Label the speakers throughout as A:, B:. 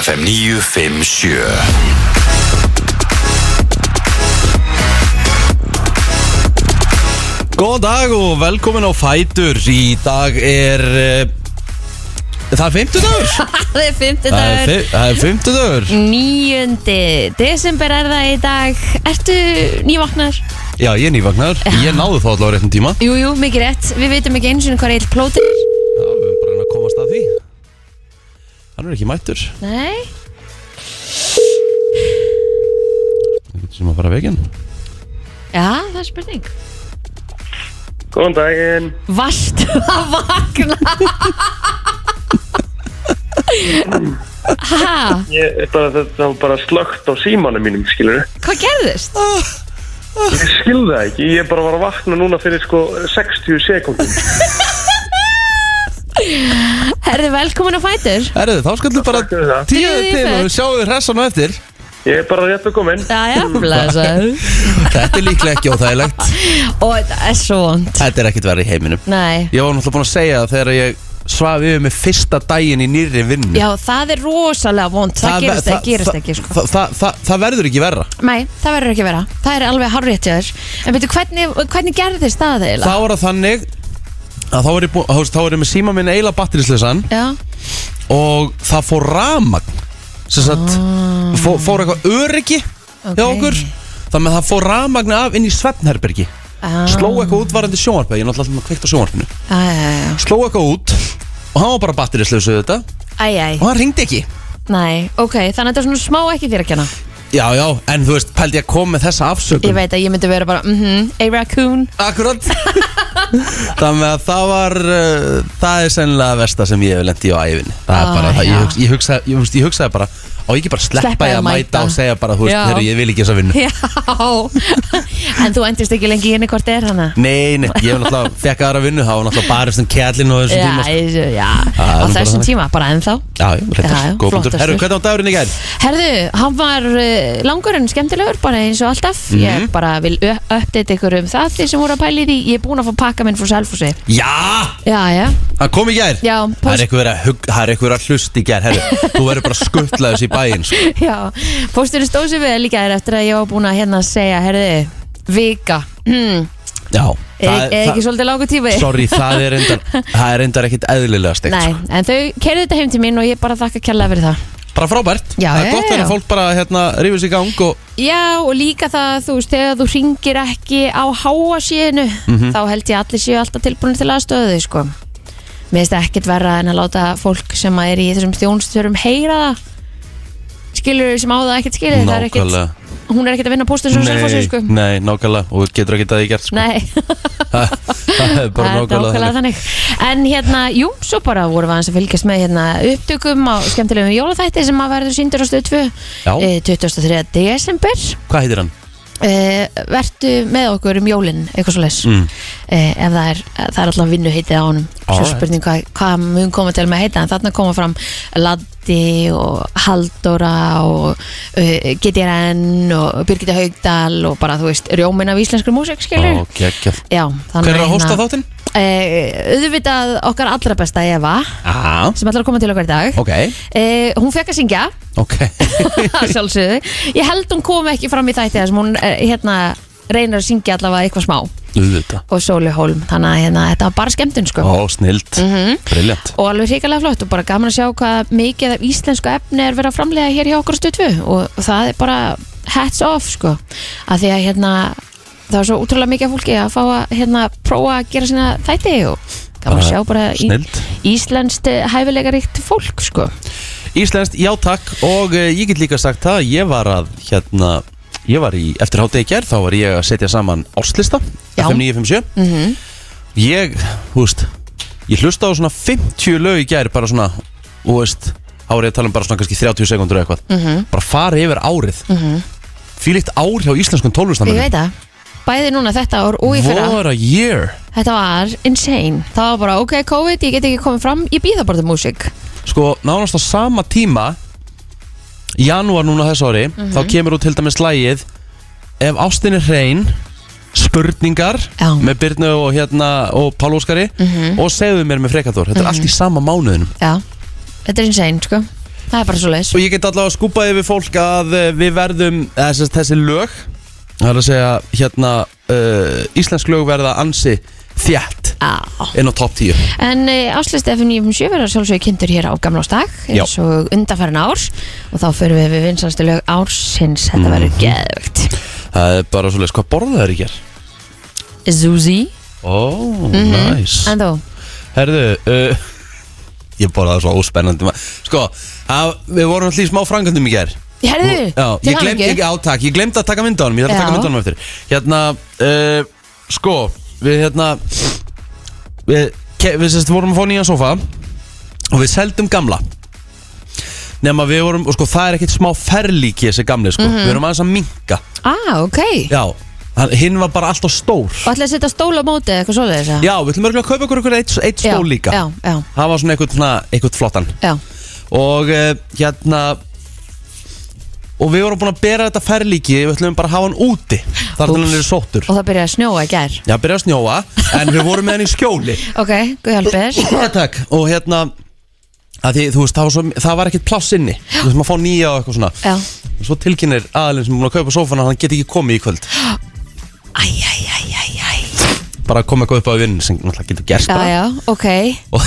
A: E,
B: FM 957
C: Góðan dag og velkomin á Fætur Í dag er eh, Það er 50 dagur
D: Það er
C: Það er
D: fymtudagur
C: fi- það er 50 dagur
D: 9. desember er það í dag Ertu nývaknar?
C: Já, ég er nývagnar Ég náðu þá allavega á réttum tíma
D: Jú, jú, mikið rétt Við veitum ekki eins og hvað er eitt plótir
C: Já, við erum bara að reyna að komast að því Hann er ekki mættur
D: Nei
C: Ég getur sem að fara veginn
D: Já, það er spurning
E: Góðan daginn.
D: Varstu að vakna? ha,
E: Ég er bara, það, það var bara slögt á símanum mínum, skilur.
D: hvað gerðist?
E: Ég skil það ekki. Ég bara var að vakna núna fyrir sko 60 sekundum.
D: Herði velkomin á Fætur
C: Herðu, þá skallum bara
E: Takk fyrir það.
C: tíu
D: Tíu í
C: til
D: fett.
C: og sjáum við hressan og eftir
E: Ég er bara rétt að komin.
D: Jæja, blæsaður
C: Þetta er líklega ekki óþægilegt
D: Og þetta er svo vond
C: Þetta er ekkit verið í heiminum
D: Nei
C: Ég var náttúrulega búin að segja það þegar ég svaf yfir mig fyrsta daginn í nýri vinnu
D: Já, það er rosalega vond Það, gerist ekki, gerist ekki sko.
C: það, það, það, það verður ekki verra
D: Nei, það verður ekki að vera Það er alveg hárrétt hjá þér En veitu, hvernig, hvernig gerðist það eiginlega?
C: Það var það þannig að þá var ég, bú, þá, þá var ég með síma minn eila batterislesan
D: Já,
C: og það fór ramagn sem sagt, fó, fór eitthvað öryggi hjá
D: Ah. Ok.
C: okkur þannig að það fór ramagn af inn í svefnherbergi
D: Ah.
C: sló eitthvað út varandi sjónvarpið ég er náttúrulega alltaf með kveikt á sjónvarpinu
D: já, já, já
C: sló eitthvað út og hann var bara batterislesu þetta og
D: Æ, æ,
C: hann ringdi ekki
D: nei, ok Þannig að þetta er svona smá ekki þér að kenna
C: já já, en þú veist, pældi ég að koma með þessa afsökun
D: Ég veit að ég myndi vera bara, mhm, a raccoon
C: Akkurat Þannig að það var uh, Það er sennilega versta sem ég hef lendi á æfinni Það er
D: Ah,
C: bara það, ég,
D: já.
C: hugsa, ég, hugsa, ég, hugsa, ég hugsaði bara Á ég ekki bara
D: Sleppa
C: sleppa, sleppa ég
D: að
C: að mæta
D: mæta.
C: og segja bara Þú veist,
D: Já.
C: heru, ég vil ekki þess að vinna
D: Já En þú endist ekki lengi í henni hvort er hana
C: Nei, nei, ég hef náttúrulega fekk aðra vinnu Það var náttúrulega barist um kjærlinn og þessum
D: Já,
C: tíma sko.
D: ég- já,
C: Ah,
D: á
C: nú bara
D: þessum
C: þannig.
D: tíma, bara ennþá
C: Já, já,
D: Já, já,
C: reyndar, góð punktur
D: flottastur.
C: Herru, hvernig á dagurinn í gær?
D: Herðu, hann var uh, langur en skemmtilegur bara eins og alltaf
C: Mhm.
D: Ég bara vil ö- update ykkur um það Þið sem voru að pæli því, ég er búin að fá pakka minn frá Selfossi
C: Já,
D: Já, já,
C: hann kom í gær
D: Já,
C: Það
D: post-
C: er eitthvað verið að hug- það er eitthvað verið að hlust í gær Herru, þú verður bara skuttlaðis í bæinn sko.
D: Já, pósturinn stóð sér vel í gæðir eftir að ég var búin að hérna segja, herði, vika, hmm,
C: Já,
D: er, er ekki svolítið lágu tími?
C: Sorry, það er sko. reyndar, það er reyndar ekkit eðlilega steikt
D: Nei, en þau keirðu þetta heim til mín og ég bara þakka kjærlega fyrir það.
C: bara frábært
D: Já,
C: það
D: já,
C: er gott
D: já,
C: þegar
D: já.
C: fólk bara hérna, rífur sig í gang og
D: Já, og líka það, þú veist, þegar þú ringir ekki á háa síðinu,
C: Mhm.
D: þá held ég að allir séu alltaf tilbúinir til aðstöðu þau, sko. Mér finnst það ekkert verra en að láta fólk sem að er í þessum þjónsturum heyra það. Skilur sem á það ekkert skilur, það er ekkert,
C: nákvæmlega
D: hún er ekkert að vinna póstinn svo selfossi, sko.
C: nei, nákvæmlega og getur ekki það í gert sko.
D: Nei.
C: það það er
D: Það
C: bara
D: er
C: nákvæmlega
D: nákvæmlega
C: þannig.
D: þannig. En hérna, jú, svo bara vorum við aðeins að fylgjast með hérna, upptökum á skemmtilegum jólaþætti sem að verður síndur á stöð 2
C: Já.
D: eh, 23. desember
C: hvað heitir hann?
D: eh, Vertu með okkur um jólin eitthvað svo les
C: Mm.
D: eh, ef það er, það er alltaf vinnu heitið á honum svo
C: Alright.
D: spurning hvað, hvað mun koma til með að heita en þarna koma fram Laddi og Haldóra og uh, GTRN og Birgitta Haugdal og bara þú veist rjóminn af íslenskri músík skilur
C: Ó, geggjað.
D: Já, hérna-
C: hver er að hósta þáttinn?
D: Eh, auðvitað okkar allra besta Eva
C: Ah,
D: sem ætlar að koma til okkar í dag
C: ok,
D: eh, hún fekk að syngja
C: ok
D: að sjálfsögðu. ég held hún kom ekki fram í þætti þar sem hún eh, hérna, reynir að syngja allavega eitthvað smá
C: Þetta.
D: og Sóli Holm, þannig að hérna, þetta var bara skemmtun sko. Mhm.
C: Ó, snild, mm briljant
D: og alveg hrikalega flott og bara gaman að sjá hvað mikið af íslensku efni er verið að framlega hér hjá okkur stöðvu og það er bara hats off sko, að því að hérna það er svo útrúlega mikið af fólki að fá að hérna prófa að gera sína þætti og gaman að
C: Bara
D: sjá bara í,
C: snilld.
D: íslenskt eh, hæfilega ríkt fólk sko.
C: Íslenskt, já takk og uh, ég get líka sagt það, ég var að hérna, ég var í, eftir hátegi gær þá var ég að setja saman áslista
D: Já.
C: FM 957
D: Mhm.
C: ég, þú veist ég hlusta á svona 50 lög í gær bara svona, þú veist þá er ég að tala um bara svona kannski 30 sekundur eða
D: Mhm.
C: eitthvað -hmm. bara fara yfir árið mm -hmm. fýlitt ár hjá íslenskun
D: ég
C: tólfustamennum
D: veit það bæði núna þetta ár og í fyrra
C: What a year
D: þetta var insane, það var bara ok COVID, ég get ekki komið fram, ég býða bara til músík
C: sko nánast á sama tíma í janúar núna þess ári
D: Mhm.
C: þá kemur út til dæmis lægið ef ástin er hrein spurningar
D: Já. Mhm.
C: með Birnu og hérna og Pál Óskari og segðu mér með frekatór, þetta er allt í sama mánuðinum
D: já, þetta er insane sko það er bara svo leiðis
C: Og ég get allavega að skúpa yfir fólk að eh, við verðum eða sem sagt þessi lög Það er að segja hérna uh, Íslensk lög verða ansi þjætt inn á topp 10
D: En uh, áslist F957 verður sjálfsögur kynntur hér á gamlástag eins og undanfærin ár og þá förum við við vinsanstu lög ársins
C: Mhm.
D: þetta verður geðvögt
C: Það er bara svolítið, hvað borða það er ekki?
D: Zuzi
C: Ó,
D: Mhm.
C: oh, nice
D: En þú?
C: Herðu, uh, ég borðaði svo óspennandi ma- Sko, að, við vorum allir í smá frangöndum í ger
D: Herðu,
C: Já,
D: til
C: ég glemt,
D: hamingju.
C: ég, á, takk, ég glemt að taka mynda honum, ég þarf að
D: Já.
C: taka mynda honum eftir Hérna, uh, sko, við hérna Við, ke, við sérst vorum að fá nýjan sofa Og við seldum gamla Nefn við vorum, og sko það er ekkert smá ferlíki þessi gamli sko Við erum aðeins að minka
D: Mhm. Ah, ok
C: Já, hann- hinn var bara alltaf stór
D: Og ætlaði að setja stóla á móti eða eitthvað svoleiðis eða?
C: Já, við ætlum örgulega að kaupa okkur okkur eitt, eitt
D: Já,
C: stól líka
D: Já, já,
C: Það var svona eitthvað, svona, eitthvað flottan
D: já
C: og uh, hérna og við vorum búin að bera þetta ferlíki við ætlum bara að hafa hann úti þar til
D: Úps.
C: hann er sóttur
D: Og það byrjaði að snjóa í gær
C: Já, byrja að snjóa, en við vorum með hann í skjóli
D: Ok, guð hjálpir
C: Takk, og hérna að því, þú veist, það var, svo, það var ekkert pláss inni þú veist, maður fá nýja og eitthvað svona
D: Já
C: og svo tilkynir aðalinn sem er búin að kaupa sófana hann geti ekki komið í kvöld
D: Æ, æ, æ, æ, æ
C: bara að koma eitthvað upp á vinn sem náttúrulega getur gerst
D: Já,
C: bara
D: já, ok
C: og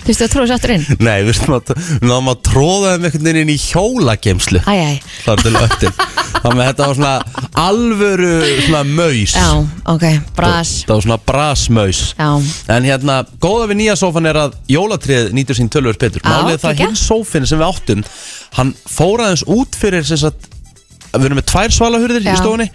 D: Þú veist að tróða sáttur inn
C: nei, við veistum að við náðum að tróða þeim einhvern veginn inn í hjólagemslu
D: Æ, æ,
C: þar til öttin þannig að þetta var svona alvöru svona maus
D: já, ok, bras
C: þetta var svona brasmaus
D: Já,
C: en hérna, góða við nýja sófan er að jólatrið nýtur sín tölvör betur
D: Já,
C: málið er það að
D: geggjað.
C: hinn sófin sem við áttum hann fór aðeins út fyrir sem sagt, við erum með tvær svalahurðir
D: Já.
C: í stofunni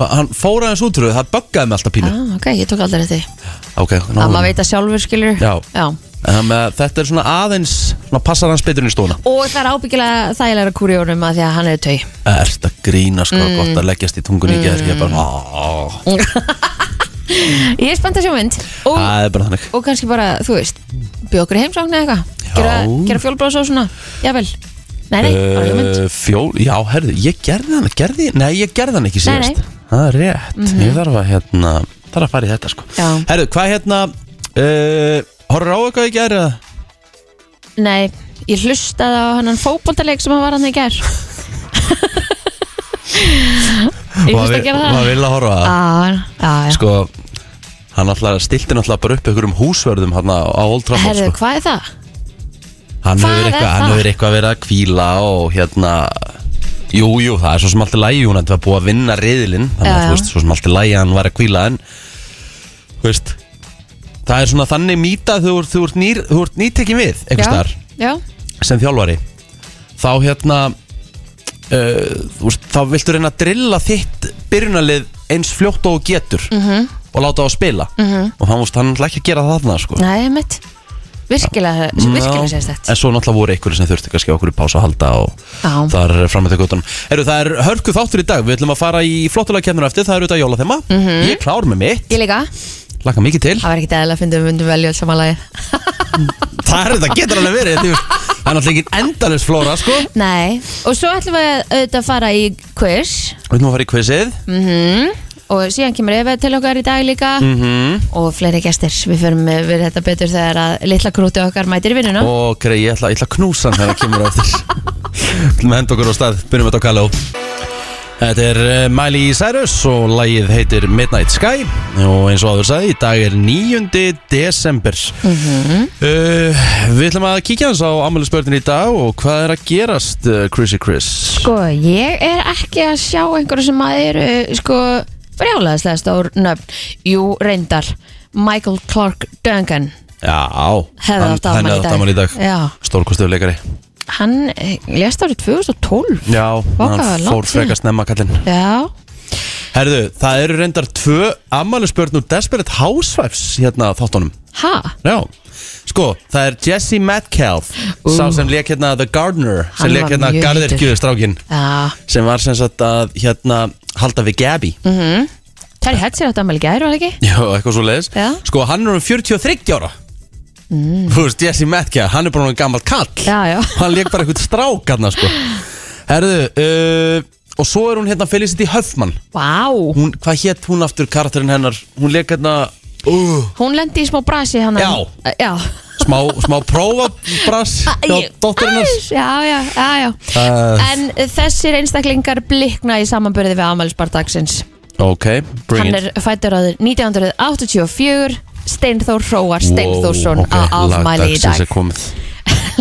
C: og hann fór aðeins út fyrir það böggaði með alltaf pínu
D: ah, ok, ég tók aldrei eftir því
C: ok,
D: Að
C: náðum.
D: maður veit að sjálfur skilur
C: Já.
D: já
C: En þannig að þetta er svona aðeins svona passar hans betur inn í stofuna
D: Og það er ábyggilega þægilega kúrjónum að því að hann er tau
C: Ert að grína sko
D: Mm.
C: gott að leggjast í tungun í gerð Ég er bara, áh,
D: Ég er spennt að sjá mynd Og,
C: það er bara þannig
D: og kannski bara, þú veist, bjóð okkur í heimsókn eða eitthvað Gera,
C: Ah. Já.
D: gera fjólblás og svona, jável Nei, nei, bara uh, mynd
C: Uh, fjól, já, herðu, ég gerði hann, gerði, nei, ég gerði hann ekki
D: Nei, nei. Mhm.
C: síðast Það er rétt, ég þarf að, hérna, þarf að fara í þetta, sko
D: Já.
C: Herðu, hvað, hérna, uh, horfður á eitthvað í gerði? Eh.
D: Nei, ég hlustaði á hann fótboltaleik sem hann var hann í gær Ég hlusta að gera
C: Hvað
D: það
C: vil að horfa á það?
D: Já, já, já
C: Sko, hann alltaf, stilti náttúrulega bara upp ykkur um húsvörðum hann á Old Trafford,
D: Herðu,
C: sko
D: hvað er það?
C: Hann
D: hvað
C: hefur
D: er
C: eitthvað, hann
D: það?
C: hefur eitthvað verið að kvíla og, hérna, jú, jú, það er svo sem allt í lægi Hún hefði búið að vinna riðilinn, þannig
D: Já,
C: að,
D: já.
C: þú veist, svo sem allt í lægi hann var að kvíla en, þú veist Það er svona þannig mýta að þú, ert- þú ert, nýr, þú ert nýtekin við einhvers
D: Já,
C: staðar
D: já,
C: sem þjálfari þá hérna uh, þú veist, þá viltu reyna að drilla þitt byrjunalið eins fljótt og þú getur
D: Mhm.
C: -hmm. og láta það að spila -hmm. og hann, þú veist, hann ætla ekki að gera það þarna sko.
D: nei, mitt Virkilega, virkilega
C: Já.
D: sést þetta
C: En svo náttúrulega voru einhverjir sem þurfti kannski á okkur í pása að halda og
D: Já.
C: þar fram með þau guttunum Heru, Það er hörku þáttur í dag, við ætlum að fara í flottulega kemur eftir, það er auðvitað jólathema -hmm. Ég er klár með mitt,
D: Ég líka,
C: laka mikið til
D: það var ekkert eðla að fyndum við myndum velja öll samanlagi
C: Það er þetta, getur alveg verið þetta er- Það er náttúrulega engin endalus flóra sko
D: Nei, og svo ætlum við auðvitað að fara í quiz
C: Við ætlum að fara í quizið
D: Mhm. og síðan kemur Eva til okkar í dag líka
C: Mhm.
D: og fleiri gestir, við förum við þetta betur þegar að litla krúti okkar mætir í vinnuna
C: Og grei, ég ætla, ég ætla að knúsa hann þegar það kemur á eftir Við ætlum að henda okkur á stað, byrjum þetta á Kalló Þetta er eh, Miley Cyrus og lagið heitir Midnight Sky og eins og áður sagði, í dag er 9. desember
D: Mhm.
C: uh, Við ætlum að kíkja hans á ammælisbörnin í dag og hvað er að gerast, uh, Chrissy Chris?
D: Sko, ég er ekki að sjá einhverju sem að eru, sko, frjálaðislega stór nöfn. Jú, reyndar, Michael Clark Duncan,
C: Já,
D: hefði átt afmæli í dag.
C: afmæli í dag
D: Já,
C: Stórkostuðu leikari
D: hann lest árið 2012.
C: Já,
D: Vá, hvað
C: hann
D: langt
C: fór
D: síðan.
C: frekar snemma kallinn
D: Já,
C: Herðu, það eru reyndar tvö ammælisbörn úr Desperate Housewives hérna á þáttunum
D: ha?
C: Já, sko, það er Jesse Metcalf Sá sem leik hérna The Gardener Sem
D: Hann
C: leik
D: var
C: hérna
D: mjög
C: Garðirkjöðu strákin
D: Já,
C: Sem var sem sagt að hérna Halda við Gabby mm.
D: Mhm. Terry Hetz er átt ammæli gæri, var það ekki?
C: Já, eitthvað svo leiðis
D: Já. Mm.
C: Sko, hann er um 43 ára Þú veist, Jesse Metcalf, hann er bara um gammalt kall
D: Já, já.
C: Hann leik bara eitthvað strák hérna, sko Herðu, uh, og svo er hún hérna Felicity Huffman
D: Vá,
C: hún, Hvað hétt hún aftur karakterinn hennar? Hún leik hérna uh,
D: hún lendi í smá brasi hann. Eh,
C: Já.
D: Já,
C: smá, smá prófabrass hjá
D: Æ,
C: dótturinnar
D: Æs, Já, já, já, já
C: Uh,
D: En þessir einstaklingar blikna í samanbörði við afmælisbardagsins
C: ok, bring
D: Hann
C: it
D: er fættur áður 1984 Steinþór Hróar Steinþórsson
C: Wow, ok,
D: á afmæli í
C: lagdagsins
D: dag
C: er komið.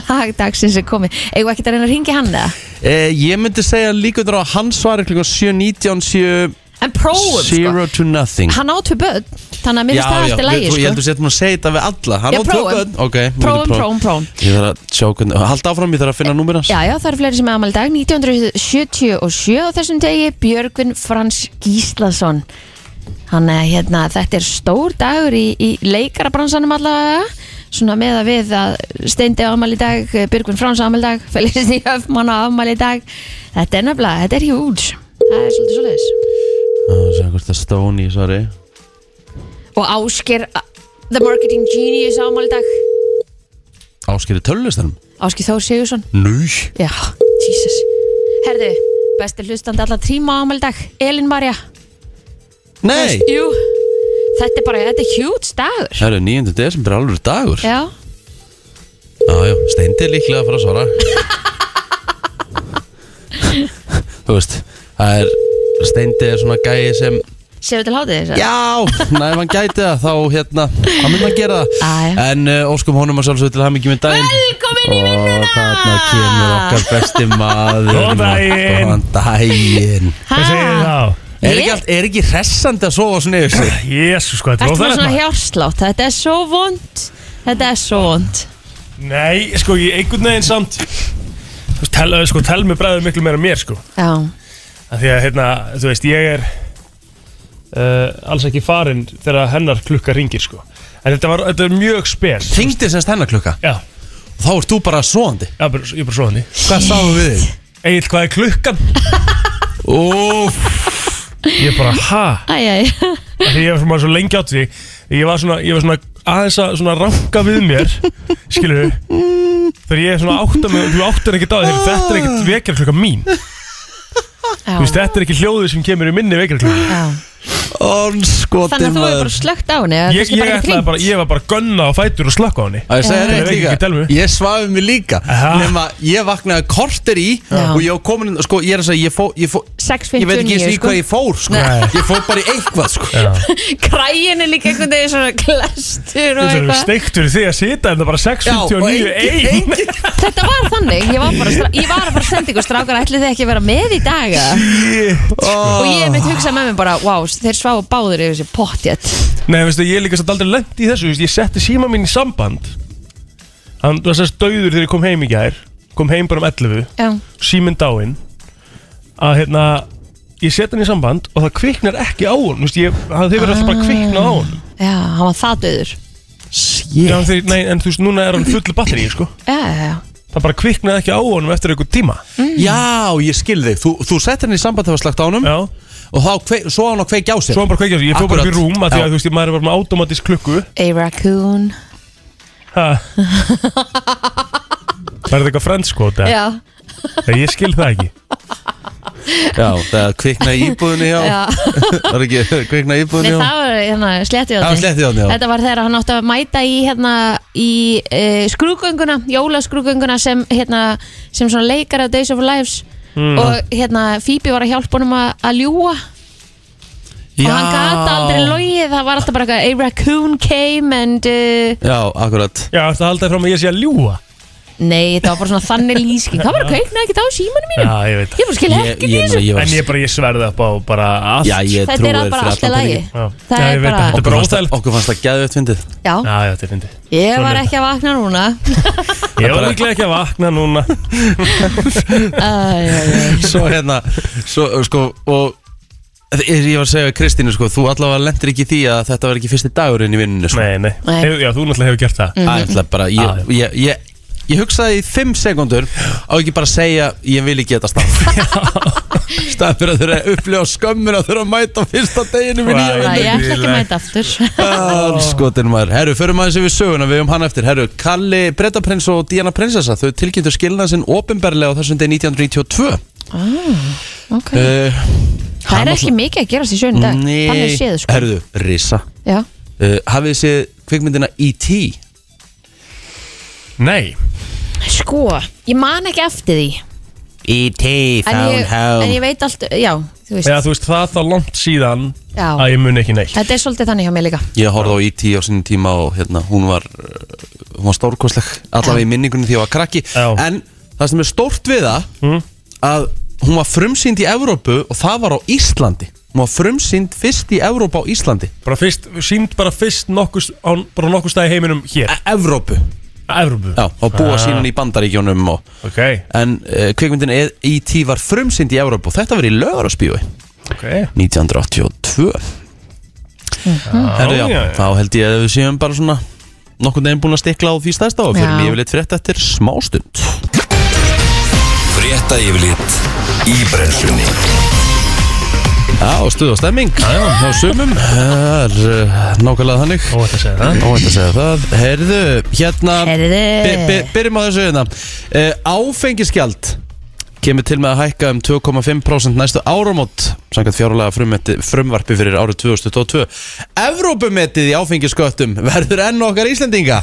D: Lagdagsins er komið Eigum ekki að reyna að ringi hann eða?
C: Eh, ég myndi segja líkundur á að hann svari klukkan 7.19 7,
D: En prófum sko
C: Zero to nothing
D: Hann á tvö börn Þannig að mér finnst það allt í
C: við-
D: lagi
C: þú- ég
D: sko
C: heldur sér að segja þetta við alla Hann
D: Já,
C: á
D: prófum.
C: tökun Ok, við getum
D: Prófum,
C: prófað.
D: prófum, prófum
C: Ég þarf að sjá hvernig Hald áfram, ég þarf að finna númur hans
D: Já, já, það eru fleiri sem er afmæli í dag 1977 á þessum degi Björgvin Frans Gíslason Hann er hérna, þetta er stór dagur í, í leikarabransanum allavega Svona með að við að Steindi á afmæli í dag, Björgvin Frans á afmæli í dag Felicity Huffman á afmæli í dag Þetta er nefnilega, þetta er huge Það er svolítið svolítið
C: Sjá hvort það er Stóni, sorry
D: Og Ásker, The Marketing Genius á afmæli í dag
C: Áskeri tölvustanum
D: Ásker Þór Sigursson
C: Nú
D: Já, Jesus Herðu, besti hlustandi allar tríma á afmæli í dag Elin Marja
C: Nei
D: Veist, Jú, þetta er bara, þetta er huge dagur
C: Það eru 9. desember, alveg dagur Já,
D: Já,
C: já, steindi er líklega að fara að svara Þú veist, það er Steindi er svona gæi sem
D: séu til hátið þess að
C: Já, næ, ef hann gæti það Þá hérna, hann myndi að gera
D: Æ.
C: það En uh, óskum honum að sjálfsögðu til hamingjum í daginn
D: Velkomin í
C: Og þarna kemur okkar besti maður
B: Góðan daginn.
C: Góðan daginn
B: Hvað segir þið þá?
C: Er ekki, allt, er ekki hressandi að sofa svona yfir sig?
B: Jésus, hvað þetta er
D: Ertu með
B: óþægilegt
D: svona
B: maður?
D: hjárslátt, þetta er svo vond Þetta er svo vond
B: Nei, sko, ég einhvern veginn samt Þú veist, tel, eh, sko, tel mig bræður miklu meira en mér, sko
D: Já,
B: að Því að, hérna, þú veist, ég er uh, alls ekki farinn þegar hennar klukka ringir, sko En þetta var, þetta var mjög spes
C: Þingdi semst hennar klukka
B: Já,
C: og þá ert þú bara svoandi
B: já bara, ég bara svo hann í
C: Hvað sáum við þig?
B: Egil, hvað er klukkan?
C: Úf,
B: Ég bara, ha?
D: æj, æj
B: Af Því ég var svona svo lengi átt því Ég var svona, ég var svona aðeins að svona ranka við mér Skilur Þegar ég er svona átta með, þú áttar ekkert á því Þetta er ekkert vekjar mín Þú veist,
D: Já,
B: þetta er ekki hljóðið sem kemur í minni vekjarklokku.
D: já
C: onskoti
D: Þannig að þú hefur bara slögt á henni eða
B: Ég,
D: kannski
B: ég,
D: bara ekkert
B: ætlaði
D: hringt?
B: bara, ég var bara að gunna á fætur og slökka á henni.
C: Að ég segja
B: Þetta er
C: þér
B: ekki
C: eitt
B: ekki telmi.
C: líka, ég svafi mig líka
B: Aha.
C: nema ég vaknaði korter í
D: Já.
C: og ég var komin, inn- sko ég er að segja ég, fó, ég, fó, ég veit ekki eins
D: 6.59
C: og í
D: sko
C: hvað ég fór sko.
B: Nei.
C: ég fór bara í eitthvað sko.
D: Kræin er líka einhvern veginn svona klestur og
B: Þetta er
D: eitthvað
B: steikt fyrir því að sita en það bara
C: og
B: 6.59 ein.
C: engin
D: Þetta var þannig, ég var bara, stra- ég var að fara að senda ykkur strákar ætli þið ekki að vera með í dag eða? Og ég mitt hugsa með mér bara, wow, þeir sváu báður yfir sér pottjett
B: Nei, veistu, ég er líka satt aldrei lent í þessu, veist, ég setti síma mín í samband. Hann var sérst döður þegar ég kom heim í gær, kom heim bara um 11,
D: Já,
B: síminn dáinn, að hérna, ég seti hann í samband og það kviknar ekki á hann, veist, ég, það hefur alltaf bara kviknað á hann.
D: já, hann var það döður
C: Ah,
B: Já, en þeir- nei, en þú veist, núna er hann fullu batteri, sko.
D: Já, já, já
B: það bara kviknaði ekki á honum eftir einhver tíma
C: Mm. Já, ég skil þig, þú, þú sett henni í samband þegar slagt á honum
B: já.
C: og þá kveik, svo á hann að kveikja á sér
B: svo hann bara kveikja á sig, ég fór bara upp í
C: Akkurat.
B: rúm að því
C: Já.
B: að þú veist, ég- maður er bara með automatisk klukku
D: A raccoon
B: Ha. var þetta eitthvað frendskóta
D: Já,
B: ég skil það ekki
C: Já, það kviknaði íbúðinni hjá
D: já
C: Var ekki kviknaði
D: Nei,
C: íbúðinni hjá
D: það var hérna, sletti
C: Það var sletti hjá
D: Þetta var þegar hann átti að mæta í, hérna, í e, skrúgönguna, jólaskrúgönguna sem, hérna, sem svona leikar af Days of Our Lives
B: Mm.
D: og hérna, Phoebe var að hjálpa honum að- að ljúa og hann gata aldrei logið, það var alltaf bara eitthvað A raccoon came and uh,
C: Já, akkurat
B: já, það haldaði fram að ég sé að ljúa
D: Nei, það var bara svona þannig lýsking Það var að kveikna ekkert á símanum mínum
B: já, ég veit það
D: Ég bara skil
C: Ég-
D: ekki
C: ég-
D: í þessu
C: ég var-
B: en ég bara, ég sverði upp á bara allt
C: Já, ég
D: Þetta
C: trúi
D: er
C: þér
D: bara
C: fyrir
D: allt í
C: allan
D: lagi.
C: peninginn.
B: Já.
D: Það
B: Já,
D: er
B: ég veit
D: bara-
B: það, þetta er bara
C: Okkur fannst það-
B: óþægilegt
C: Okkur fannst það gæðið fyndið
D: Já,
B: já, já, þetta er fyndið
D: ég
B: Svona
D: var
B: er
D: ekki að vakna núna
B: ég var
C: bara-
B: líklega ekki að vakna núna
D: Æ, æ, æ.
C: Svo hérna, svo, sko, og Ég var að segja við Kristínu, sko, þú allavega lendir ekki í því að þetta var ekki fyrsti dagurinn í vinnunni, sko
B: nei, nei,
D: Nei.
B: Hef, já, þú náttúrulega hefur gert það Ah,
C: Það er alltaf bara,
B: Já,
C: ég, ég, ég, ég hugsaði í fimm sekundur á ekki bara að segja, ég vil ekki þetta stað Stað fyrir að þurfa að upplifa skömmin að þurfa að mæta á fyrsta deginu minni
D: Æ,
B: Vá.
D: Ég ætla ekki að mæta aftur
C: Skotin maður, herru, förum aðeins yfir söguna við um hann eftir, herru, Kalli Bretaprins og Diana Prinsessa, þau tilkynntu skilnað sinn ofinberlega á þessum degi 1992
D: okay.
C: uh,
D: Það er ekki mikið að gerast í sjönu dag Þannig séð sko
C: herru, Eh, Risa Eh,
D: Já,
C: E uh, hafið þið séð kvikmyndina E.T.
B: Nei
D: Sko, ég man ekki eftir því
C: E.T.
D: En
C: E Found
D: ég, en
C: Home
D: ég veit allt, já, þú veist
B: Eða þú veist, það er þá langt síðan
D: Já.
B: að ég muni ekki neitt
D: Þetta er svolítið þannig hjá mér líka
C: Ég horfði á E.T. á sinni tíma og hérna, hún var uh, hún var stórkostleg allavega í minningunni því ég var krakki
B: Já. Hmm?
C: en það sem er stórt við það að hún var frumsýnd í Evrópu og það var á Íslandi hún var frumsýnd fyrst í Evrópu á Íslandi
B: Bara fyrst, sínd bara fyrst nokkus á, bara nokkus stað í heiminum hér
C: E- Evrópu,
B: Evrópu
C: já, og búa sínan í Bandaríkjónum og,
B: Ah. Ok,
C: en uh, kvikmyndin E- E.T. var frumsýnd í Evrópu og þetta var í lögarspíu
B: ok
C: 1982
D: mhm.
C: Herru,
B: Ah,
C: já,
B: já, já.
C: þá held ég að við séum bara svona nokkurn veginn búin að stikla á því stærsta og fyrir
D: Já.
C: mjög lit frétt eftir smástund
A: Frétta yfirlit í brennslunni
C: Já, og stuð og stemming á sumum Það er uh, nákvæmlega þannig
B: Ó, þetta segir það
C: Óvænt að segja það Herðu, hérna
D: Heyrðu
C: by- by- Byrjum á þessu hérna uh, Áfengisgjald kemur til með að hækka um 2,5% næstu áramót samkvæmt fjárlega frummeti, frumvarpi fyrir árið 2022 Evrópumetið í áfengisköttum verður enn okkar Íslendinga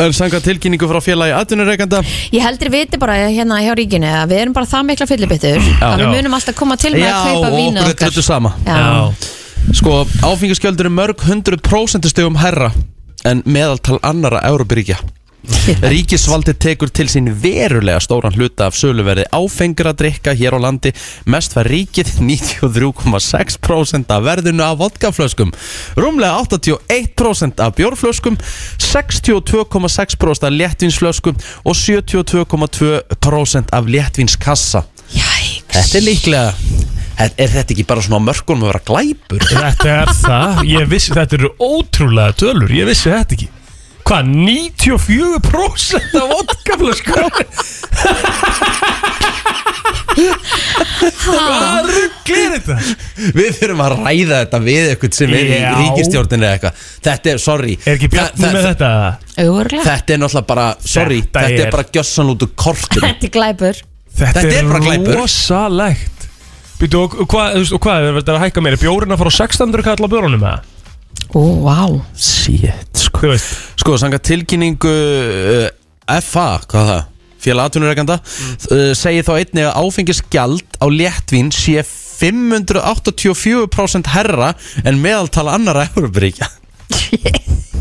C: Er samkvæmt tilkynningu frá félagi atvinnureikanda
D: Ég heldur viti bara hérna hjá ríkinu að við erum bara það mikla fyllibittur að við
B: Já.
D: munum alltaf koma til með
C: Já,
D: að
C: og
D: kaupa vínu
C: okkur er
D: okkar
C: drullu sama
D: Já,
C: Sko, áfengisgjöldur er mörg hundru prósentustegum herra en meðaltal annara Európiríkja. Ríkisvaldi tekur til sín verulega stóran hluta af söluverði áfengra drikka hér á landi mest var ríkið 93,6% af verðinu af vodkaflöskum rúmlega 81% af bjórflöskum 62,6% af léttvinsflöskum og 72,2% af léttvinskassa
D: jæks
C: Þetta er líklega Er er þetta ekki bara svona á mörkunum að vera glæpur?
B: Þetta er það, ég vissi, þetta eru ótrúlega tölur, ég vissi þetta ekki Hvað, 94% af vodkaflösku? Hvað rugglir þetta?
C: Við þurfum að ræða þetta við eitthvað sem er í
B: Já.
C: ríkistjórninu eða eitthvað Þetta er, sorry
B: Er ekki bjarni
C: Þa-
B: með
C: þa-
B: þetta?
D: Ögurlega
C: Þetta er náttúrulega bara, sorry
B: Þetta
C: Þetta, er,
B: er-
C: bara gjössan út úr kortur
D: Þetta er glæpur
B: Þetta
C: er bara
B: er
C: glæpur.
B: rosalegt Býtu, og og hvað, þú veist, og hvað, er þetta að hækka meira? Bjórinn að fara á 600 kall á bjórunum með það?
D: Ó, vá
C: Shit, sko
B: Þú veist,
C: Sko, sanga tilkynningu uh, FA, hvað er það? Félag atvinnurekanda
B: Mm.
C: uh, segir þá einnig að áfengisgjald á léttvín sé 584% herra en meðaltala annara Európaríkja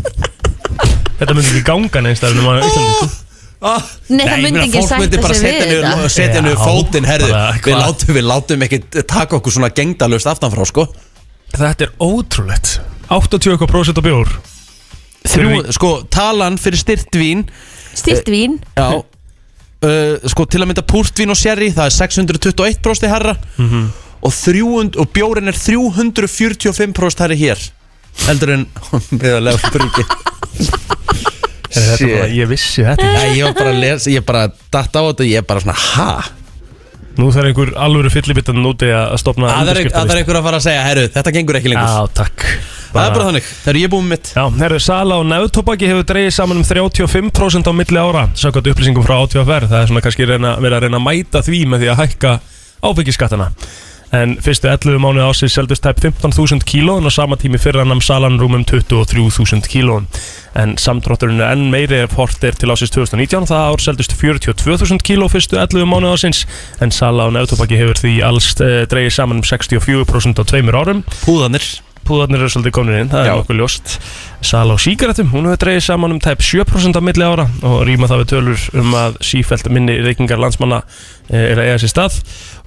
B: þetta myndi ekki ganga neins þar nema á Íslandi sko.
C: Ah.
D: Nei, það myndi ekki
C: fólk myndi
D: sætta
C: bara
D: sig
C: setja
D: við
C: niður,
D: þetta
C: setja niður
B: Já,
C: fótinn herðu,
B: bara,
C: við
B: hvað?
C: látum, við látum ekki taka okkur svona gengdalust aftanfrá sko.
B: Þetta er ótrúlegt 80% á bjór
C: Þrjú,
B: Fyrir-
C: sko, talan fyrir styrtvín
D: Stýrt vín
C: já, uh, sko, til að mynda púrtvín og sherry það er 621 brosti herra og, 300, og bjórin er 345 brost herri hér heldur en meðalega brúki
B: Er þetta bara, ég vissi þetta ekki.
C: Nei, ég var bara að lesa, ég bara datt á þetta ég er bara svona, ha?
B: Nú þarf einhver alvöru fyllibittan úti að stopna
C: Það er, það er
B: undirskriftalista.
C: einhver að fara að segja, herru, þetta gengur ekki lengur
B: Já, takk
C: Það er bara þannig, þegar ég er búið með mitt
B: Já, herru, sala á nefntobaki hefur dreigið saman um 35% á milli ára Sákvæmt upplýsingum frá ATFR Það er svona kannski reyna, verið að reyna að mæta því með því að hækka áfengiskattana En fyrstu 11 mánuð ásins seldust tæp 15.000 kílón og sama tími fyrir annam salan rúmum 23.000 kílón En samtrátturinn er enn meiri ef hort er til ásins 2019 Það ár seldust 42.000 kíló fyrstu 11 mánuð ásins En sala á nefntobaki hefur því alls uh, dreigið saman um 64% á tveimur árum
C: Púðanir
B: púðarnir eru svolítið komin inn, það
C: Já.
B: er nokkuð ljóst Sala á sígarettum, hún hefur dreigið saman um tæp 7% á milli ára og rýma það við tölur um að sífælt minni reykingar landsmanna eh, er að eiga sér stað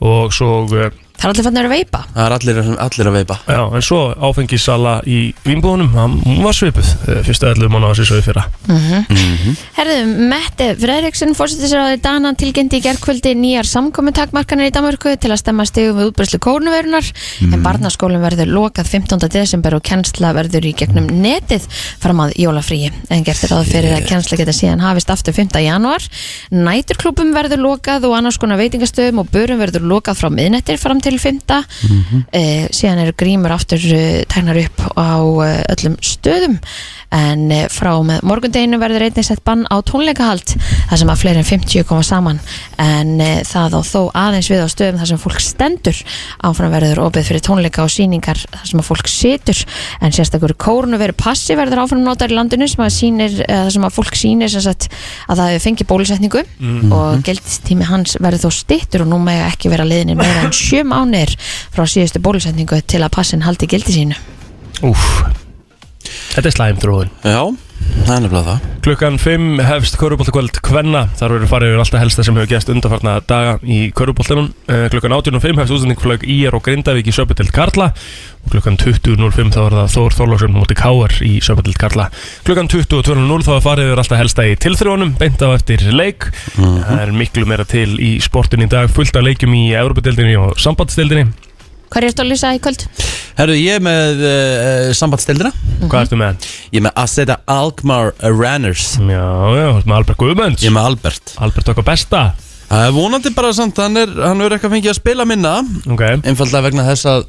B: og svo, eh,
D: Það er allir fannig að veipa
C: Það er allir, allir að veipa
B: já, en svo áfengisala í vínbúðunum, hann- hún var svipuð eh, fyrstu 11 mánu á þessi svo í fyrra
D: Mhm.
C: Mhm.
D: Herðu, Mette Fredriksson fórsetið sér á því Dana tilgindi í gerkvöldi nýjar samkomintakmarkanir í Danmarku til að stemma stegum við útbreyslu kórnverunar en barnaskólum verður lokað 15. desember og kennsla verður í gegnum netið fram að jólafríi en gert er ráð fyrir að kennsla geta síðan hafist aftur 5. januar næturklúpum verður lokað og annars konar veitingastöðum og börum verður lokað frá miðnettir fram til 5.
B: Mhm.
F: Mhm.
D: Eh, Mm síðan eru grímur aftur uh, tegnar upp á uh, öllum eh, stöðum en eh, frá og með morgundeginu verður einnig sett bann á tónleikahald þar sem að fleiri en 50 koma saman en eh, það á þó aðeins við á stöðum þar sem fólk stendur áfram verður opið fyrir tónleika og síningar þar sem að fólk situr en sérstakur kórunu verður passi verður áfram notar í landinu sem að sýnir eh, þar sem að fólk sýnir sem sagt að það hefur fengið bólusetningu og gildistími hans verður þó stittur og nú mega ekki vera liðinir meira en sjö mánir frá síðustu bólusetningu til að passin haldi gildi sínu
B: Úf Þetta er slæm þróun
C: Já, það er nefnilega það
B: Klukkan 5 hefst Köruboltakvöld Kvenna Þar verður farið yfir alltaf helsta sem hefur gæst undarfarna daga í Köruboltanum uh, Klukkan 18.05 hefst útsendingflög IR og Grindavík í Söpudeld Karla og klukkan 20.05 þá er það Þór Þorlóksson múti Káar í Söpudeld Karla Klukkan 22.00 þá er farið yfir alltaf helsta í tilþrjónum beint á eftir leik Það er miklu meira til í sportin í dag fullt af leikjum í Európa-deldinni og sambandsdeldinni
D: Hvað er þetta að lýsa í kvöld?
C: Herru, ég er með uh, sambandstildina
B: Mhm. Hvað ertu með?
C: Ég er með Aseta Alkmaar Ranners
B: Já, já, þú ert með Albert Guðmunds
C: Ég er með Albert
B: Albert okkar besta
C: Það er vonandi bara samt, hann er, hann er eitthvað fengið að spila minna
B: okay.
C: Einfallega vegna þess að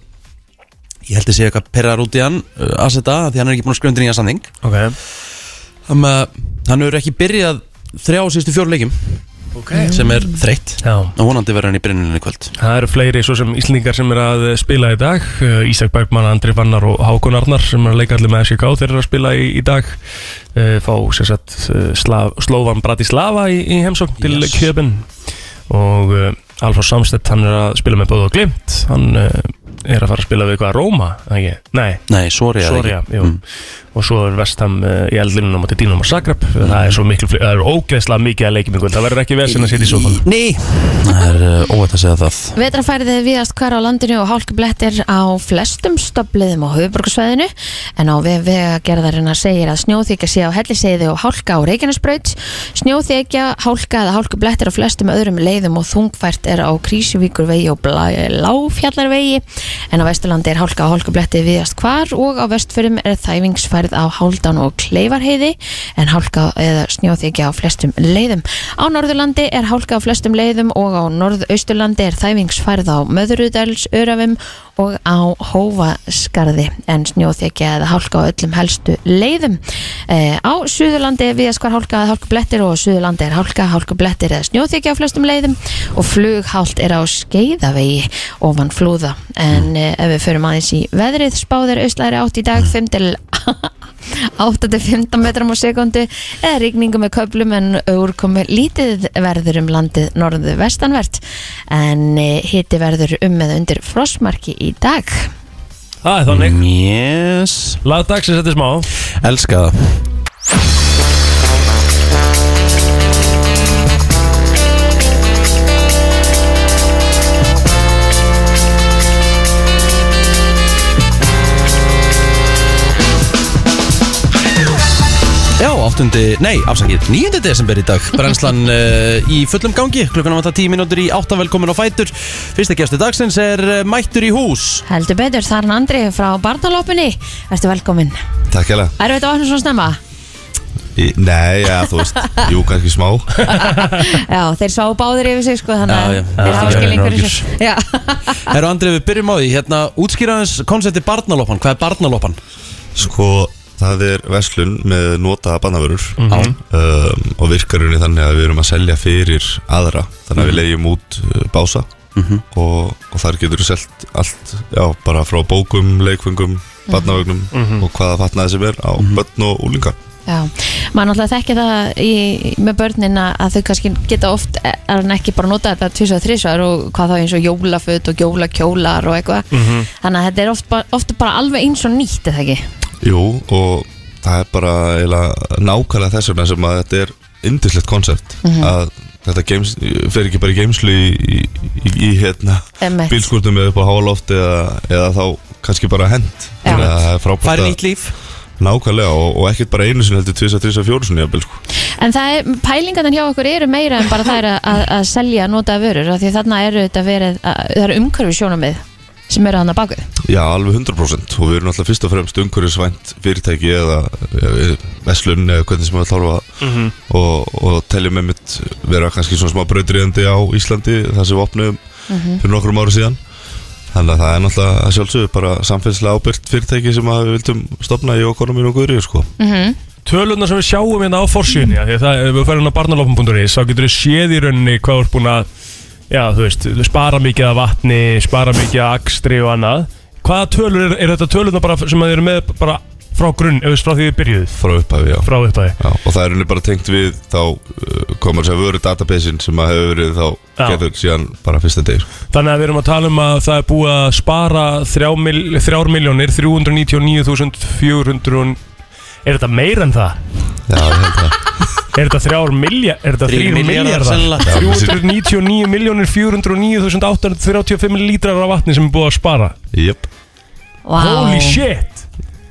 C: Ég held að sé eitthvað perrar út í hann uh, Aseta, af því hann er ekki búin að skrifa undir nýja samning
B: Okay.
C: Þannig að hann hefur ekki byrjað þrjá síðustu fjóru leikjum okay. Sem er þreytt
B: Já,
C: Og vonandi verður hann í brynninni í kvöld
B: það eru fleiri svo sem Íslendingar sem er að spila í dag Eh, Ísak Bergmann, Andri Fannar og Hákon Arnar sem er að leika allir með SGK þeir eru að spila í, í dag Eh, fá sem sagt eh, Slav, Slóvan Bratislava í, í heimsókn til
C: Yes.
B: yes. Kjöpin og uh, Alfa Samstedt hann er að spila með Bóð og Glimt hann uh, er að fara að spila við eitthvað Róma ekki? Nei,
C: Nei, sorry,
B: Soria mm. og svo er Vestham uh, í eldlinunum á móti Dínum og Sakrap það er svo
C: Mm.
B: miklu, fle- það er ógeðslega mikið að leikjum í kvöld. það verður ekki vesinn að sitja í sofann
C: Nei, það er uh, óvægt að segja það
D: Vetrafærið er viðast hvar á landinu og hálkublettir á flestum stoppliðum á höfuborgarsvæðinu en á vegagerðarina segir að snjóþykja sé á helliseiði og hálka á Reykjanesbraut snjóþykja, hálka eða hálkublettir á flestum öðrum leiðum og þungfært er á Krísuvíkurvegi og Bla- Láfjallarvegi en á Vesturlandi er hálka á hálkubletti viðast hvar og á Vestfjörðum er þæfingsfærið á Háldan og Kleifarheiði en hálka eða snjóþykja á flestum leiðum. Á Norðurlandi er hálka á flestum leiðum og á Norðausturlandi er þæfingsfærð á Möðurudals, Örafum og á Hófaskarði en snjóþekja eða hálka á öllum helstu leiðum. E, á Suðurlandi við skvar hálka eða hálkublettir og á Suðurlandi er hálka, hálkublettir eða snjóþekja á flestum leiðum og flughált er á skeiðavegi ofan flúða. En e, ef við förum aðeins í veðrið spáðir austlæri átt í dag 5 til 8-15 metrum á sekundu eða rigningu með köflum en úrkomi lítið verður um landið norðu vestanvert en e, hiti verður um með undir frostmarki í dag
B: það er þannig
C: Yes
B: Lagdagsins þetta er smá
C: Elska það Já, 8. Nei, afsakið, 9. desember í dag Brennslan uh, í fullum gangi Klukkan á þetta 10 mínútur í 8 velkomin á fætur Fyrsta gæstu dagsins er uh, mættur í hús
D: heldur betur þar er hann Andri frá barnalópunni ertu velkomin
G: Takk hella
D: er þetta ofnir svona snemma?
G: Nei, já, þú veist, jú, kannski smá
D: já, þeir sá báðir yfir sig sko þannig að
C: Já, já. Já,
D: þeir hafa
C: já,
D: skilning
C: já,
D: fyrir sig já.
C: Herru Andrið, við byrjum á því, hérna, útskýraðans konsepti barnalópan, hvað er barnalópan?
G: Sko, það er verslun með notaða bannavörur um, og virkarunni þannig að við erum að selja fyrir aðra þannig að við leigjum út uh, bása og, og þar getur við selt allt já, bara frá bókum, leikfengum barnavögnum og hvaða fatnaði sem er á börn og úlinga
D: Já, maður náttúrulega þekki það í, með börnin að- að þau kannski geta oft e, er hann ekki bara að nota þetta tvis og þrisvar og hvað þá eins og jólaföt og jólakjólar og eitthvað þannig að þetta er oft, ba- oft bara alveg eins og nýtt eða ekki
G: Jú, og það er bara eiginlega nákvæmlega þess vegna sem að þetta er yndislegt konsept að þetta games, fer ekki bara í geimslu í, í, í, í hérna
D: Einmitt.
G: bílskúrtum eða upp á hálóft eða, eða þá kannski bara hend
D: Já.
G: þannig að það er
C: Hvað
G: frábært
C: er
G: að
C: nýtt líf?
G: nákvæmlega og, og ekkert bara einu sinni heldur 2, 3, 4 sinni jafnvel, sko.
D: En það er, pælingarnar hjá okkur eru meira en bara það er að, að, að selja nota vörur af því að þarna eru þetta verið að, það eru umhverfi sjónamið sem eru hann að baku
G: Já, alveg 100% og við erum alltaf fyrst og fremst umhverjusvænt fyrirtæki eða eh, verslun eða hvernig sem við ætlum að
B: Mhm.
G: -hmm. og, og teljum einmitt vera kannski svona smá brautriðandi á Íslandi þar sem við opnum fyrir nokkrum ári síðan Þannig að það er náttúrulega að sjálfsögðu bara samfélagslega ábyrgt fyrirtæki sem að við vildum stopna í okonumínu og guðrið sko.
B: Tölunar sem við sjáum hérna á forsíðunni af því að það, ef við færum á barnalopum.is þá getur við séð í rauninni hvað þú ert búin að já, þú veist, spara mikið af vatni spara mikið af akstri og annað Hvaða tölur, er, er þetta tölunar bara sem að þið eru með bara frá grunn, eða þú veist, frá því þið byrjuð
G: frá upphafi, já.
B: frá upphafi?
G: já. Og það er henni bara tengt við þá uh, komur þess að vöru databasein sem að hefur verið þá
B: Já.
G: getur síðan bara fyrsta sko. degir.
B: Þannig að við erum að tala um að það er búið að spara 3.399.400 Er þetta meir en það?
G: Já, ég held að.
B: Er þetta 3 miljardar? Er þetta 3
C: Þrír milljarðar
B: miljardar?
C: sennilega.
B: 399.409.835 lítrar af vatni sem er búið að spara
G: Jep.
D: Vá.
B: Holy shit!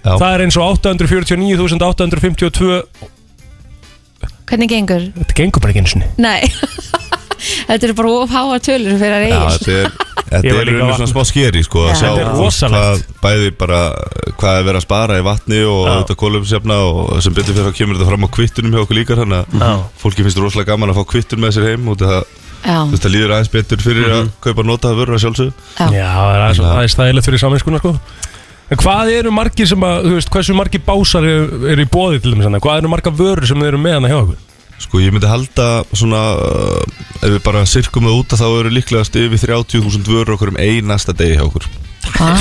G: Já.
B: Það er eins og 849.852
D: Hvernig gengur?
B: Þetta gengur bara ekki eins og niður
D: Nei Þetta eru bara ofháa tölur fyrir
G: Já,
D: eigin
G: þetta er, þetta
B: Ég var
G: er
B: líka
G: einu
B: vatn-
G: svona smá skeri sko að
D: Já.
G: sjá
B: Þetta er
G: þú veist, hvað,
B: rosalegt.
G: bæði bara uh, hvað er verið að spara í vatni og
B: Já.
G: auðvitað kólumsefna og sem betur fyrir að kemur þetta fram á kvittunum hjá okkur líka þannig
B: Já.
G: að fólki finnst rosalega gaman að fá kvittun með sér heim og það, þú
D: Já,
G: veist, það líður aðeins betur fyrir að kaupa notaða vörur að sjálfsög
D: já,
B: Mhm. Já, það er aðeins-
G: Já.
B: aðeins stæðilegt fyrir saminskuna sko En hvað eru margir sem að, þú veist, hversu margir básar eru er í bóði til þeim Hvað eru margar vörur sem þeir eru með hana hjá okkur?
G: Sko ég myndi halda svona uh, ef við bara sirkum það út að þá eru líklegast yfir 30.000 vörur okkur um einasta degi hjá okkur
D: vá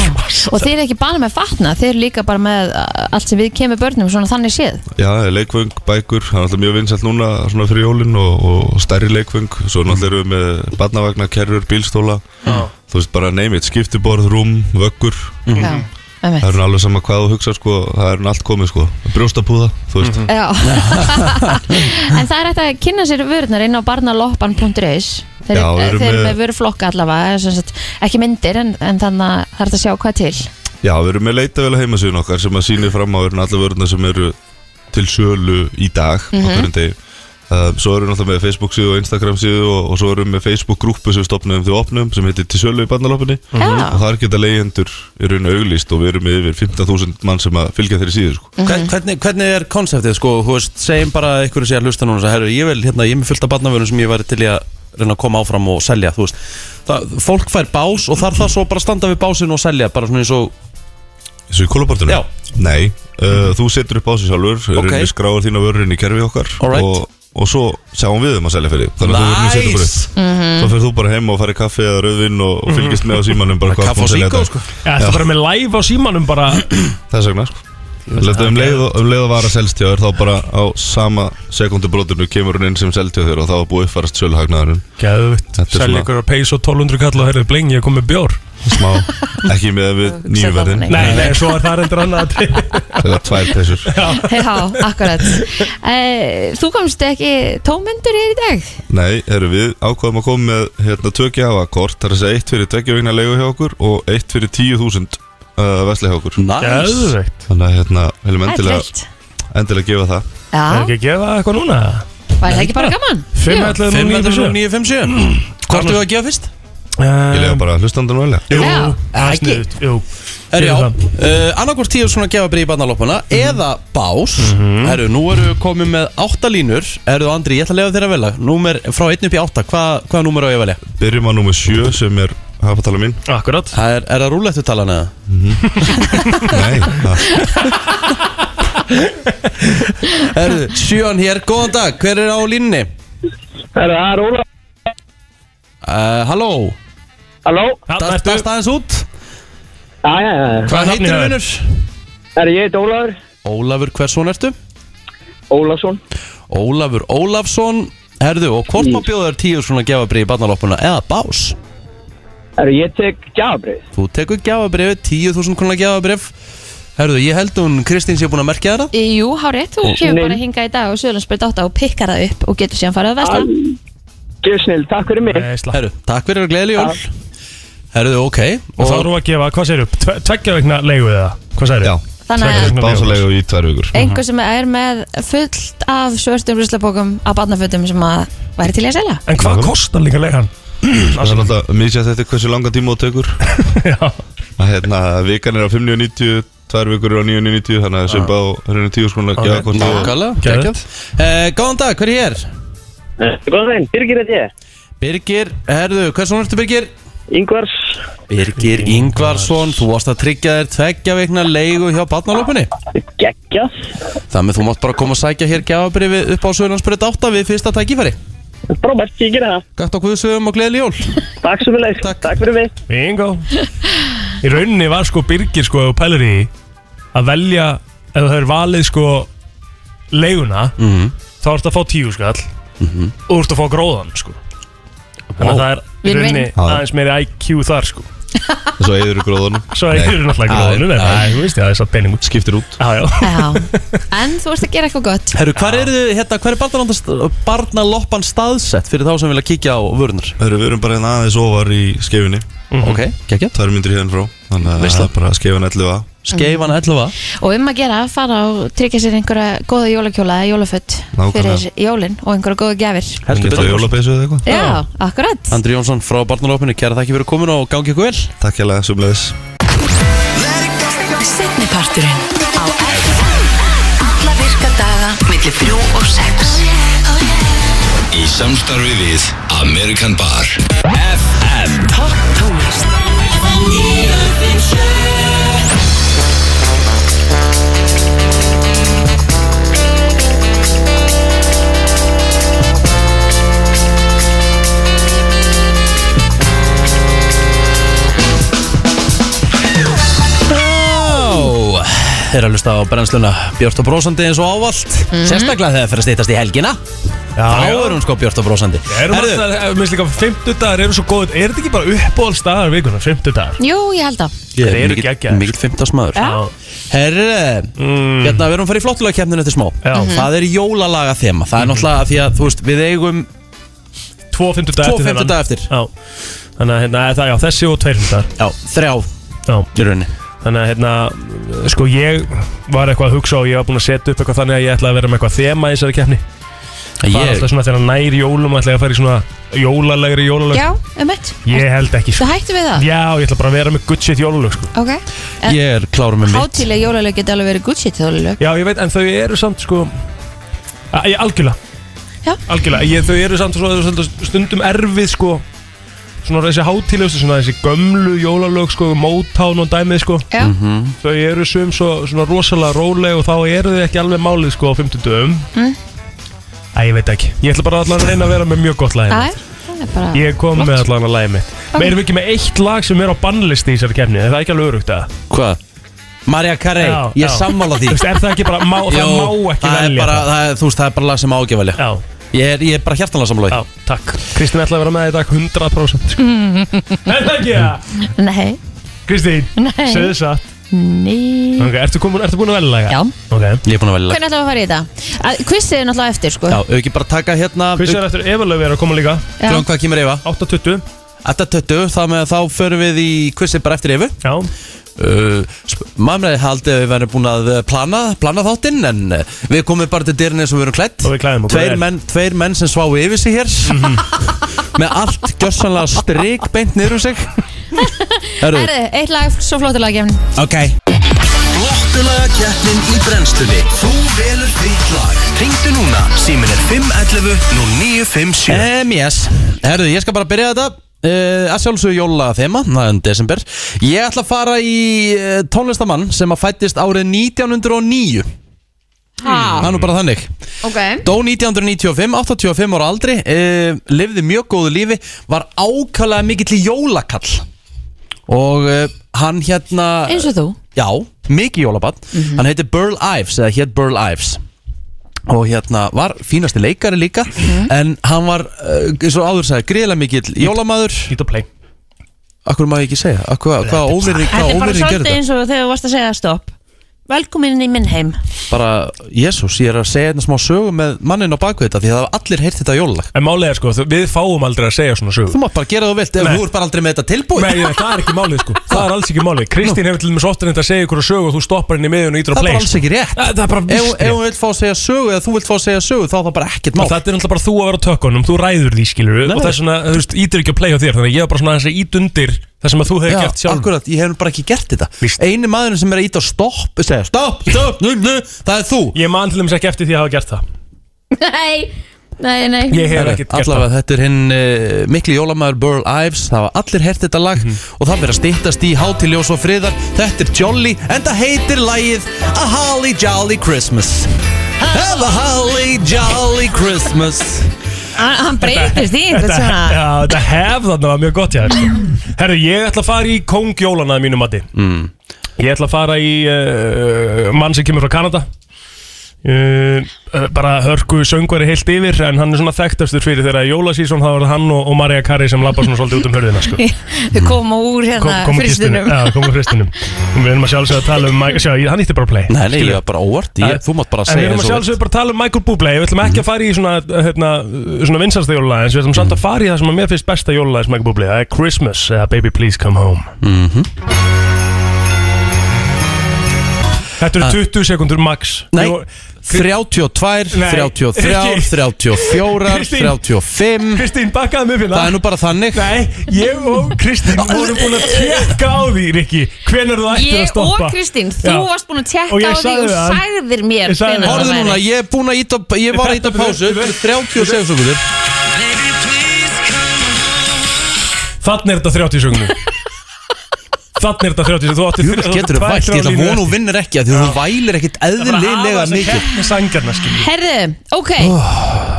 D: Og þeir eru ekki bara með fatna Þeir eru líka bara með uh, allt sem við kemur börnum Svona þannig séð
G: Já, leikvöng, bækur, það er alltaf mjög vinsælt núna svona fyrir jólinn og, og stærri leikvöng svo náttúrulega erum við með barnavagna, kerrur, bílstóla þú veist bara name it, skiptiborð, rúm, vöggur
D: Já, með
G: það er nú alveg sama hvað þú hugsa sko, það er nú allt komið sko brjóstapúða, þú veist
D: Já En það er hægt að kynna sér vörunar inn á barnaloppan.is Þeir,
G: Já, við
D: þeir
G: erum
D: eru
G: með-
D: með vöruflokka allavega sem sagt, Ekki myndir en, en þannig að það er hægt að sjá hvað til
G: Já, við erum með leitavel að heimasíðun okkar sem að sýnir fram á er allar vörðuna sem eru til sölu í dag á hverjum degi um, Svo erum við náttúrulega með Facebook síðu og Instagram síðu og, og svo erum við með Facebook grúpu sem við stopnum því opnum sem heitir til sölu í barnalopinni
D: Já.
G: og þar geta leigjendur í raun auglýst og við erum með yfir 15.000 mann sem að fylgja þeirri síðu sko.
C: Hvern- Hvernig, hvernig er konseptið, sko, þú veist, segjum bara að ykkur sé að hlusta núna og segja, herru, ég vil, hérna, ég er með fullt af barnavörnum sem ég væri til í að reyna að koma áfram og selja, þú veist það, Fólk fær bás og þarf það svo bara að standa við básinu og selja, bara svona eins og
G: Eins og í kólabortinu?
C: Já.
G: Nei, uh, þú setur upp á sig sjálfur
C: Ok.
G: okay. við skráir þína vörurinn í kerfi okkar
C: Alright.
G: og, og svo sjáum við um að selja fyrir þig. Þannig að þú setur bara upp
D: Mhm.
B: Mhm.
G: Svo fyrir þú bara heim og farið kaffi eða rauðvinn og, og fylgist með á símanum bara hvað
C: Kaff
G: kom
C: og
G: til
C: síkó,
G: þetta.
C: sko
B: Já, þetta er bara með live á símanum bara
G: Þess vegna sko Leftu um leið, og- um leið að vara selstjóður þá bara á sama sekundubrótinu kemur hún inn sem selstjóður og þá er búið uppfarast sjöluhagnaðurinn
B: Gæðvitt,
G: Þetta er
B: selja
G: svona-
B: ykkur að peysa 1200 kall og herðið bling, ég kom með bjór
G: smá, ekki með við nýverðin
D: þannig.
B: Nei, nei, svo er það reyndir annað að
G: það er tvær pessur
D: Já, akkurat e, Þú komst ekki tómyndur hér í dag
G: Nei, eru við ákvaðum að koma með hérna, tökjafakort, það er þess að eitt fyrir tveggjavegna leigu hjá okkur og eitt fyrir 10.000 uh, vesli hjá okkur
C: Nice.
B: Gæðvitt,
G: Þannig að hérna, viljum
D: Það er
G: endilega,
D: kveldt
G: endilega gefa það
B: er
D: Já,
B: ekki að gefa eitthvað núna?
D: var það ekki bara gaman?
B: 511 957
C: 5.957 Hvort er það að gefa fyrst?
B: Ehm,
G: Ég lega bara hlustandan velja
B: Jú,
D: Já.
B: það er
C: Ekki.
B: sniðut Jú,
C: Herru, já,
B: Fyrir Mhm. það.
C: uh, annarkvort tíu svona gefabrið í barnalopana eða bás
B: Mhm.
C: Herru, nú eru við komið með átta línur Herru, Andri, ég ætla að lega þér að velja Númer frá 1 upp í 8, Hva, hvaða númer á ég að velja?
G: Byrjum á númer 7 sem er hafapatala mín
B: akkurat
C: Það er, er það rúlættu talan eða?
G: Mhm. Nei, það,
C: Herru, sjöan hér, góðan dag, hver er á línni?
E: Það er Óla
C: Uh, halló,
E: Halló
B: Þarna ertu.
C: dast aðeins út
E: Já, já, já
B: Hvað
C: Hvað
B: nafnið
C: heitir
B: það er?
C: vinnur?
E: Það er ég, þetta Ólaður
C: Ólafur, hversson ertu?
E: Ólason
C: Ólafur Ólafsson Herðu, og
E: Mm.
C: hvort má bjóða þér tíu svona gefabrið í barnalopana eða bás?
E: Það er ég tek Gjabrið
C: Þú tekur gjafabrifið, 10.000 krónar gjafabrif Herðu, ég held hún Kristín sé búin að merkja þeirra
D: Í, Eh, Jú, hárið, þú kemur
E: Nei.
D: bara hinga í dag og Söðlandsbyrð 8 og pikkar það upp og getur síðan farið að vesla
E: Gjöf snill, takk fyrir mig
B: Nei, slapp.
C: Herðu, takk fyrir og gleðileg jól Herðu, ok
B: Og þá
C: Og
B: erum við að gefa, hvað segirðu? Tve- Tveggja vegna leigu eða? Hvað segirðu?
G: já,
D: Þannig
B: Takk
D: að
B: fyrir.
G: básalegu í tvær vikur
B: Mhm.
D: einhver sem er með fullt af svörstum ruslapókum á barnafötum sem að væri til í að selja
B: En hvað kostar líka leigan?
G: Það er alltaf misjætt eftir hversu langan tíma þú tekur
B: Já,
G: að hérna, vikan er á 5.90 tvær vikur eru á 9.90 þannig að sem bá hérna 10 skrúna gefa hvort og
C: Ah. Nákvæmlega,
B: Geðveikt.
C: geggjað Eh, Góðan dag, hver er hér?
E: Eh, Góðan veginn, Birgir er ég
C: Birgir, herðu, hversson ertu Birgir?
E: Ingvars
C: Birgir Ingvarsson, þú varst að tryggja þér tveggja veikna leigu hjá barnalópunni
E: geggjað
C: Þannig að þú mátt bara koma að sækja hér gjafabrifi upp á Söðurlandsbyrð 8 við fyrsta tækifæri
E: Frábært, ég gerði það
C: Gætt á Guðsöðum og gleðli jól
E: Takk svo fyrir leið
C: Takk.
E: fyrir mig
B: Bingo Í rauninni var sko Birgir sko ef þú pælar í því, að velja ef það er valið sko leiguna
F: Mhm,
B: þá ertu að fá tíu skall og ertu að fá gróðan sko Þannig að það er í
D: Win-win.
B: rauninni
G: Já.
B: aðeins meiri IQ þar sko
G: Svo eður í gróðunum
B: Svo er ekki náttúrulega
C: Nei.
B: gróðanum en
C: Nei.
B: það- þú veist, það er satt penningur
G: Skiptir út
B: Já, já
D: Já, en þú vorst að gera eitthvað gott
C: Herru, hvar eru þið, hérna, hver er barnalandast- barnaloppan staðsett fyrir þá sem vilja kíkja á vörunar?
G: Heru, Við erum bara hérna aðeins ofar í skefinni
B: Mhm.
C: Ok, kekja
G: Tvær myndir hérna frá Þannig að
C: Veisla.
G: það er bara skefin 11a
D: Mhm.
C: Skeifan 11
D: Og um að gera, fara og tryggja sér einhverja góða jólakjóla eða jólafött
G: Nákvæmlega.
D: fyrir jólin og einhverja góða gjafir
G: Heldur betur Jólabeysu eða eitthvað
D: Já, akkurat
C: Andri Jónsson frá barnalopinu, kæra þakki fyrir komin og gangi ykkur vel
G: Takk hérlega, sumleðis
H: Setni parturinn á FM Alla virka daga millir 3 og 6
A: Í samstarfi við American Bar FM
H: Topp tónlist
F: Mhm.
C: Já, þeir eru að hlusta á brennsluna Björst og brósandi eins og ávallt
D: Mhm.
C: Sérstaklega þegar það fyrir að stýtast í helgina Þá
B: já.
C: er hún sko Björst og brósandi
B: Erum alltaf, minnst líka, 50 dagar eru svo góð Er þetta ekki bara uppbólstaðar vikunar, 50 dagar?
D: Jú, ég held að
C: Ég
B: Þeir
C: er
B: eru
C: mikill
B: geggjaðir.
C: mikil fimmtásmaður
D: Já.
C: Herru, hérna við erum að fara í flottulega kemninu eftir smá
B: Mm. Já. Mhm.
C: Það er jólalaga þema Það er náttúrulega því að, þú veist, við eigum
B: Tvo 50 dagar
C: Tvo fimmtudaga eftir.
B: Já Þannig að hérna, það, já, þessi og tveir 50
C: Já, þrjá
B: Já
C: í rauninni
B: Þannig að hérna, sko ég var eitthvað að hugsa og ég var búinn að setja upp eitthvað þannig að ég ætlaði að vera með eitthvað þema í þessari keppni Það var alltaf
C: Ég,
B: svona þegar nær jólum ætlaði að fara í svona jólalegri jólalög
D: Já, um eitt
B: Ég held ekki
D: Þú
B: sko
D: hættu við það?
B: Já, ég ætla bara að vera með good shit jólalög sko
D: Ok En
C: ég er klárum
B: um
C: með mitt
D: Hátileg jólalög geti alveg verið good shit jólalög
B: Já, ég veit, en þau eru samt sko að, ég, Algjörlega
D: Já.
B: Algjörlega, ég, þau eru samt svona, svona stundum erfið sko Svona þessi hátílegustu, svona þessi gömlu jólalög sko Mótán og dæmið sko
D: Já,
C: Mhm.
B: Þau eru sum svo, svona rosalega róleg og þá eru þau ekki alveg málið sko á 50 dögum
D: Mm,
B: Æ, ég veit ekki Ég ætla bara allan að reyna að vera með mjög gott lagið
D: það er það er bara
B: Ég kom með allan að lagið mitt Við erum ekki með eitt lag sem er á bannlisti í þessari kefni Það er ekki alveg örugt að
C: Hvað? Marja Carey,
B: Já, já.
C: ég er sammála því
B: Þú veist, Er það ekki bara, má,
C: Jó,
B: það má ekki
C: það er
B: velja
C: bara,
B: það
C: það er, Þú veist, það er bara lag sem má ekki velja
B: Já,
C: Ég er, ég er bara hjartanlega sammála
B: já,
C: því
B: takk Kristín ætla að vera með í dag 100% sko. Er það ekki það?
D: Nei,
B: Kristín,
D: Nei.
B: segðu satt
D: nei
B: okay, ertu, komin, ertu búin að velja laga?
D: Já
B: okay.
C: Ég er búin að velja lag
D: Hvernig ætlum við að fara í þetta? Kvissið er náttúrulega eftir sko
C: Já, auðvitað ekki bara taka hérna
B: Hversu er eftir Efalöf er að koma líka?
D: Já.
C: Kljón, hvað kemur Eva?
B: 8.20
C: Þetta töttu, þá með þá förum við í quizið bara eftir Evu
B: Já,
C: uh, Mamræði haldi að við verðum búin að eh, plana, plana þáttinn En uh, við komum bara til dyrinu eins og við erum klætt
B: Og við klæðum okkur
C: Tveir
B: vel. Mhm.
C: menn, tveir menn sem sváu yfir sig hér Með allt gjössanlega strik beint niður um sig Herru,
D: Herðu, eitt lag, svo flottulega gefn
C: ok
A: Flottulaga keppnin í brennstunni Þú velur þitt lag Ringdu núna, símin er 511 nú 957
C: Um, yes. Herðu, ég skal bara byrja þetta Uh, að sjálfsögðu jóla þema, það er um desember Ég ætla að fara í uh, tónlistamann sem að fættist árið 1909 Það
D: Ha,
C: er nú bara þannig
D: ok
C: Dó 1995, 85 ára aldri uh, Lifði mjög góðu lífi Var ákvæmlega mikill í jólakall Og uh, hann hérna
D: Eins og þú
C: Já, mikið jólabann
I: Mhm.
C: Hann heitir Burl Ives eða hétt Burl Ives og hérna var fínasti leikari líka
I: Mhm.
C: en hann var, uh, eins og áður sagði greiðlega mikill jólamaður
B: ít og play
C: Akkur má ég ekki segja, Akkur, hvað óverðin
I: Þetta er bara
C: gerði
I: svolítið
C: þetta?
I: eins og þegar þú varst að segja stopp Velkomin inn í minn heim
C: Bara, jésús, ég er að segja hérna smá sögu með mannin á bakvið þetta því það hafa allir heyrt þetta jólalag
B: En málega sko, þau- við fáum aldrei að segja svona sögur
C: Þú mátt bara gera það vilt ef
B: Nei.
C: þú ert bara aldrei með þetta tilbúið
B: Nei, ég veit, það er ekki málið sko Það er alls ekki málið Kristín hefur til dæmis ofta reynd að segja ykkur að sögu og þú stoppar henni í miðjun og ítur á
C: Það er
B: play sko.
C: bara alls ekki rétt
B: Það það er bara
C: Ef
B: víst sko.
C: ef
B: rétt.
C: hún vilt fá að segja sögu eða þú vilt fá að segja sögu þá er það bara ekkert mál
B: Og þetta er náttúrulega bara þú að vera á tökkunum, þú ræður því skilur
C: Nei,
B: og það er svona, þú veist, ítur ekki á play á þér þannig að ég var bara svona aðeins að ít undir það sem að þú hefði
C: Já,
B: gert sjálf
C: akkurat, ég hef bara ekki gert þetta
B: Víst.
C: Einu maðurinn sem er að íta á stopp segja stopp, stopp, nú, nú, það er þú
B: Ég man til dæmis ekki eftir því að hafa gert það
D: Nei, Nei, nei
B: Ég hef
C: Herra,
B: ekkert gert það
C: Allavega þetta er hinn uh, mikli jólamæður Burl Ives, það var allir hert þetta lag
B: Mhm.
C: og það verður að stýttast í hátiljós og friðar Þetta er Jolly en það heitir lagið A Holly Jolly Christmas Have a Holly Jolly Christmas
D: Hann hann breytist í þetta svona
B: Já, þetta hef þarna var mjög gott hjá þér sko. Herru, ég ætla að fara í kóngjólana mínu mati mm. Ég ætla að fara í uh, mann sem kemur frá Kanada uh, bara hörku söngvari heilt yfir en hann er svona þekktastur fyrir þegar að jólasísón þá var það hann og, og Maria Kari sem labba svona svolítið út um hörðina sko.
D: Þau koma úr hérna
B: Kom- komu kistunum.
D: fristunum
B: Já, komu fristunum Og við erum að sjálfsögja að tala um Mike- Sjá, ég- hann ítti bara á play
C: Nei, nei,
B: Skilur.
C: ég var bara óvart, ég, þú mátt bara
B: En við
C: segja
B: erum að
C: eins og þú vilt.
B: sjálfsögðu bara að tala um Michael Bublé Við ætlum ekki að fara í svona, hérna, svona vinsasta jólulagi En við ætlum samt að fara í það sem að mér finnst besta jólulagi sem Michael Bublé Það er Christmas eða Baby Please Come Home
C: Mhm.
B: Þetta eru 20 sekundur max
C: Ah. Nei,
B: Jú,
C: 32,
B: Nei,
C: 33,
B: ekki.
C: 34,
B: Kristín.
C: 35
B: Kristín, bakkaði mig fyrir
C: Það er nú bara þannig
B: Nei, ég og Kristín vorum búin að tekka á því, Rikki Hvenær þú ættir að
D: Ég og
B: stoppa
D: Kristín, þú
B: Já.
D: varst búin að
B: Og
D: tekka
B: ég
D: á því
B: sagði
D: og
B: það.
D: sagðir mér
B: Ég sagði
D: hvenær
B: það.
C: Horðu
D: það
C: núna,
D: væri.
C: ég er búin að íta Ég var að íta
B: Þetta-
C: pásu,
B: þetta-
C: 37 sekundur
B: Þannig er þetta 30 sekundur Þannig er þetta 30 sekundur Þú átti
C: Jú, getur þú vælt, ég ætla að vona og vinnir ekki af Því að þú vælir ekkit eðlilega mikið
B: Hvernig sangarna skilur
D: Herðu, ok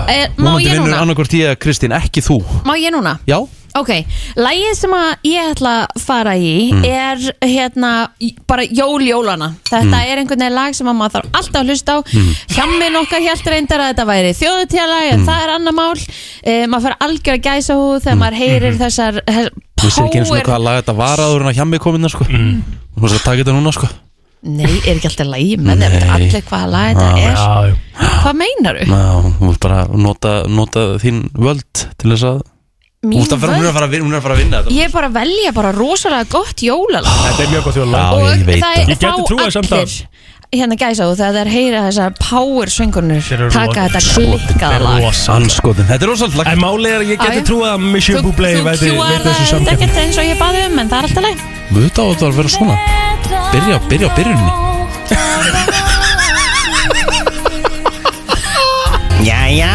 D: Eh, Má
C: Mónandi
D: ég
C: vinnur
D: núna?
C: annarkvort ég að Kristín, ekki þú
D: Má ég núna?
C: Já,
D: Ok, lægið sem að ég ætla að fara í
B: Hmm.
D: er hérna í- bara jóljólana
B: Hmm.
D: Þetta er einhvern veginn lag sem að maður þarf alltaf að hlusta á
F: Mhm.
D: mm. Hjammin okkar hjælt reyndar að þetta væri þjóðutíðalag en það er annar mál e, Maður fara algjör að gæsa hú þegar maður heyrir þessar eh, he-
C: þú sér ekki eins og hvaða lag þetta var áður en að hjá mig komin sko.
B: Mm.
C: Þú veist að taka þetta núna sko.
D: Mm. Nei, er ekki alltaf lægi með þeim
C: Nei.
D: allir hvaða lag þetta er
B: Já, já.
D: Hvað meinar þú?
C: Já, Þú veist bara að nota, nota þín völd til þess að Þú veist að fara- hún er að fara að vinna, hún er að fara að vinna þetta
D: Ég er bara að velja bara rosalega gott jólalag
B: Þetta er mjög gott þjóðlag
C: Já, ég veit
D: það
C: það
D: er
B: Ég
D: þá
B: gæti trúað samt að-
D: allir hérna gæsa og þegar þeir heyra þessar power svöngurnir
B: Þeir eru
D: taka
B: rosa-
D: þetta klikkað lag
C: Sannskotin, þetta er rosalega lag
B: En máli er að ég
D: Já,
B: geti
D: já.
B: trúið að Monsieur
D: þú
B: Bublé veiti
D: kjúar
B: þessu
D: það
B: samkjöfn
D: ekkert eins og ég baði um en það er alltaf leið
C: Við þetta á þetta að vera svona Byrja, byrja á byrjunni Jæja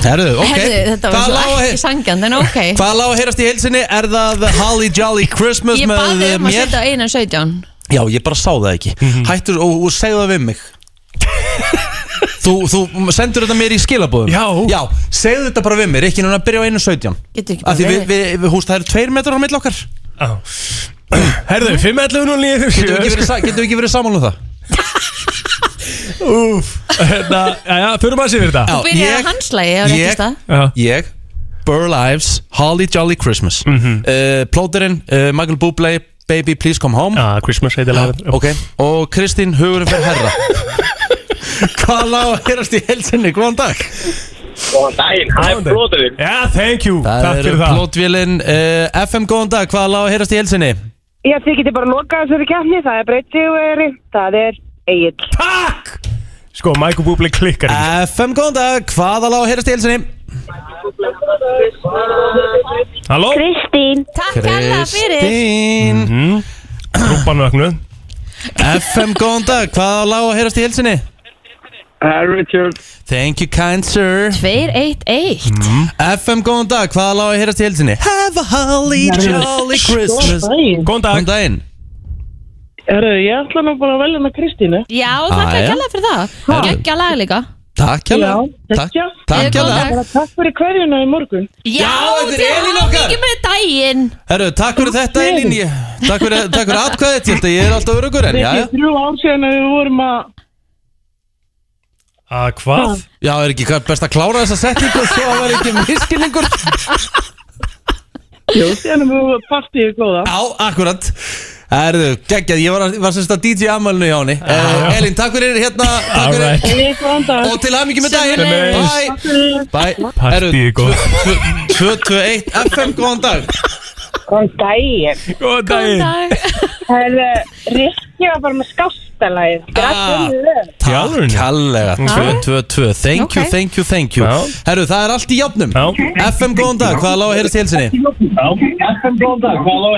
C: Herðu, Eh, ok
D: þetta var
C: Hvað lá
D: svo
C: að-
D: ekki sangjand en ok
C: Hvað lág að heyrast í heilsinni? Er það The Holly Jolly Christmas
D: ég
C: með
D: baði um að
C: mér?
D: setja á einan 17
C: Já, ég bara sá það ekki
B: Mhm.
C: Hættur og, og segðu það við mig þú, þú sendur þetta mér í skilabóðum
B: Já.
C: Já, segðu þetta bara við mig Ekki núna að byrja á 1.17
D: Getur ekki
C: Af
D: bara
C: því við,
D: verið.
C: við, við húst, það eru tveir metrar á milli okkar
B: Herðu, 511 og 9
C: Getum við ekki verið, sa- getum við ekki verið saman um það?
B: Úf Hérna, já, já, förum að sér fyrir þetta
C: Já,
D: byrjaði á hans lagi á réttum
C: ég,
D: stað.
B: Já.
C: ég Burl Ives, Holly Jolly Christmas mm
B: Mhm.
C: uh, Plóterinn, uh, Michael Bublé Baby Please Come Home
B: Já,
C: Ah,
B: Ah, Christmas heitir lagið
C: Ok, og Kristín hugurinn fyrir herra Hvað lág að heyrast í helsinni, góðan dag
E: Góðan daginn, það er blóðurinn
B: Já, thank you, takk
C: eru
B: fyrir það
C: plótvélinn uh, FM, góðan dag, hvað lág að heyrast í helsinni
J: Ég þið getið bara að loka þessari keppni, það er breyttigveri, það er eigill.
B: Takk Sko, Michael Bublé klikkar ekki
C: FM, góðan dag, hvað lág að heyrast í helsinni
B: Halló,
K: Kristín,
D: takk hella fyrir
C: Kristín
B: rúbanvögnu
C: FM, góðan dag, hvað lág að heyrast í helsinni
E: Richard
C: Thank you kind sir
D: 2-1-1
C: FM, góðan dag, hvaða lág að heyrast í helsinni? Have a holly jolly Christmas
B: Góðan
C: Góðan
B: dag
C: daginn
J: Herru, ég ætla nú bara að velja með Kristínu.
D: já, takk
C: já.
D: hella fyrir það
C: Herru.
D: geggja lag líka
C: Takk hjá
J: Já,
C: Takk
J: gekkja.
C: Takk hjá
D: Góðan dag.
J: Bara takk fyrir hverjuna í morgun.
D: já,
C: þetta er
D: til
C: Elín okkar.
D: hamingju með daginn
C: Herru, takk fyrir þetta Elín ég, Takk fyrir, takk fyrir atkvæðið til þetta Ég er alltaf örugur en já,
J: Þetta
C: já,
J: er þrjú ár síðan að við vorum að...
B: Að hvað?
C: já, er ekki hvað best að klára þessa setningu Svo að vera ekki miskilningur
J: Jú, síðan að við vorum að partíu góða.
C: Já, akkurat Herru, geggjað, ég var, að- var sérst að DJ ammælinu hjá henni uh, Elín, takk fyrir hérna Takk fyrir
B: Alright.
J: Ég er góðan dag.
C: Og til aðmyggjum með daginn
B: Sömuleiðis.
C: Bye Bye Herru,
B: Partíið góð.
C: 221 FM, góðan dag
K: góðan daginn.
B: Góðan
D: góðan
B: daginn
D: dag
K: Herðu, Rikki var bara með skástalagið.
C: Ah.
K: Grættum lög.
B: Í alvörunni?
C: Takk kallega 222, thank you,
D: Ok.
C: thank you, thank you
B: Já.
C: Herru, það er allt í jafnum
B: Já.
C: FM, góðan dag, hvað er lág að heyrast í helsinni?
B: Halló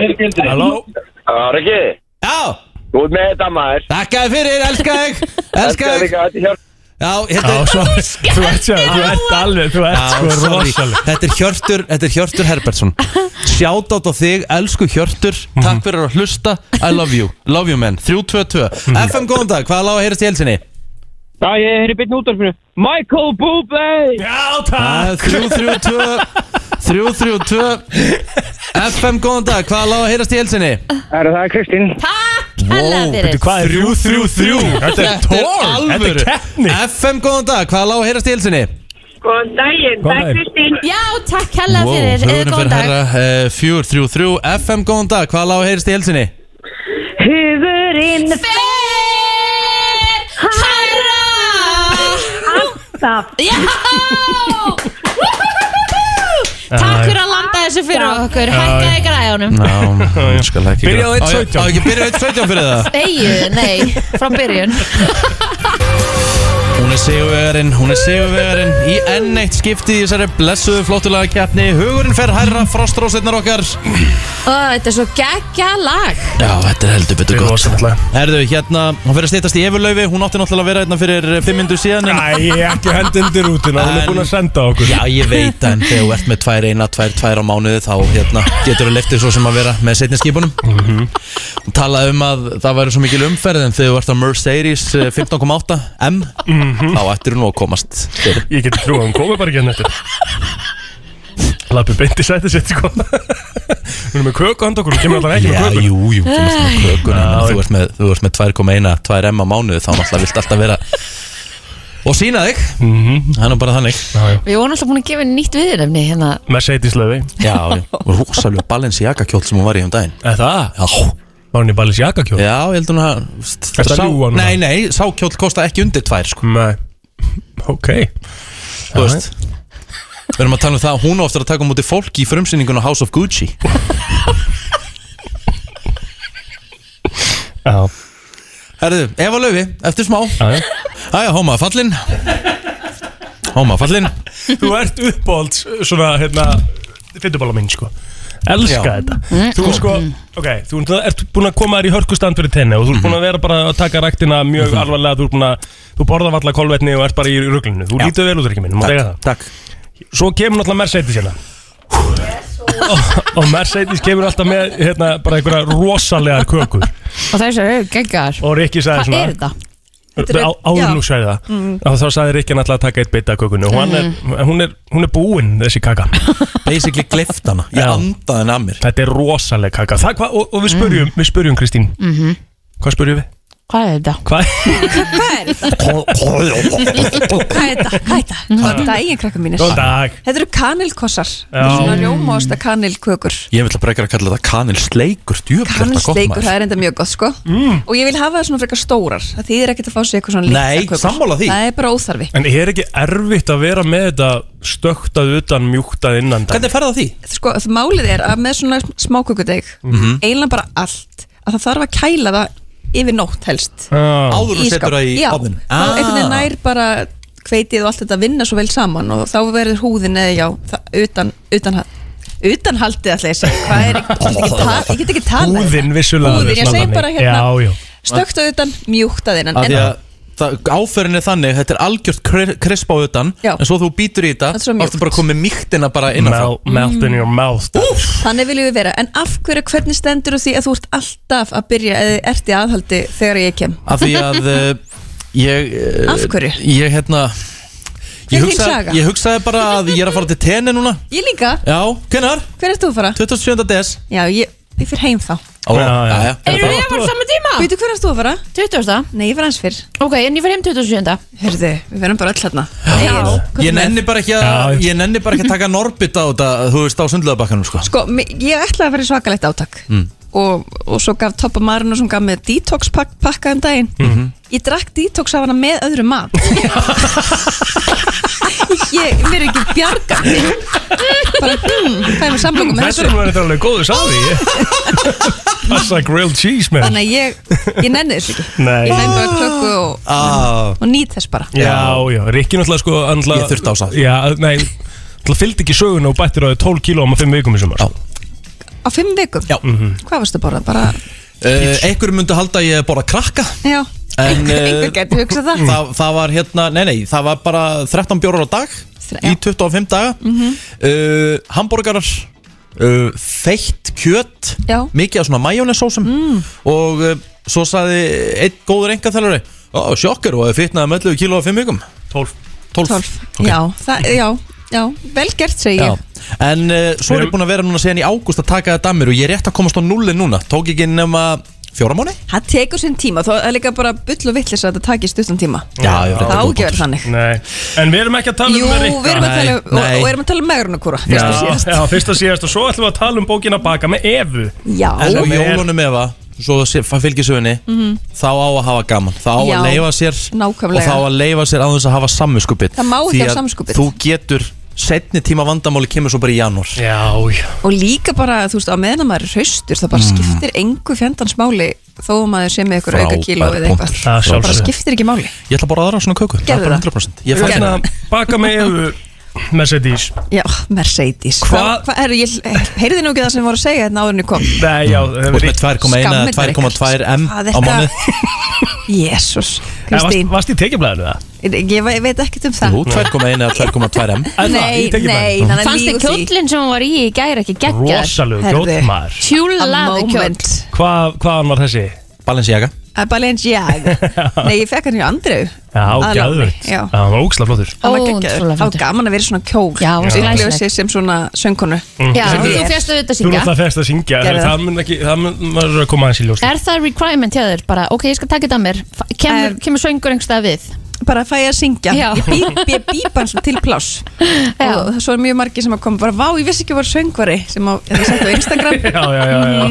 E: Rikki,
C: Já,
E: þú ert með þetta maður
C: þakkaði fyrir, elska þig Elska þig
E: Þetta er hjálp
C: Já, hérna-
B: Já, svo, þú ert, sjá, þú ert alveg, þú ert sko
C: sorry.
B: rosaleg
C: Þetta er Hjörtur, þetta er Hjörtur Herbertsson Shoutout á þig, elsku Hjörtur Takk fyrir að hlusta, I love you Love you man, 322
B: Mhm.
C: FM, góðan dag, hvaða lág að heyrast í helsinni?
L: Já, ég heyri byrni útvarpinu Michael Bublé
B: Já,
C: Það er 332 332 FM, góðan dag, hvaða lág að heyrast í helsinni?
L: Það er Kristín
D: Takk
C: Wow,
B: fyrir.
C: hvað er 333?
B: Þetta er torn, þetta er
C: alvöru. FM, góðan dag, hvaða lág að heyrast í helsinni?
K: Góðan daginn,
C: Góðan
K: takk
C: daginn.
K: Kristín
D: Já, takk hella fyrir, eða góðan dag
C: dag 433 FM, góðan dag, hvaða lág að heyrast í helsinni?
K: Hugurinn
D: fer Harra
K: Alltaf
D: Já Takk fyrir að landa þessu fyrir okkur Hækkaði græðunum
C: Já, ég skal ekki
B: Byrja á
C: gráta.
B: 1.17.
C: Á ég- á ekki byrja á 1.17 fyrir það
D: Eyju, nei, frá byrjun
C: Hún er sigurvegarinn, hún er sigurvegarinn Í enn eitt skipti í þessari blessuðu flottulega keppni Hugurinn fer hærra, frostrósirnar okkar
D: Ó, Þetta er svo geggja lag
C: Já, þetta er heldur betur gott Herðu, hérna, hún fer að stýttast í Efurlaufi Hún átti náttúrulega að vera hérna fyrir 5 mindur síðan en...
B: Æ, ekki hendi undir rútuna, hún er búin að senda okkur
C: Já, ég veit en þegar þú ert með tvær eina, tvær, tvær á mánuði þá hérna, getur þú leiftið svo sem að vera með setni skipunum mm
B: Mhm.
C: Talaði um að það væri svo mikil umferð en þegar þú ert á Mercedes eh, 15.8 M þá ættir þú nú að komast fyrir.
B: Mhm. Ég geti trú að hún komi bara ekki hérna eftir Lappi beint í sæti sitt sko Hún er með köku handa okkur, hún kemur alltaf ekki með
C: Já,
B: köku
C: jú, jú, kemur alltaf með kökuna
B: Já,
C: en þú ert með, þú ert með 2,1, 2 M á mánuði þá náttúrulega vilt alltaf vera og sína þig
B: Mhm.
C: Það er nú bara þannig
D: Við vorum alltaf búin að gefa henni nýtt viðurefni hérna
B: Mercedes löfi
C: Já, já, rosalega Balenciaga kjóll sem hún var í um daginn
B: Er það?
C: Já
B: Var hún í Balis jakakjól?
C: Já, ég held hún að
B: Ertu að
C: sá-
B: ljúga núna?
C: Nei, nei, sá kjóll kosta ekki undir tvær sko.
B: Nei Ok
C: Þú veist Við erum að tala um það að hún á ofta að taka á móti fólki í frumsýninguna House of Gucci
B: Já
C: Herðu, Eva Laufi, eftir smá
B: Já, já.
C: Æja, hóma fallin Hóma fallin
B: Þú ert uppáhalds svona hérna Fyndubála minn sko Elska
C: Já. Mm.
B: þetta Þú sko Ok, þú ert búin að koma þér í hörkustand fyrir tenni Og þú ert búin
C: Mhm.
B: að vera bara að taka ræktina mjög alvarlega Þú ert búin að Þú borðar valla kolvetni og ert bara í ruglinu Þú
C: Já.
B: lítið vel út ekki minn, má
C: Takk,
B: segja það
C: takk
B: Svo kemur náttúrulega Mercedes hérna og, og Mercedes kemur alltaf með hérna, bara einhverja rosalegar kökur
D: Og þessar eru geggjar
B: Og Rikki
D: Hvað
B: sagði svona
D: er þetta? Þetta er-
B: Á, áður
D: já.
B: nú sagði það mm. Þá sagði Rikki náttúrulega að taka eitt bita af kökunni Og hann er, hún, er, hún er búin þessi kaka
C: Basically glift hana Ég
B: Já.
C: andaði henni að mér
B: Þetta er rosaleg kaka það, hva, og, og við spurjum, við spurjum Kristín Hvað spurjum við?
D: Hvað er þetta?
B: Hvað?
M: Hvað er þetta? Hvað er þetta? Hvað er þetta? Góðan daginn, krakkar mínir.
B: Góðan dag
M: Þetta eru kanilkossar,
B: Já.
M: svona rjómásta kanilkökur.
C: Ég vil að bregja að kalla þetta kanilsleikur Djöfn,
M: Kanilsleikur, það er enda mjög gott, sko. Mm. Og ég vil hafa það svona frekar stórar. Það þýðir ekkert að fá sér eitthvað svona
C: Nei,
M: litlar kökur.
C: sammála því.
M: Það er bara óþarfi.
B: En er ekki erfitt að vera með þetta stöktað utan, mjúktað innan dæmi?
C: Hvernig ferða því?
M: Sko, það málið er að með svona smákökudeg,
C: Mhm.
M: eiginlega bara allt, að það þarf að kæla það yfir nótt helst.
B: Ah.
C: Áður en þú
M: Í skáp.
C: setur það í Ah.
M: Já,
C: ofnin
M: þá einhvern veginn nær bara hveitið og allt þetta vinna svo vel saman og þá verður húðin eða já, það, utan, utan, utan haldið að leysa hvað er, ég get ekki ta- ég get ekki talað
B: Húðin vissulega
M: Húðin, ég
B: er
M: segi
B: svona
M: bara
B: þannig.
M: hérna.
B: Já, já
M: stökt á utan, mjúkt að innan
C: Af
M: en
C: því að það- Áferðin er þannig, þetta er algjört kri- krisp á utan
M: Já.
C: En svo þú býtur í þetta
M: Þetta er svo
C: Þá ertu
M: mjúkt.
C: bara komið mýktina bara innanfrá
B: Mel, Melt in your mouth Úf
M: þannig viljum við vera en af hverju, hvernig stendur á því að þú ert alltaf að byrja eða ert í aðhaldi þegar ég kem
C: Af því að eh, ég eh,
M: Af hverju?
C: Ég hérna
M: Hver
C: Ég
M: er þín saga?
C: hugsaði, ég hugsaði bara að ég er að fara til tenni núna
M: ég líka,
C: Já, hvenar?
M: hver ert þú að fara?
C: 27. des
M: já, ég, ég fyrir heim þá
C: Ó,
B: Já, já.
C: já, já
D: Erum við að fara saman tíma?
M: veitu hver ert þú að fara?
D: 20.
M: nei, ég fyrir hans fyrr
D: Ok, en ég fyrir heim 27.
M: Hörðu, við verðum bara öll hérna Egill, hvað
C: Ég
M: er með?
C: nenni bara ekki
B: Já.
C: að Ég nenni bara ekki að taka norbit á þetta Þú veist á sundlöðabakkanum sko
M: Sko, mi- ég ætlaði að vera í svakalegt átak og, og svo gaf Toppa Marino sem gaf mig detox pak pakka um daginn
B: Mhm.
M: Ég drakk detox af hana með öðru mat Ég verið ekki bjargandi Bara, hmm, hvað er með samlöku með
B: Þetta
M: þessu?
B: er nú þetta alveg góðu sáði Passa grilled cheese man
M: Þannig að ég, ég nenni þessu ekki
B: Nei
M: Ég nenni bara klöku og,
C: ah,
M: og nýt þess bara
B: Já, já Rikki náttúrulega sko náttúrulega-
C: Ég þurfti á samt.
B: Já, nei Það fylgdi ekki söguna og bættir á þau 12 kílóum á 5 vikum í sumar Mhm.
C: Já.
M: Á fimm vikum?
C: Já.
M: Hvað varstu að borða? Bara,
C: Eh, uh, Ekkur myndi halda að ég borða krakka
M: já
C: En,
M: Einhver
C: eh,
M: gæti hugsað það.
C: það Það var hérna, nei nei, það var bara 13 bjórar á dag Í 25 daga
M: Mhm.
C: uh, Hamborgarar uh, Feitt kjöt
M: Já. Mm.
C: Mikið af svona majónesósum Og uh, svo saði einn góður engatælari Ó, sjokkar og hefði fitnaði með 11 kíló á 5 vikum 12 12,
M: Já, það, já, já, vel gert segi
C: Já.
M: ég
C: En uh, svo er ég búin að vera núna síðan í ágúst að taka þetta að mér og ég er rétt að komast á nullin núna Tók ekki nema fjóra mánu?
M: Það tekur sinn tíma, þá er líka bara bull og vittlis að þetta takist utan tíma
C: Já, ég er
M: Það á ekki að vera þannig
B: Nei, en við erum ekki að tala
M: Jú,
B: um það
M: við erum að tala og, og erum að tala um megrunarkúra fyrst og síðast
B: Já, fyrst og síðast og svo ætlum við að tala um bókina baka með Evu
M: Já.
C: En á jólunum efa, svo það sé- það fylgir sögunni
M: Mhm.
C: Þá á að hafa gaman, þá á
M: Já.
C: að leifa sér
M: Nákvæmlega.
C: Og þá á að leifa sér á þess að hafa samvinskupið
M: Það má ekki hafa samviskubit.
C: Þú getur, setni tíma vandamáli kemur svo bara í janúar
B: Já, já
M: Og líka bara, þú veist, á meðan að maður er hraustur það bara skiptir engu fjandans máli þó að maður sé með ykkur auka kíló
C: Mm. Frábær
M: eða eitthvað
C: punktur. Það
M: bara
C: sjálfsögðu.
M: skiptir ekki máli
C: Ég ætla bara aðra svona köku er
M: Gerðu
C: bara
M: það.
C: 100% Ég fæ
B: Gerðu
C: það
B: Hérna, Baka með Evu Mercedes
M: Já, Mercedes
B: Hvað-
M: Hvað, hva, herru, ég heyrði nú ekki það sem voru að segja hérna áður en ég kom
B: Nei, já
C: Þú ert með 2,1 eða 2,2 M á
M: Hvað þetta-
C: mánuð
M: Jésús,
B: Nei, varst-
M: Kristín
B: Varst í tekjublaðinu það?
M: Ég, ég veit ekkert um það
C: Jú, 2,1 eða 2,2 M
B: það,
M: Nei,
B: ég tekið bara.
M: nei, þannig að
D: Fannst þið
M: lígu því
D: kjóllin sem hún var í í gæri ekki geggjað?
B: Rosalegu
M: Herðu.
B: gjótt maður
D: Tjúlaði kjóll
B: Hvað hvaðan var þessi?
C: Balenciaga
M: Að Balenciaga Nei, ég fekk hann hjá Andreu
B: Já,
M: Að láni,
B: gæðvögt
M: Já,
B: Það var ógislega flottur
M: hann var geggjaður Það var gaman að vera í svona kjól
B: var
M: Já, Ég upplifa
B: glæsilegt.
M: sig sem svona söngkonu
B: Mm. Já,
M: Sem
B: þú
M: ég er.
D: fékkst auðvitað að
B: Þú
D: syngja.
B: náttúrulega fegst að syngja
M: Gerðu
B: en
M: það.
B: Það mun ekki, það mun maður er að koma aðeins í ljós
D: Er það requirement hjá þér? Bara, ok, ég skal taka þetta að mér Fa- Kemur, kemur söngur einhverstað við?
M: Bara fæ ég að syngja
D: Já.
M: Ég bý- ég býp hans til pláss og það svo er mjög margir sem að koma bara vá, ég vissi ekki að var söngvari sem að ég sett á Instagram Mm.
B: Já, já, já, já.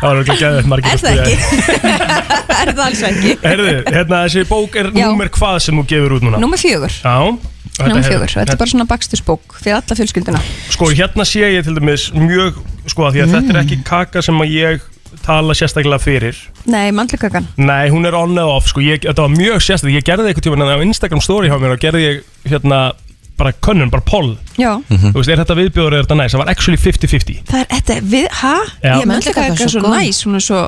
B: Það var ekki gæðvögt margir
M: Er það ekki? er það alls ekki?
B: Herðu, hérna þessi bók er
M: Já.
B: númer hvað sem þú gefur út núna?
M: Númer fjögur
B: Já og þetta
M: Númer
B: er- hérna,
M: fjögur, þetta er bara svona bakstursbók fyrir alla fjölskylduna
B: Sko hérna sé ég til dæmis mjög sko að því að þetta er
M: Mm.
B: ekki kaka sem að ég tala sérstaklega fyrir
M: Nei, mandlikakan
B: Nei, hún er on eða off sko, ég, þetta var mjög sérstaklega ég gerði eitthvað tíma á Instagram story hjá mér og gerði ég hérna bara könnun, bara poll
M: Já,
B: Þú veist, er þetta viðbjóður eða er þetta næs? Það var actually 50-50
M: það er, þetta, er við, hæ?
B: Já.
M: Ég mandlikakan
B: Mandlukakaka
M: er
B: er svo
M: svo
B: góð.
M: næs, hún er svo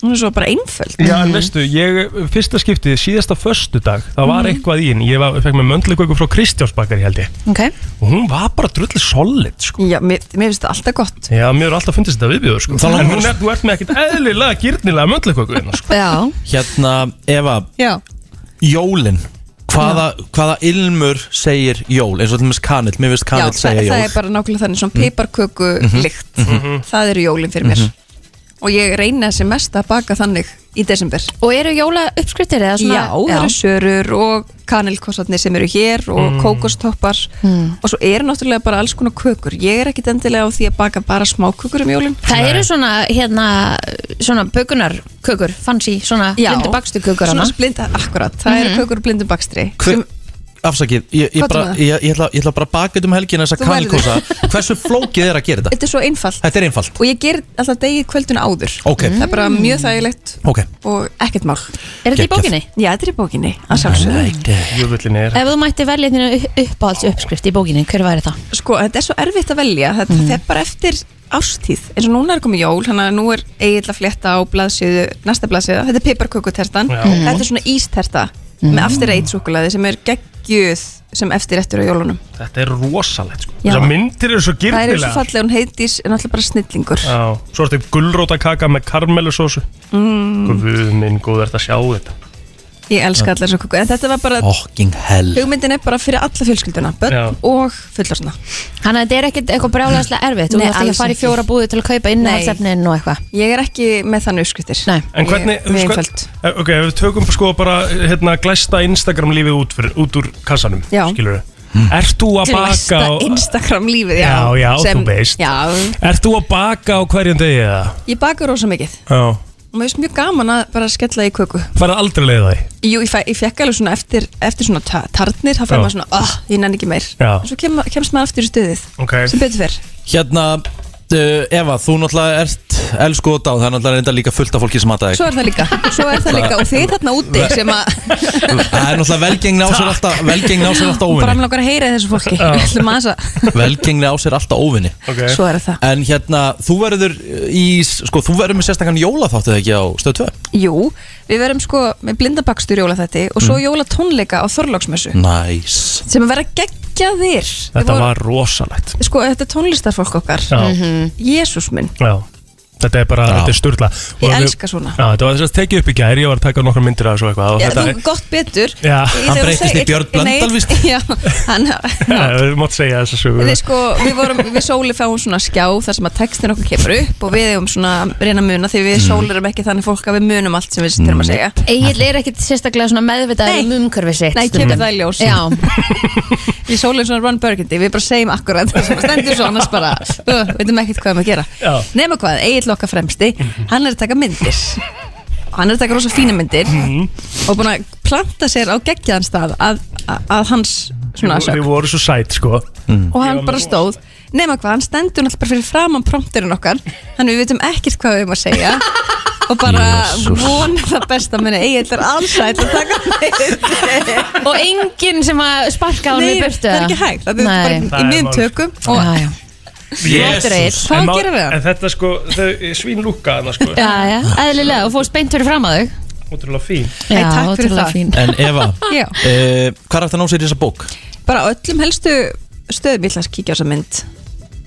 M: hún er svo bara einföld
B: Já, en veistu, ég, fyrsta skiptið, síðasta föstudag, það var
M: Mhm.
B: eitthvað í henni Ég var, fekk með möndleikvöku frá Kristjánsbakari held ég
M: Ok
B: Og hún var bara drullið solid, sko
M: Já, mér, mér finnst það alltaf gott
B: Já, mér er alltaf fundist þetta viðbjóður, sko
C: Þá langar-
B: En hún er, þú ert með ekkert eðlilega gyrnilega möndleikvöku hérna, sko
D: Já
C: Hérna, Eva,
M: Já
C: jólin Hvaða, hvaða ilmur segir jól? Eins og til dæmis kanil, mér finnst kanil
M: það,
C: segja jól
M: það er bara nákvæmlega þannig svona piparköku
C: Mhm.
M: lykt
C: Mhm.
M: Það eru jólin fyrir mér
C: Mhm.
M: Og ég reyna sem mest að baka þannig í desember
D: Og eru jóla uppskriftir eða svona?
M: Já, það eru sörur og kanilkossarnir sem eru hér og
D: Mm.
C: Mhm.
M: kókostoppar
N: Hmm.
D: Mm.
M: og svo eru náttúrulega bara alls konar kökur Ég er ekkit endilega á því að baka bara smákökur um jólin
D: Það eru svona, hérna, svona bökunarkökur, fancy, svona
M: Já.
D: blindu bakstu kökur Mhm.
M: Svona blinda, akkurat, það eru kökur úr blindum bakstri
C: Hver, afsakið, ég, ég,
M: Hvað
C: bara,
M: er það?
C: ég, ég, ætla, ég ætla bara að baka þetta um helgina þessa
M: Þú verður.
C: kanilkosa Hversu flókið er að gera þetta?
M: Þetta er svo einfalt
C: Þetta er einfalt
M: og ég ger alltaf degið kvöldun áður
C: Ok.
M: Það er bara mjög þægilegt
C: Ok,
M: og ekkert mál
D: Er þetta í Geggjað. bókinni?
M: Já, þetta er í bókinni, að sjálfsögðu
B: Jöfullin er
D: Ef þú mætti velja þínu upp- uppáhalds uppskrift í bókinni, hver væri það? Mhm.
M: Sko, þetta er svo erfitt að velja Þetta mm. fer bara eftir ástíð eins og núna er komið jól, hann að nú er eiginlega flétta á blaðsíðu, næsta blaðsíða þetta er piparkökutertan,
D: Já.
M: þetta er svona ísterta
D: Mhm.
M: með aftur eitt súkulaði sem er geggjöð sem eftir eftir á jólunum
B: Þetta er rosalegt, sko
M: Já.
B: Þessar myndir eru svo
M: það er svo
B: gyrnilega
M: fallega, hún heitis en alltaf bara snillingur
B: Já, svo ertu gulrótakaka með karmelusósu
M: mm.
B: Guð minn, góð ert að sjá þetta
M: ég elska allar svo köku, en þetta var bara
C: Fucking hell
M: hugmyndin er bara fyrir alla fjölskylduna börn
B: Já.
M: og fullarsna
D: Þannig að þetta er ekkert eitthvað brjálæðslega erfitt Þú
M: Nei,
D: þarf ekki
M: alls
D: að fara í
M: ekki.
D: fjóra búði til að kaupa innhaldsefnin og eitthvað
M: ég er ekki með þannig uppskriftir
B: En hvernig,
M: ég,
B: þú
M: ég,
B: veist hvað Ok, ef við tökum sko bara hérna glæsta Instagram lífið út, fyrir, út úr kassanum
M: Já.
B: Skilur við Ert þú að baka á,
M: Instagram lífið, já
B: Já, já, þú
M: sem-
B: veist.
M: já,
B: Ert þú að baka á hverjum degi eða?
M: Ég baka rosa mikið
B: Já
M: og mér finnst mjög gaman að bara skella í köku
B: Færðu aldrei leið á því?
M: Jú, ég, fæ, ég fekk alveg svona eftir, eftir svona ta tarnir, þá fær
C: Já.
M: maður svona, oh, ég nenni ekki meir
C: Já.
M: En Svo kem, kemst maður aftur í stuðið
B: Ok
M: sem betur fyrr
C: Hérna, uh, Eva, þú náttúrulega ert elsku og dáð, það er náttúrulega reynda líka fullt af fólki sem mataði
M: Svo er það líka, svo er það líka og þið þarna úti sem að
C: Það er náttúrulega velgengni á sér alltaf velgengni á sér alltaf
M: bara
C: óvinni
M: með langar að heyra í þessu fólki
C: Já.
M: Ætlum aðeins að-
C: Velgengni á sér alltaf óvinni okay.
M: Svo er það.
C: En hérna, þú verður í sko, þú verður með sérstakann jólaþáttu ekki á stöð 2
M: Jú, við verum sko með blindabakstur jólaþætti og
B: Mm.
M: svo jólatónleika á Þorláksmessu
C: Næs
M: sem að vera geggjaðir Við
B: Þetta
M: vorum-
B: var rosalegt
M: Sko, þetta er tónlistarfólk okkar
B: Já.
M: Jésús minn
B: Já Þetta er bara, þetta er sturla
M: Ég
B: Og við-
M: elska svona.
B: Já, þetta var þess að tekið upp í gær, ég var að taka nokkra myndir af þessu og eitthvað og
M: Já,
B: þetta
M: þú
B: er-
M: gott betur
B: Já.
M: Í-
B: Hann
M: þegar þú
B: breyttist
M: segir-
B: í Björn Blöndal,
M: Nei, Já, hann
B: Já, Þú mátt segja þessa sögu
M: Við, sko, við, vorum, við sóli fáum svona skjá þar sem að textin okkur kemur upp og við eigum svona að reyna að muna því við
B: Mm.
M: mm. sólirum ekki þannig fólk að við munum allt sem við þurfum að segja
D: Egil er ekkit sérstaklega svona meðvitaður um umhverfi sitt
M: Nei,
D: stundum.
M: kemur það í ljós
D: Já,
M: Við sólirum svona Ron Burgundy, við bara segjum akkurat það sem að stendur svo annars bara uh, veitum ekkert hvað við erum að gera
D: Já.
M: Nefna hvað, Egil okkar fremsti,
B: Mhm.
M: hann er að taka myndir og hann er að taka rosa fína myndir
B: Mhm.
M: og búin að planta sér á geggjaðan stað að, að, að hans svona
B: Við
M: sög
B: vorum svo sæt, sko
M: og hann bara stóð nema hvað, hann stendur náttúrulega bara fyrir framann prompterinn okkar þannig við veitum ekkert hvað við erum að segja og bara
D: Jesús.
M: vonum það besta minni Egil er allsætt að taka myndir
D: og enginn sem að sparka hann
M: Nei,
D: í burtu
M: það er ekki
D: eða?
M: hægt, þetta er sko.
D: Nei.
M: bara í miðum tökum og
D: Já, já. Flottur Egill. Hvað
B: En má-
D: gerum við það?
B: En þetta sko, þau svín lúka hana sko
D: Já, já, eðlilega og fórst beint fyrir fram að þau
B: Ótrúlega fín
D: Já, takk fyrir það. fín.
C: En Eva,
M: Já.
C: uh, hvað er hægt að ná sér í þessa bók?
M: bara á öllum helstu stöðum ég ætla að kíkja á þessa mynd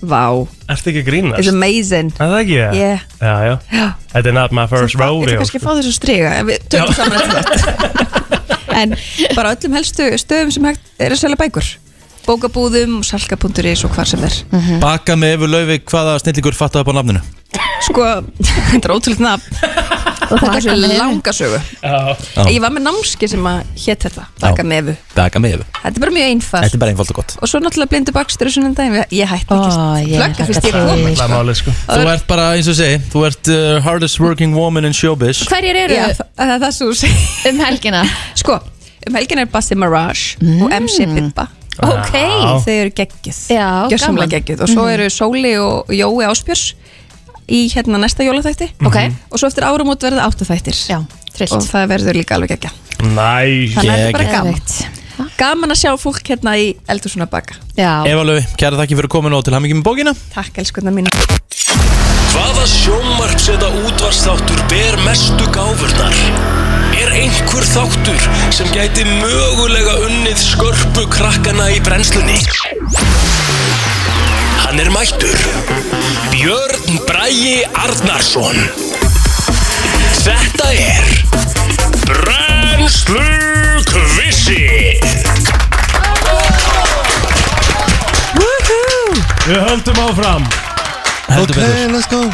M: Vá,
B: Ertu ekki að grínast?
M: it's amazing
B: Er það ekki?
M: Yeah.
B: Já, já
M: Já.
B: Þetta er not my first
M: Ég ætla
B: rodeo
M: kannski að fá þessu striga en við tökum saman eftir þetta En bara á öllum helstu stöðum sem hægt er að selja bækur Bókabúðum, salka.is og hvar sem er
C: Baka með Evu Lauvi hvaða snillingur fattaði upp á nafninu?
M: Sko, þetta er ótrúlega nafn Og
D: Hvað
M: þetta
D: sem
M: er
D: er.
M: langa sögu
C: Já.
M: Ég var með námski sem að hétt þetta Baka mefu
C: Baka með Evu
M: Þetta er bara mjög einfalt
C: Þetta er bara einfalt og gott
M: Og svo náttúrulega blindu bakstur og sunnum daginn Ég hætti ekki Plugga fyrst ég
C: Það
M: komið
C: er
B: málið, sko.
C: Þú ert bara eins og ég segi Þú ert uh, hardest working woman in showbiz
D: Hverjir eru
M: Já, það, það er það sem þú segir
D: um helgina?
M: Sko, um helgina er Basti Mirage og MC Pippa
D: Ok. Já.
M: Þau eru geggjuð
D: Já,
M: Gjössamlega
D: gaman.
M: geggjuð Og svo
D: Mhm.
M: eru Sóli og Jói Áspjörs í hérna næsta jólaþætti
D: Ok.
M: Og svo eftir áramót verða áttaþættir Já,
D: trillt
M: Og það verður líka alveg geggja
B: Næs
M: Þannig að þetta er bara gaman Gaman að sjá fólk hérna í eldursunna baka
D: Já
C: Eva Lauvi, kæra þakki fyrir komin og til hamingi með bókina
M: Takk elskunna mín
A: Hvaða sjónvarps eða útvarstáttur ber mestu gáfurnar? Er einhver þáttur sem gæti mögulega unnið skörpu krakkana í brennslunni? Hann er mættur. Björn Bragi Arnarsson. Þetta er Brennslu Kvissið.
B: Við höldum áfram
C: Heldur
B: betur.
G: let's go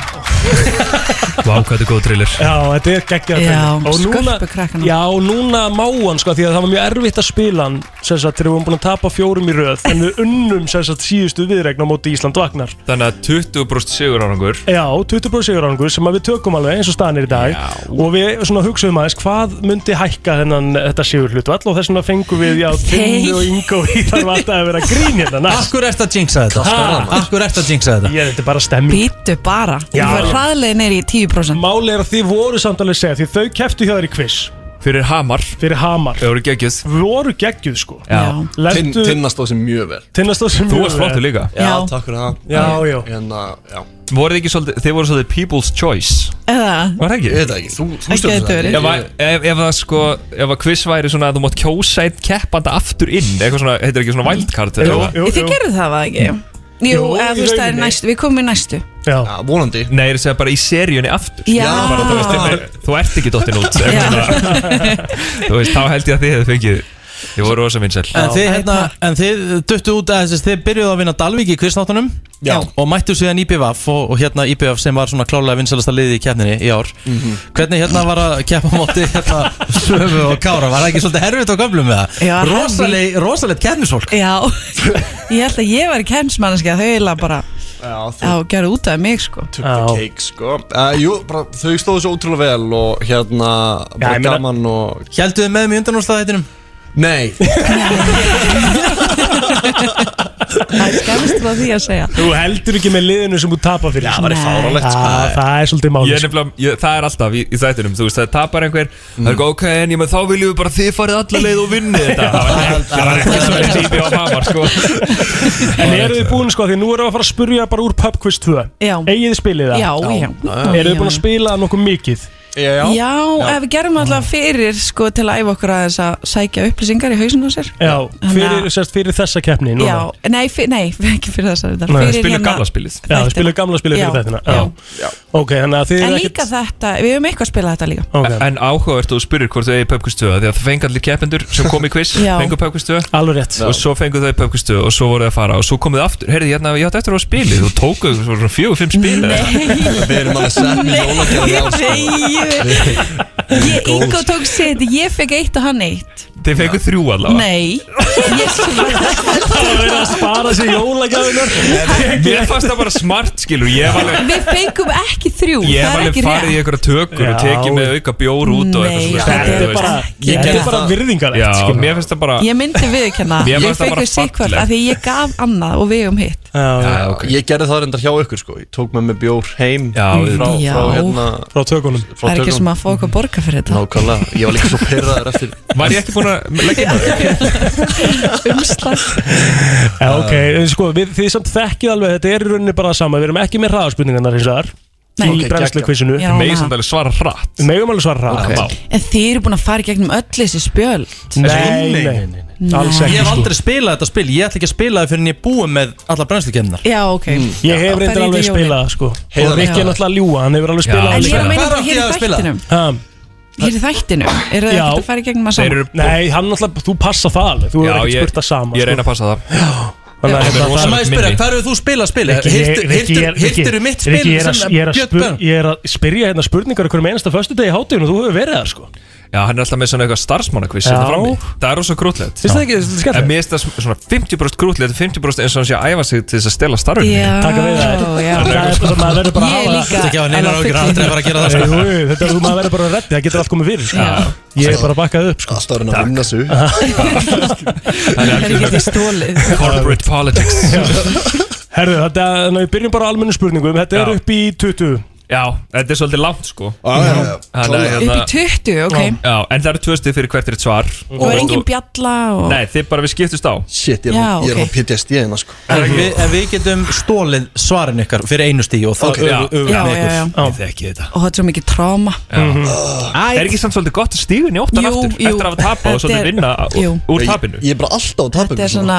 B: Vá, hvað þetta er góð trillir Já, þetta er geggjað
N: Já,
B: trailer. Og núna-
N: sköpukrakkanum.
B: Já, núna má hann sko Því að það var mjög erfitt að spila hann Sess að þegar við vorum búin að tapa fjórum í röð En við unnum sess að síðustu viðregna á móti Ísland Vagnar
O: Þannig að 20% sigur árangur
B: Já, 20% sigurangur sem að við tökum alveg eins og staðan er í dag og við svona hugsaðum aðeins hvað myndi hækka þennan þetta sigur hlutvall og þess vegna fengum við já, Tinnu og Ingo í þarf alltaf að vera grín hérna næst.
C: Akkur ert að jinxa þetta? Akkur ert að jinxa þetta?
B: Ég, þetta er bara stemming
N: Býtu bara
B: Já.
N: Það er hraðlegin er í 10%
B: Máli er að þið voru samt alveg að segja því þau keftu hjá þér í quiz
O: Fyrir Hamar
B: Fyrir Hamar
O: Þau voru geggjuð
B: voru geggjuð sko
O: Já.
B: Lentu-
P: Tinn- Tinna stóð sem mjög vel
B: Tinna stóð sem
O: Þú
B: mjög
O: varst
B: vel.
O: flottur líka.
P: Já,
B: Já.
P: takk fyrir það
B: Já, já.
P: Hérna, já
O: Voruð þið ekki svolítið Þið voru svolítið people's choice
N: Eða
O: Var það ekki?
P: Ég veit það ekki, þú, þú
N: Ekki
P: stjórnir
N: þetta verið.
O: Ef, að- ef, ef það sko, ef að quiz væri svona að þú mátt kjósa einn keppanda aftur inn Eitthvað svona, heitir ekki svona wildcard eða eitthvað?
N: Þið gerðu það það ekki? Jú,
O: Jú,
N: eða
O: í
N: þú veist það er
O: rauninni.
N: næstu Við komum í næstu
B: Já,
P: vonandi
O: Nei, ég er að segja bara í seríunni aftur
N: Já.
O: bara, þú, veist, ef- þú ert ekki dottin út ef svona- Þú veist, þá held ég að þið hefði fengið Þið voru rosa vinsæl
C: En þið, hérna, en þið duttu út að þess þið byrjuðu að vinna Dalvík í kvistnáttunum
P: Já.
C: og mættu síðan IPVAF og, og hérna IPVAF sem var svona klálega vinsalasta liði í keppninni í ár Hvernig hérna var að keppa á móti hérna Svöfu og Kára? Var það ekki svolítið herfitt á gömlum með
N: Já,
C: það? Rosaleg, rosalegt keppnisfólk
N: Já Ég held að ég var kennsmanniski að þau eiginlega bara
P: Já,
N: Já, gerðu út af mig sko
P: took the cake sko uh, Jú, bara, þau stóðu svo ótrúlega vel og hérna bara
C: ég meina-
P: gaman og
C: Hældu þið með mér undan úr staðhættinum?
P: Nei
N: Það er skemmst frá því að segja
B: Þú heldur ekki með liðinu sem þú tapar fyrir Já,
O: það væri fáránlegt, sko.
B: Það er svolítið sko. máli
O: Ég er nefnilega, ég, það er alltaf í, í þættinum, þú veist, það tapar einhver
P: Mm.
O: Það er ekki ok, en ég með þá viljum við bara þið farið alla leið og vinni þetta Það var ekki- það var ekki svona típi á hamar, sko
B: En eru þið búin sko, því nú erum við að fara að spurja bara úr Pub Quiz 2
N: Já.
B: Egið þið spilið það?
N: Já, já.
B: Eru þið búin að spila það nokkuð mikið?
P: Já,
N: Já, ef við gerum alltaf fyrir sko til að æfa okkur aðeins að sækja upplýsingar í hausinu á sér
B: Já,
N: Þannig
B: fyrir,
N: að-
B: sérst, fyrir þessa keppni núna.
N: Já, nei, fyr, nei, ekki fyrir þessari þetta
B: Nei, Já,
N: Fyrir hérna-
B: við spilum gamla spilið
N: Já,
B: fyrir þettina já. Ok, þannig að þið
N: En
B: er
N: líka þetta, við höfum eitthvað að spila þetta líka
B: okay.
O: En áhugavert að þú spyrir hvort þau eigi pöpkustöða Því að það fengi allir keppendur sem kom í quiz
N: Já.
O: Fengu pöpkustöða
B: Alveg rétt
O: Og svo fengu þau pöpkustöða og svo voru þau að fara Og svo komuð aftur, heyrði hérna, ég átti eftir að spili Þú tókuð svo svona fjögur, fimm spil
P: Við erum alveg sett með jólagjafir á, sko.
N: Ég, Ingo tók seti, ég fekk eitt og hann eitt
O: Þið fengu þrjú allavega
N: Nei Ég
B: Það verið að spara sér jólagjafinar
O: Mér fannst það bara smart skilur Ég var alveg
N: Við fengum ekki þrjú
O: Ég var
N: það er
O: alveg
N: ekki
O: farið í
N: rétt.
O: einhverja tökur og
B: Já.
O: tekið með auka bjór út og
N: Nei,
O: eitthvað svona
N: þetta er
O: þú veist.
N: bara- Ég þetta er gerði bara það.
B: virðingarlegt,
O: Já,
B: skilur.
O: mér finnst það bara
N: Ég myndi viðurkenna
O: Mér
N: Ég
O: fannst það
N: fekk
O: bara
N: við sikkvöld
O: fallegt.
N: af því ég gaf annað og við um hitt
P: Já, Ég gerði það reyndar hjá ykkur sko Ég tók með mig bjór heim já, frá,
N: Já.
P: frá, hérna,
B: frá tökunum
N: Það er ekki sem að fá okkur að borga fyrir þetta
P: Nákvæmlega, ég var líka svo pyrraður eftir
O: Var ég ekki búin að leggja
N: Umslag
B: Já, ok, en sko, við, þið samt þekkið alveg, þetta er í rauninni bara það sama Við erum ekki með hraðarspurningarnar eins og þar
N: Nei.
B: Í
N: Ok,
B: okay, brennslukvissinu
N: geggjað. Já, Megið samt
O: alveg svara hratt
B: Við megum alveg svara hratt okay.
N: En þið eru búin að fara í gegnum öll þessi spjöld
B: Nei, nei, nei, nei, nei. alls
C: Ég
B: ekki
C: hef
B: sko
C: aldrei spilað þetta spil Ég ætla ekki að spila það fyrir en ég er búið með Mm. alla brennslukemnar
N: Já, ok
O: Mm.
B: Ég hef reyndar alveg spilað það, sko Og
C: Heiðarlegt.
B: Rikki er náttúrulega að ljúa, hann hefur alveg
C: Já,
B: spilað
C: en ég er að meina
N: bara hér í þættinum. Hér í þættinu Eru þið
B: Já.
N: ekkert að fara í gegnum að saman?
B: Nei, hann náttúrulega, þú passa það alveg Þú
O: Já,
B: hefur ekki
O: ég-
B: spurt það sama sko.
O: ég reyni að passa það.
B: Þannig
C: Já.
B: að
C: Það er
B: hérna,
C: rosalegt
B: það-
C: minni. Má ég spyrja, hvar hefur þú spilað spilið?
B: Rikki, ég- Rikki,
C: Hirtir-
B: ég-
C: hirtir-
B: Rikki,
C: hirtirðu mitt
B: Rikki,
C: spil
B: ég er að-
C: sem
B: ég er að
C: Björn
B: spur-
C: Bönn?
B: Ég er að spyrja hérna spurningar Hverjum einasta föstudegi í hátíðinu og Þú hefur verið það sko
O: Já, hann er alltaf með svona eitthvað starfsmannakviss
B: Já.
O: hérna frammi. Það er rosa grútlegt
B: Finnst það ekki skemmtilegt?
O: En mér finnst það svona 50% grútlegt 50% eins og hann sé að æfa sig til þess að stela starfinu
N: Já, Taka við þær. já.
B: Það er
O: sko-
B: bara, maður verður bara
N: Ég
B: að
N: líka Þetta
B: hafa
N: ekki hafa neinar alveg áhyggjur, fullur.
C: aldrei að fara að gera það, sko.
B: Jú, jú, Þetta er, maður verður bara að reddi, það getur allt komið fyrir sko. Ég er bara að bakkað upp sko.
P: Alltaf er hann að vinna sig
O: Það
N: er ekki til stólið
O: Corporate politics
B: Herðu, þetta, ná, við byrjum bara á almennu spurningum Þetta er
O: Já.
B: upp í 20
O: Já, þetta er svolítið langt sko
P: ah, já, já.
O: Þannig, að
N: Upp í
O: hérna-
N: 20, ok
O: Já, en það eru tvö stið fyrir hvert er svar
N: Og er engin bjalla og
O: Nei, þið bara við skiptust á
P: Shit,
N: ég er Já, á- ég er á ok.
P: PTSD hérna sko
C: En við, en við getum stólið svarin ykkar fyrir einu stíu og þá
O: Ok,
C: okay,
O: já.
C: öfum
N: Já,
C: við
N: já, já.
C: ykkur Ég þekki þetta
N: og það er svo mikið tráma
P: Ah.
O: Er ekki samt svolítið gott að stígu njóttan
N: Mhm. Jú,
O: aftur
N: jú.
O: Eftir að hafa tapað og
N: Þetta er-
O: svolítið vinna
N: Jú.
O: úr- úr tapinu
P: Ég er bara alltaf að tapa
N: Þetta er
P: ykkur
N: svona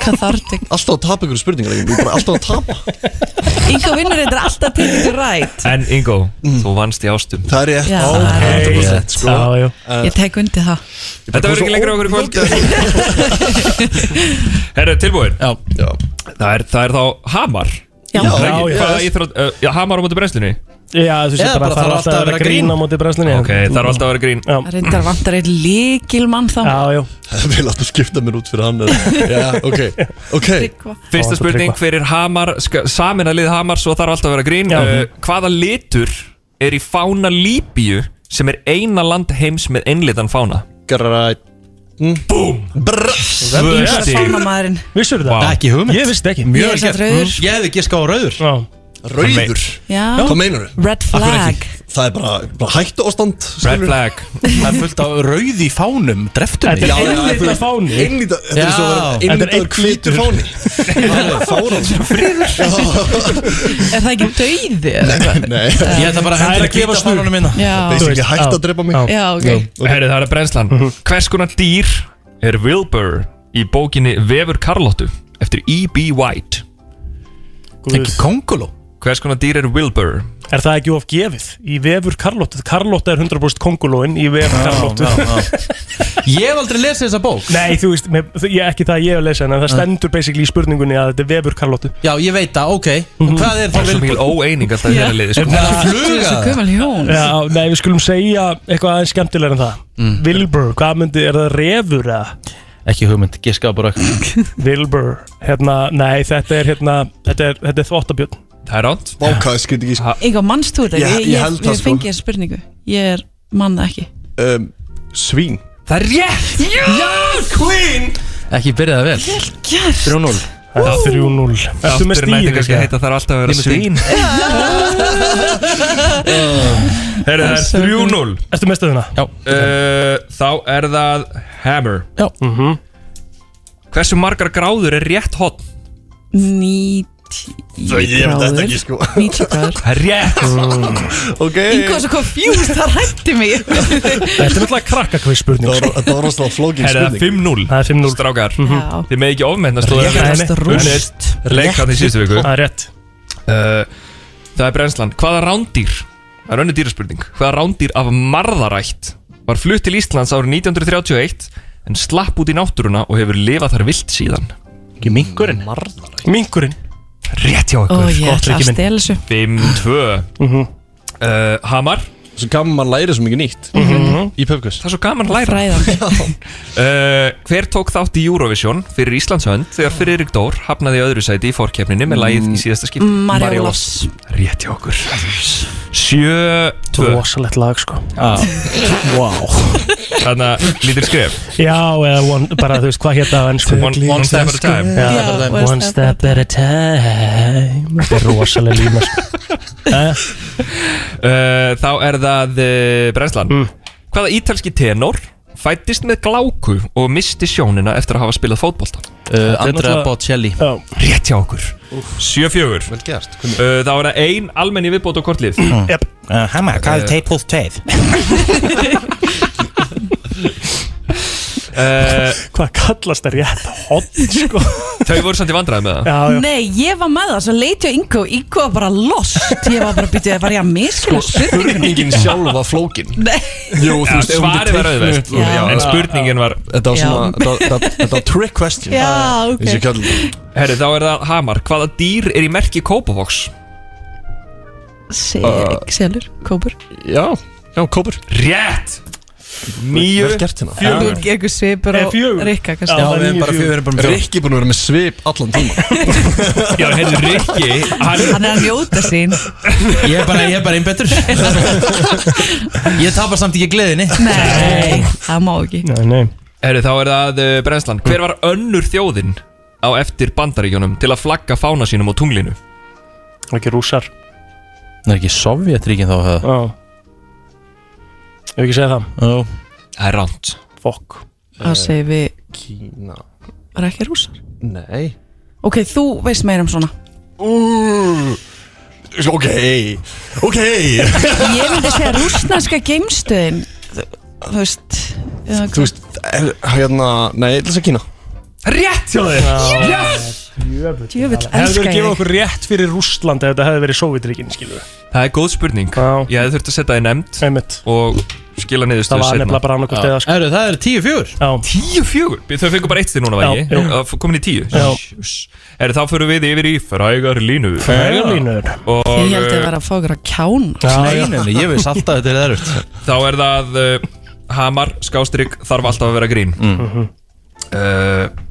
N: cathartic
P: Alltaf að tapa ykkur spurningar Ég er bara alltaf að tapa
N: Ingo vinnur þetta er alltaf til þetta rætt
O: En Ingo, þú vannst í ástum
P: Mm. Það er ég
N: Já.
P: Ok, 100%
B: rétt.
P: sko
B: Já, já.
N: Ég tek undi það
O: Þetta verður ekki lengra okkur í kvöld Herra, tilbúin
C: Já.
P: Já.
O: Það, er, það er þá Hamar
N: Já.
B: Já,
O: Það er ekki-
B: já.
O: Hvaða íþrótt- uh, já, Hamar á móti brennslunni
B: Já, þú
N: Eða
B: sér bara
N: bara
B: að það er
N: þarf
B: alltaf að vera grín á móti brenslinni
O: Ok, það er alltaf að vera grín
N: Það reyndar vantar eitt líkilmann þá
B: Já, já
P: Það vil alltaf skipta mér út fyrir hann eða- Já, ok, ok
O: Fyrsta spurning fyrir Hamar ska- Samin að lið Hamar, svo þarf alltaf að vera grín
B: Já.
O: uh, Hvaða litur er í fána Líbíu sem er eina land heims með einlitan fána?
P: Græt
O: Búm
N: Ingo er fánamaðurinn
B: Vissur
O: Vá.
C: Ekki hugmynd
B: Ég visst ekki
N: Ég er samt rauður.
C: Ég hef ekki skáð rauður
B: Já
P: Rauður
N: Já.
P: Hvað meinar þau?
N: Red flag
P: Það er bara, bara hættu ástand
O: Red flag
C: Það er fullt af rauð í fánum Dreftu mig
B: Þetta er einlita fáni
P: Einlítar, þetta er
C: Já.
P: svo að vera
B: Þetta er einn
P: einlítar hvítur
B: hvítur.
P: fáni Fáran
N: Er það ekki dauði? eða eitthvað?
P: Nei,
C: Ég ætla bara að
B: Það er
C: hendra
B: að gefa
C: hvita
B: snúð.
C: fánunum minna
N: Já,
B: Þú
P: basically
B: veist,
P: hætt
B: já.
P: að drepa mig Mhm.
N: já, ok
O: Herri, það er brennslan Hvers konar dýr er Wilbur í bókinni Vefur Karlottu eftir E.B. White
B: Guð.
C: Ekki konguló
O: Hvers konar dýr er Wilbur?
B: Er það ekki of gefið? Í vefur Karlóttu Karlóttu er 100% kongulóin Í vefur Karlóttu
C: Ég hef aldrei lesið þessa bók
B: Nei, þú veist, með, ég, ekki það ég hef að lesa En það stendur basically í spurningunni að þetta er vefur Mhm. Karlóttu
C: Já, ég veit það, ok Og Hvað er
O: Það
C: það
O: er svo mikil óeining alltaf í
N: Já.
O: þeirra liði
C: Er
O: sko.
C: það
N: Svo
C: fluga?
N: gömul hjón
B: Já, nei, við skulum segja eitthvað aðeins skemmtilega en það
C: Mm.
B: Wilbur, hvað myndi, er það refur eða?
C: Ekki hugmynd, giskaði bara eitthvað
B: Wilbur, hérna, nei, þetta er hérna Þetta er, þetta er þvottabjörn
O: Það er ránt
P: Vákaði skrítið ekki
N: Ingo, mannst þú þetta?
P: Já,
N: Ég,
P: ég
N: ég,
P: held
N: ég,
P: það,
N: ég
P: sko.
N: fengi þér spurningu Ég er mann það ekki
P: um, Svín
O: Það er rétt
C: Ekki byrjaði vel
N: Vel gert
C: 3-0
B: 3-0 Ertu með
O: Aftur mætti
B: stíð
O: kannski heita þarf alltaf að vera svín. Heyrðu, það er 3-0
B: Ertu hérna? með stöðuna?
C: Já
O: Þá er það Hammer
C: Já
P: Mhm.
O: Hversu margar gráður er rétt hot?
N: 90
O: Svo ég veit þetta ekki, sko.
N: 90 gráður
O: Það er rétt
P: Ok
N: Ingo er svo confused, það rætti mig
B: Þetta er náttúrulega krakkakvist spurning
P: Það var- þetta var rosalega flókin
O: Herra, það er
P: spurning.
O: 5-0
B: Það er 5-0
O: Strákar,
N: Já.
O: þið með ekki ofmennast
B: Réttasta rúst.
O: Leikarn í síðustu viku
B: Það er rétt
O: Uh, Það er brennslan Hvaða rándýr? Það er önnu dýraspurning Hvaða rándýr af marðarætt var flutt til Íslands árið 1931 en slapp út í náttúruna og hefur lifað þar vilt síðan
B: Ekki minkurinn Minkurinn
O: Rétt hjá
N: Ó, ég ætla að stela þessu
O: 5-2
B: Mhm.
O: Uh, Hamar
P: Svo gaman maður læri svo mikið nýtt
O: Mhm.
P: Í pubquiz
O: Það er svo gaman að læra uh, Hver tók þátt í Eurovision fyrir Íslands hönd þegar Friðrik Dór hafnaði öðru sæti í fórkeppninni með lagið í síðasta skipti
N: María
O: Ólafs. Rétt hjá okkur 7-2
B: Rosalett lag sko
P: Ah.
O: Wow Þannig að lítir skref
B: Já, eða one, bara þú veist hvað hérna á ennsku
O: One- one step at a time.
B: Já,
O: Já, one
B: One step at a time Þetta er rosalega líma sko. Eh,
O: uh, Þá er það uh, brennslan
B: Mm.
O: Hvaða ítalski tenor fættist með gláku og misti sjónina eftir að hafa spilað fótbolta?
B: Eh,
C: Uh, Andrea Bocelli
O: Rétt hjá okkur 7-4 Vel gert uh, Þá er það ein almenni viðbót á kortlið
B: Mm.
F: Jöp Hamma, Uh, hvað
O: Eh.
F: er teip húð teip?
O: uh,
B: Hvað kallast það rétt hodn sko
O: Þau voru samt í vandræði með það
B: Já, já
N: Nei, ég var með það, svo leiti ég Ingo Ingo var bara lost Ég var bara býtið að var ég að miskla
O: Sko,
P: Spurningin sjálf var flókin
N: Nei.
P: Jú, þú
O: Já,
P: veist ef hún
O: svarið
P: myndi
O: var auðvelt
P: teikna- Já.
O: En spurningin var
P: Þetta var svona þetta- Þetta þetta var trick question
N: Já, ok.
P: Þessi kall
O: Herri, þá er það Hamar Hvaða dýr er í merki Kópavox?
N: Seg, selur, kópur
P: Uh, Já, já, kópur
O: Rétt Níu
P: Vel gert hérna.
N: Þú er ekki svipur
P: Eh,
N: og
P: fjögur.
N: Rikka
P: Já, við erum bara fjögur, við erum bara með fjögur. Rikki búin að vera með svip allan tíma
O: Já, heyrðu, Rikki, hann-
N: Hann er að njóta sín
F: Ég er bara, ég er bara einn betur Ég tapar samt ekki gleðinni
N: Nei, það má ekki
B: Nei, nei
O: Herri, þá er það uh, brennslan Hver var önnur þjóðin á eftir bandaríkjónum til að flagga fána sínum á tunglinu?
B: Ekki rússar
C: Það er ekki Sovjetríkin þá hefða
B: Já Ef ekki segja það Eh,
C: Já
O: Það er ránt
B: Fokk
N: Þá segir við
P: Kína
N: Er ekki rússar?
P: Nei
N: Ok, þú veist meira um svona
P: Ok, ok
N: Ég myndi segja rússnarska geimstöðin Þú þú veist eða
P: Þú veist, er- hérna, nei, ég ætla að segja Kína
O: Rétt hjá þér Yes
N: Djöfull,
B: Hefur
N: elska
B: verið
N: ég
B: gefið okkur rétt fyrir Rússland ef þetta hefði verið Sovjetríkin skilur við
O: Það er góð spurning Já. Ég hefði þurft að setja það í nefnd
B: Einmitt.
O: Og skila niður
B: Það var nefnilega bara annað hvort eða, sko.
C: Herru, það er 10-4
O: 10-4 Þau fengur bara eitt stið núna
B: Já,
O: var ég
B: jú.
O: Það fór- komin í 10
B: Já.
O: Er þá fyrir við yfir í frægar línur
B: Frægar línur.
O: Og
N: Ég held að vera að fá okkur að kjána
C: alltaf þetta er erfitt
O: Þá er það uh, Hamar, skástrygg, þarf alltaf að vera grín
B: Mm.
C: Mhm.
O: uh,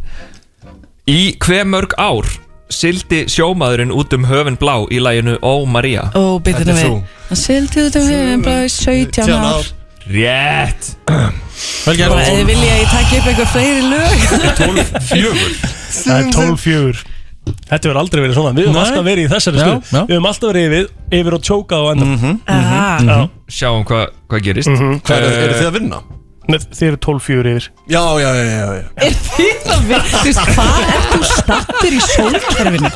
O: Í hve mörg ár Sildi sjómaðurinn út um höfin blá Í læginu Ó Maria
N: Ó, bitur nú við Það sildi út um höfum bara í 17 ár
O: Rétt
C: Vel
N: Bara eða vilja að ég taki upp eitthvað fleiri lög
O: 12-4
B: Það er 12-4 Þetta verður aldrei verið svona Við höfum
O: Nei.
B: alltaf verið í þessari
O: Já,
B: stöð Við höfum alltaf verið yfir, yfir og tjókað á endan mm -hmm.
N: Mhm.
B: Já.
O: Sjáum hvað hva gerist mm
B: Mhm. Hvað, eru- eru þið að
P: vinna?
B: Nei, Þið eru 12-4 yfir
P: Já, já, já, já, já.
N: Er þið að við Þú veist, hvað er þú stattur í sólkerfinu?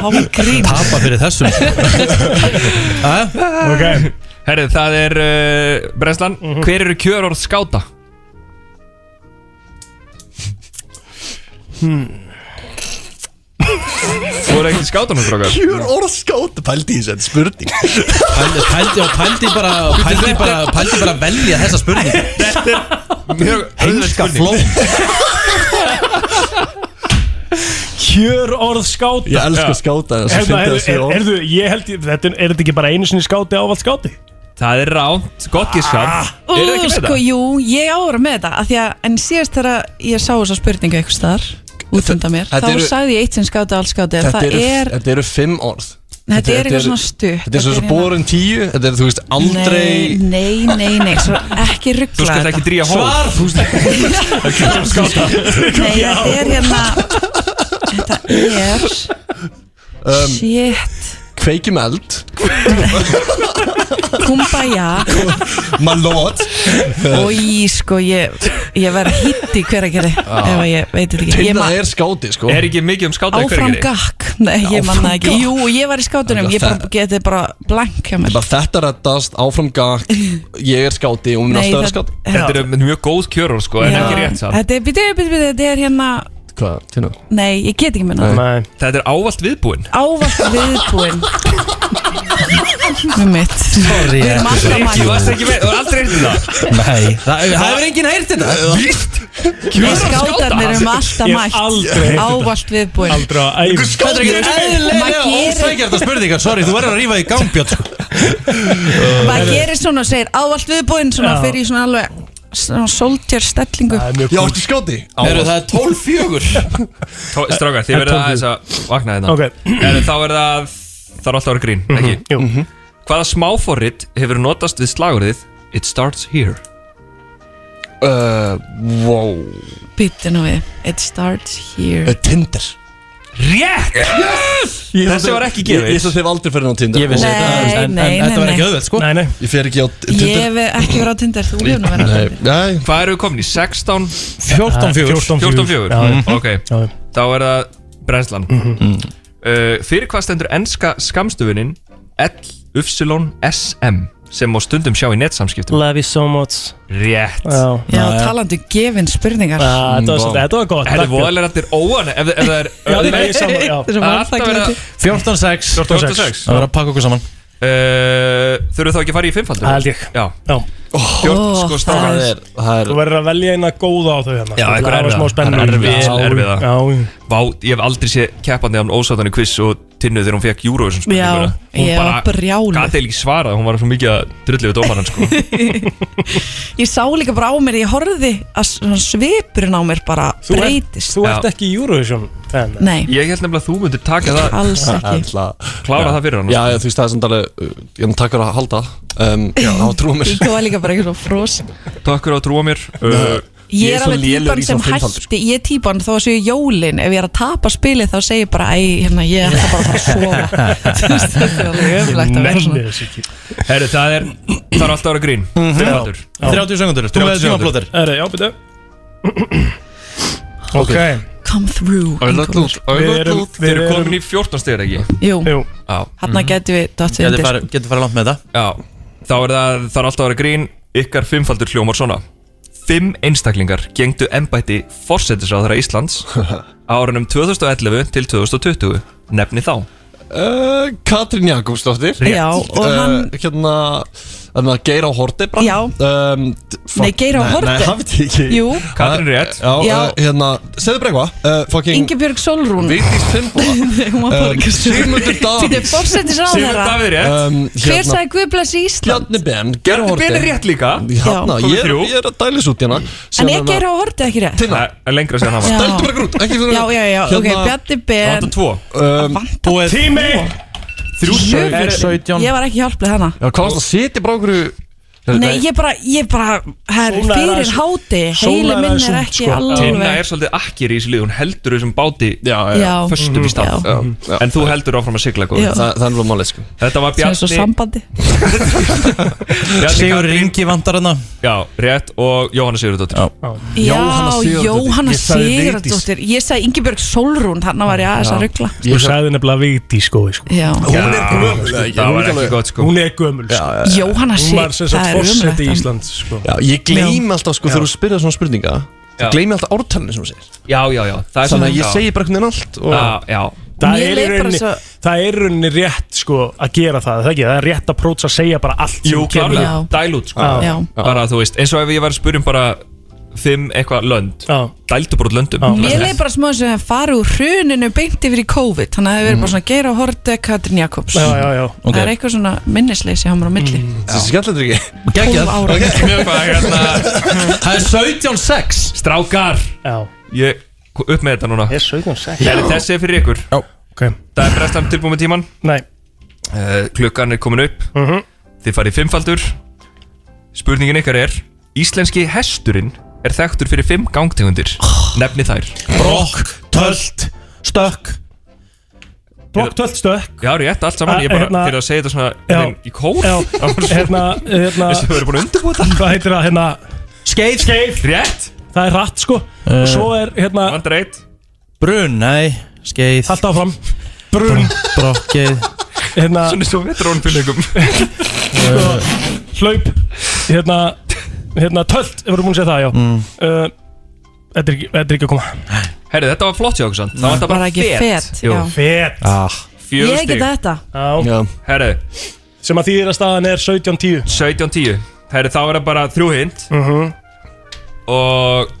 N: Háma grín
C: Tapa fyrir þessum
B: Ok Mhm.
O: Herri, það er uh, Breslan, hver eru kjörorð skáta?
B: Hmm.
O: Þú voru ekki skátanum, drókar
P: Kjör orðskáta Pældi í þessu, þetta er spurning
C: Pældi, pældi, og pældi bara Pældi bara, pældi bara að velja þessa spurningu
O: Mjög
C: Heimska flóð
B: Kjör orð skáta
P: Ég elska skáta, það er svo
B: Hérna,
P: fyndið að
B: Er,
P: segja
B: er,
P: orð.
B: er, er, ég held, ég- þetta, er þetta ekki bara einu sinni skáti ávald skáti?
O: Það er ránt, gott ég skátt ah,
N: Ú,
O: Er það ekki með
N: sko,
O: það?
N: Jú, ég ára með þetta af því að, En síðast þegar ég sá þessa spurningu eitthvað staðar út undan mér
P: Þetta
N: Þá
P: eru-
N: sagði ég eitt sem skáti alls skáti
P: Þetta
N: Það
P: eru,
N: er,
P: þetta eru fimm orð
N: Þetta er eitthvað
P: eru-
N: svona stutt.
P: Þetta er
N: Þetta
P: svona
N: er
P: svo borin tíu Þetta er, þú veist, aldrei
N: nei, nei, nei, nei Svo ekki ruggla
O: Þú skalt ekki dríja hól
N: Svar
O: Þú skalt ekki dríja skáta
N: Nei, þetta er hérna er
P: um,
N: Shit
P: Kveikjum eld
N: Kumbaya
P: My lord
N: Og ég sko, ég, ég verð hitt í hveragerði Ef að ég veit þetta ekki Ég
P: Tinna
N: ma-
P: er skáti sko
O: Er ekki mikið um skáta í
N: Áfram
O: hverjari?
N: gakk Nei, ég manna ekki
P: gakk.
N: Jú, ég var í skátunum Ég bara getið bara blank hjá mér
P: Bara þetta reddast, áfram gakk Ég er skáti og minn
N: Nei,
P: alltaf að vera
N: það-
P: skáti
N: já. Þetta
O: eru mjög góð kjörur sko En
N: Já.
O: ekki rétt samt
N: Þetta er, byrju, byrju, byrju, þetta er hérna
P: Hvað, Tinna?
N: Nei, ég get ekki minna
B: Nei.
O: Þetta er ávallt viðbúinn
N: Ávart viðbúinn Með mitt Sorry Við erum alltaf
O: Rikki, varstu ekki með- þú er aldrei eftir það
F: Nei, það það hefur enginn heyrt þetta
O: Víst
N: Við skátarnir erum alltaf
F: Ég hef aldrei
N: um mætt
F: heyrt
N: Ávart viðbúinn
B: Aldrei á ævi.
F: Þetta er ekki eðlilega ósækjart að spurninga Sorry, þú verður að rífa í gangbjörn sko.
N: Maður gerir svona og segir ávart viðbúinn Svona
F: Já.
N: fyrir í svona alveg Svona soldier stellingu
P: Já, ertu skáti?
O: Eru það
F: 12-4
B: Eh,
O: Strákar, þið
F: Það er
O: verður
F: tólf
O: aðeins að vakna þetta
B: Ok. Mhm,
O: En þá er það Það er alltaf að vera grín, ekki?
P: Mhm.
B: Jú
O: Hvaða smáforrit hefur notast við slagurðið It starts here?
P: Uh, wow
N: Býttu nú við It starts here
P: Tinder
O: Rétt! Yes! Þessi var ekki gefið
P: Ég þess að þið aldrei fyrir á Tinder
F: Ég vissi
N: Nei, þetta, en- en- nei, þetta var nei, ekki nei.
F: auðvelt sko
B: Nei, nei
P: Ég fer ekki á
N: Ég
P: Tinder
N: hef ekki verið á Tinder Þú hefur nú verið á Tinder
P: Nei
O: Hvað eru við komin í? 16?
F: 14-4.
O: 14-4
B: Já, já.
O: Mhm,
B: Mhm.
O: Ok, þá er það brennslan
P: Mhm.
O: uh, Fyrir hvað stendur enska skamstöfunin LYSM sem má stundum sjá í netsamskiptum
B: Love you so much
O: Rétt
B: Já,
N: Já, talandi um gefin spurningar
B: Ah, þetta var
O: Mm,
B: svolítið- þetta var gott,
O: Þetta er
B: takk.
O: voðalega allir óan ef, ef það er
B: Já, nei, ég sammála, já.
N: Þetta er svo
O: Alltaf verið að-
N: vanþakklæti.
F: 14-6
O: 14-6
F: Það var að pakka okkur saman
O: Uh, Þurfum við þá ekki að fara í fimmfaldur?
B: Það held ég.
O: Já,
B: Já
P: Oh.
O: Fjórn, sko, strákar.
P: það er- það er-
B: Þú verður að velja eina góða á þau hérna
O: Já,
B: Það
O: eitthvað
B: var smá
O: erfiða
B: spennu
O: Það er erfiða,
B: Já,
O: erfiða
B: Já,
O: Vá, ég hef aldrei séð keppandi án ósátanu quiz og tinnu þegar hún fekk Eurovision spurninguna
N: Já, ég var brjáluð.
O: Gat eða ekki svarað, hún var svo mikið að drullu við dómarann sko
N: Ég sá líka bara á mér, ég horfði að svona svipurinn á mér bara
B: Þú ert-
N: breytist
B: Þú ert ekki Eurovision fan
N: Nei,
O: Ég held nefnilega að þú myndir taka það
N: Alls ekki.
O: Klára það fyrir hann sko.
P: Já, já, þú veist það er samt alveg uh, Ég hann takkar að halda um, Já, það var trúa mér
N: Íko var líka bara eitthvað svo frosin
O: Takk fyrir að trúa mér uh,
N: Ég er
P: svo
N: alveg
P: lélegur
N: típan
P: í sko.
N: sem
P: svona fimmfaldur,
N: hætti Ég er típan þó að séu jólin Ef ég er að tapa spilið þá segir ég bara Æ, hérna, ég ætla bara að fara að sofa Þú veist, Þetta er alveg öflagt að vera svona
B: þessu ekki
O: Herru, það er, það er alltaf að vera grín
P: Mhm.
O: Fimmfaldur
F: 30 sekundur, þú með
O: 30
F: tíma
O: sekúndur.
F: plóter
B: Erðu, já, byrju Ok
N: Come through Ingólfur.
B: Við erum- við
O: Þeir eru
B: erum-
O: komin í 14 stegur ekki
N: Jú,
B: Jú
O: Já,
P: Mhm.
N: hann getur við dottir
F: Getur
N: undir
F: farið getur farið langt með þetta
O: já Þá er það, það er alltaf að vera grín Ykkar fimmfaldur hljómar svona Fimm einstaklingar gengdu embætti Forsetisráðara Íslands á árunum 2011 til 2020 Nefni þá
P: uh, Katrín Jakobsdóttir
N: Já, og hann-
P: uh, Hérna Þannig að Geir á Horti bara
N: Já.
P: um, d- fuck,
N: Nei, Geir á
P: nei,
N: Haarde?
P: Nei, það veit ég ekki
N: Jú,
O: Katrín er rétt
P: Já,
N: Já.
P: Uh, hérna Segðu bara eitthvað uh, Fucking
N: Ingebjörg Solrún
P: Vigdís Finnboga
N: Hún var bara
P: um,
N: ekki
P: Sigmundur
N: Þetta er
P: Davíð
N: fórsetis
O: Sigur Davíð er rétt
P: um,
B: Hérna.
N: Hver
C: hérna,
N: sagði Guð blessi Ísland?
P: Bjarni Ben Geir á
O: Gerði
P: Horti
O: Ben er rétt líka
P: Hérna,
O: Já.
P: ég,
O: Þrjú.
P: er- ég er að dælis út hérna
N: En ég ger á hortið ekki rétt
P: Tinna,
O: Það er lengra síðan hann var
N: Já.
P: dældu bara grút Ekki fyrir Hérna.
N: Já, já, já, ok, Bjarni
O: Það
N: Ben
O: vantar tvo
P: um,
F: Búið
B: Tími
O: Þrjú
N: Jöfull.
F: 17
N: Ég var ekki hjálplið hana
P: Já, hvað varst að setja bara okkur
N: Nei, ég bara, ég bara, herri,
B: Sóla er
N: fyrir
B: aðeins-
N: háti
B: Sóla er
N: Heili minn
B: aðeins
N: er
B: ung,
N: ekki
B: sko.
O: Tinna
N: alveg
O: er svolítið akkir í þessu lið Hún heldur þessum báti
P: Já, já, Mhm.
N: Já,
O: Föstum í stað Mhm.
N: já.
P: já.
O: En þú heldur áfram að sigla góð
N: Já.
P: Þa, Það er alveg málið sko
O: Þetta var
N: sem er svo
O: Bjarni,
N: sambandi
O: Bjarni
F: Sigur
O: Katrín-
F: Ringi vantar hana
O: Já, rétt og Jóhanna Sigurðardóttir
F: Já.
N: Já,
P: Jóhanna Sigurðardóttir. Ég
N: Jóhanna
P: sagði Vigdís.
N: Sigurðardóttir Ég sagði Ingebjörg Solrún, þannig var ég aðeins að ruggla
B: Þú sagði nefnilega Vigdís góði sko
N: Já,
P: Hún er gömul eða ekki?
O: Það
P: Hún er
O: var
P: alveg-
O: ekki gott sko
B: Hún er gömul sko
N: Jóhanna
B: Hún var sem sagt
N: Sigurðardóttir, það er
B: fórseti í
N: umrætt
B: Ísland sko
P: Já, ég gleymi alltaf sko þegar þú spyrðar svona spurninga
O: Já.
P: Ég gleymi alltaf ártalinu sem þú segir
O: Já, já, já það
P: Þannig
O: er
P: að
O: svona-
P: ég segi bara hvernig allt og
O: Já, já
B: Það
N: Mér
B: er, í
N: leið bara
B: rauninni,
N: svo-
B: það er í rauninni rétt sko að gera það, er það ekki, það er rétt að prótsa að segja bara allt sem
O: Jú,
B: kemur.
O: klálega,
N: Já.
O: dæl út sko
B: Já.
N: Já,
O: Bara þú veist, eins og ef ég var að spyrja um bara Fimm eitthvað lönd
B: Já,
O: Dældu bara út löndum
N: Mér leið bara smá sem að fara úr hruninu beint yfir í COVID Þannig að það hefur verið bara svona Geir á horti Katrin Jakobs
B: já, já, já.
F: Ok.
N: Það er eitthvað svona minnisleysi á mér á milli
O: Mm.
P: Það er skemmtilegt ekki
F: Geggjað.
N: 12 ára
O: Mjög hvað, hérna
F: Það er 17-6
O: Strákar
B: já.
O: Ég, upp með þetta núna
B: Ég er 17 sek
O: Er þessi er fyrir ykkur?
B: Ok,
O: Það er brestan tilbúið með tíman
B: nei, Mhm.
O: uh, Klukkan er komin upp Þið farið í fimmfaldur Spurningin ykkar er Íslenski hesturinn er þekktur fyrir fimm gangtegundir Nefni þær
F: Brokk, tölt,
C: stökk
B: Blokktöld stökk
O: Já, rétt, allt saman, ég bara,
B: Hérna-
O: fyrir að segja þetta svona
B: Já.
O: hérna, í kór
B: Já, hérna, hérna
O: Þessi hefur verið búin að undirbúa þetta
B: Hvað heitir það, hérna
C: Skeið
B: Skeið
O: Rétt
B: Það er rætt, sko
C: Eh.
B: Og svo er, hérna
O: Vandar eitt
C: Brun, nei, skeið
B: Hallt áfram Brun
C: Brokkið
B: Hérna
O: Svona svo vetrónum
B: sko, Hlaup Hérna Hérna, töld Ég voru búin að segja það, já mm. uh, Þetta er ekki, þetta er ekki að koma
O: Herri, þetta var flott hjá okkur sann Það var þetta
B: Var
O: bara
B: ekki
N: fet,
O: Jú.
N: já.
B: Fet
C: ah.
O: Fjögur
N: Ég
O: stig.
N: geta þetta
B: Já
O: Herri
B: Sem að þýðir að staðan er 17-10
O: 17-10 Herri, þá er það bara þrjú hint
B: Mhm.
O: Og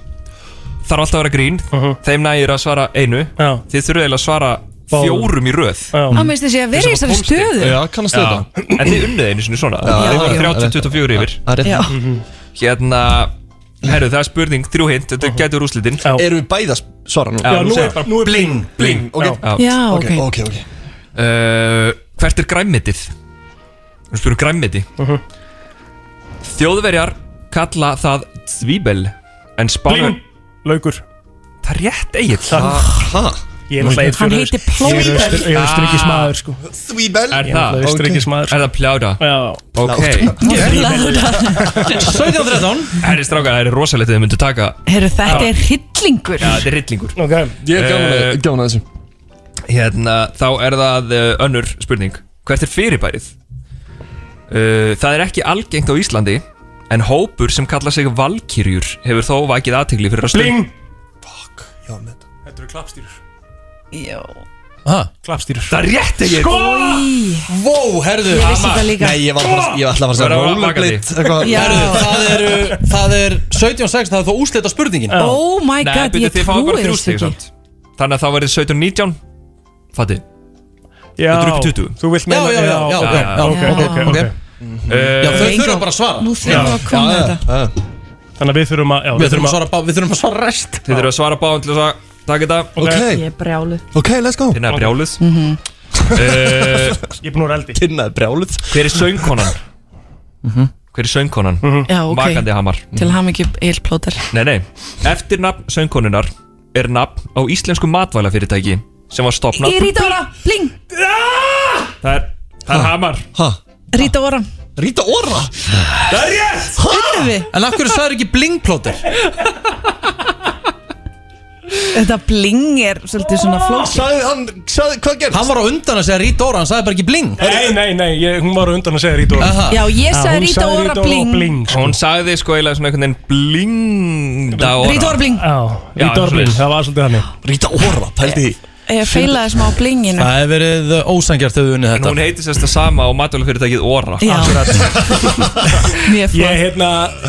O: Það er alltaf að vera grín Þeim nægir að svara einu
B: Mhm. Já.
O: Þið þurfið eiginlega að svara
B: Báðum.
O: fjórum í röð
B: Já
N: Á, minnst þessi að vera í þessari stöðu
O: þetta En þið unnið einu sinni svona
N: Já,
O: Þið voru
N: já,
O: 30-24 yfir
N: það er rétt. Já.
O: Mhm. Hérna Herru, það er spurning, þrjú hint, þetta gætur úrslitin
P: Erum við bæða svara nú?
O: Já, nú er bara
B: nú er bling,
O: bling
P: ok.
N: Já, ok.
P: Ok, ok
O: Uh, Hvert er græmmetið? Við spyrum græmmeti Þjóðverjar kalla það Zvíbel En spánar
B: Bling Laukur
O: Það er rétt eigið
B: Ég er náttúrulega
O: Hann heitir Plóter.
B: Ég er austuríkis maður sko
P: Þvíbel
B: Ég
O: Er
B: er
O: það?
B: náttúrulega austuríkis maður
O: Er það pljáta?
B: Já
O: Ok Herri strákar, það er rosalegt að þið myndu taka
N: Heru, þetta
O: Já.
N: er hryllingur
O: Já, þetta er rillingur
B: Ok
P: Ég
O: Eh,
P: er gaman að- gaman að þessu
O: Hérna, þá er það uh, önnur spurning Hvert er fyrirbærið? Uh, það er ekki algengt á Íslandi En hópur sem kalla sig valkyrjur Hefur þó vakið aðtegli fyrir að stund
B: Bling
P: Já, með þetta
B: Þetta eru klappstýrur
N: Já
B: Klappstýrur
O: Það er rétt ekki
B: Sko
C: Vó, herðu
N: Ég vissi það líka.
C: Nei, ég var bara Ég ætla bara að segja
P: Verður að
C: rollerblade
P: vaka því.
C: eitthvað.
P: Já.
C: Herðu, það eru Það er 17-6 Það er þá úslita spurningin
N: Oh my
O: Nei,
N: god,
O: byrju,
N: ég
O: þið fáið bara
N: trúi
O: þrjú
N: þessu
O: stig
N: ekki
O: samt. Þannig að þá verið 17-19 Fatti
B: Já
O: Þetta er upp í 20.
B: Þú vilt meina
C: Já, já, já, já, já, já,
B: Ok, ok, Eh, ok, ok
C: Já, þau þurfa bara að svara
N: Nú þurfum við að koma með þetta
B: Þannig að við þurfum að já,
C: Við þurfum að svara bá- Við þurfum að svara rest
O: Þið þurfum að svara báðum til þess að taka þetta
P: Ok,
N: Ég er brjáluð
P: ok, let's go Mhm.
O: Þinn er brjálið
B: Ég er búin að vera eldi
P: Kinnaði brjálið
O: Hver er söngkonan? Hver er söngkonan?
N: Mhm. Já, ok.
O: Vakandi hamar
N: Til ham ekki eilplóter
O: Nei, nei Eftir nafn söngkonunar er nafn á íslensku matvælafyrirtæki sem var stopnað
N: Í rítára, bling
O: Það er, það er hamar
N: Rítára
P: Rita Ora
O: Það er rétt
N: Unnum við
C: En af hverju sagður ekki blingplóter?
N: Þetta bling er svolítið svona flókið
P: Sæði hann, sæði, hvað gerst?
C: Hann var á undan að segja Rita Ora Hann sagði bara ekki bling
B: Nei, nei, nei, ég, hún var á undan að segja Rita Ora
N: Já, ég
B: Já,
N: sagði
B: hún
N: Rita
B: sagði
N: Ora
B: Rita
N: bling
B: Bling sko.
O: Hún sagði sko eiginlega svona einhvern veginn blingda orða
N: Rita Ora bling
B: Já,
O: Já,
B: Rita Ora Bling,
O: svoleiðis.
B: það var svolítið hannig
P: Rita Ora, pældi því
N: Ég feilaði smá á blinginu
C: Það hefur verið ósangjart Þau unnið
O: En
C: þetta
O: hún heitir sérst það sama á matvælafyrirtækið Ora
N: Já, mjög
B: Ég,
N: flott
B: hérna,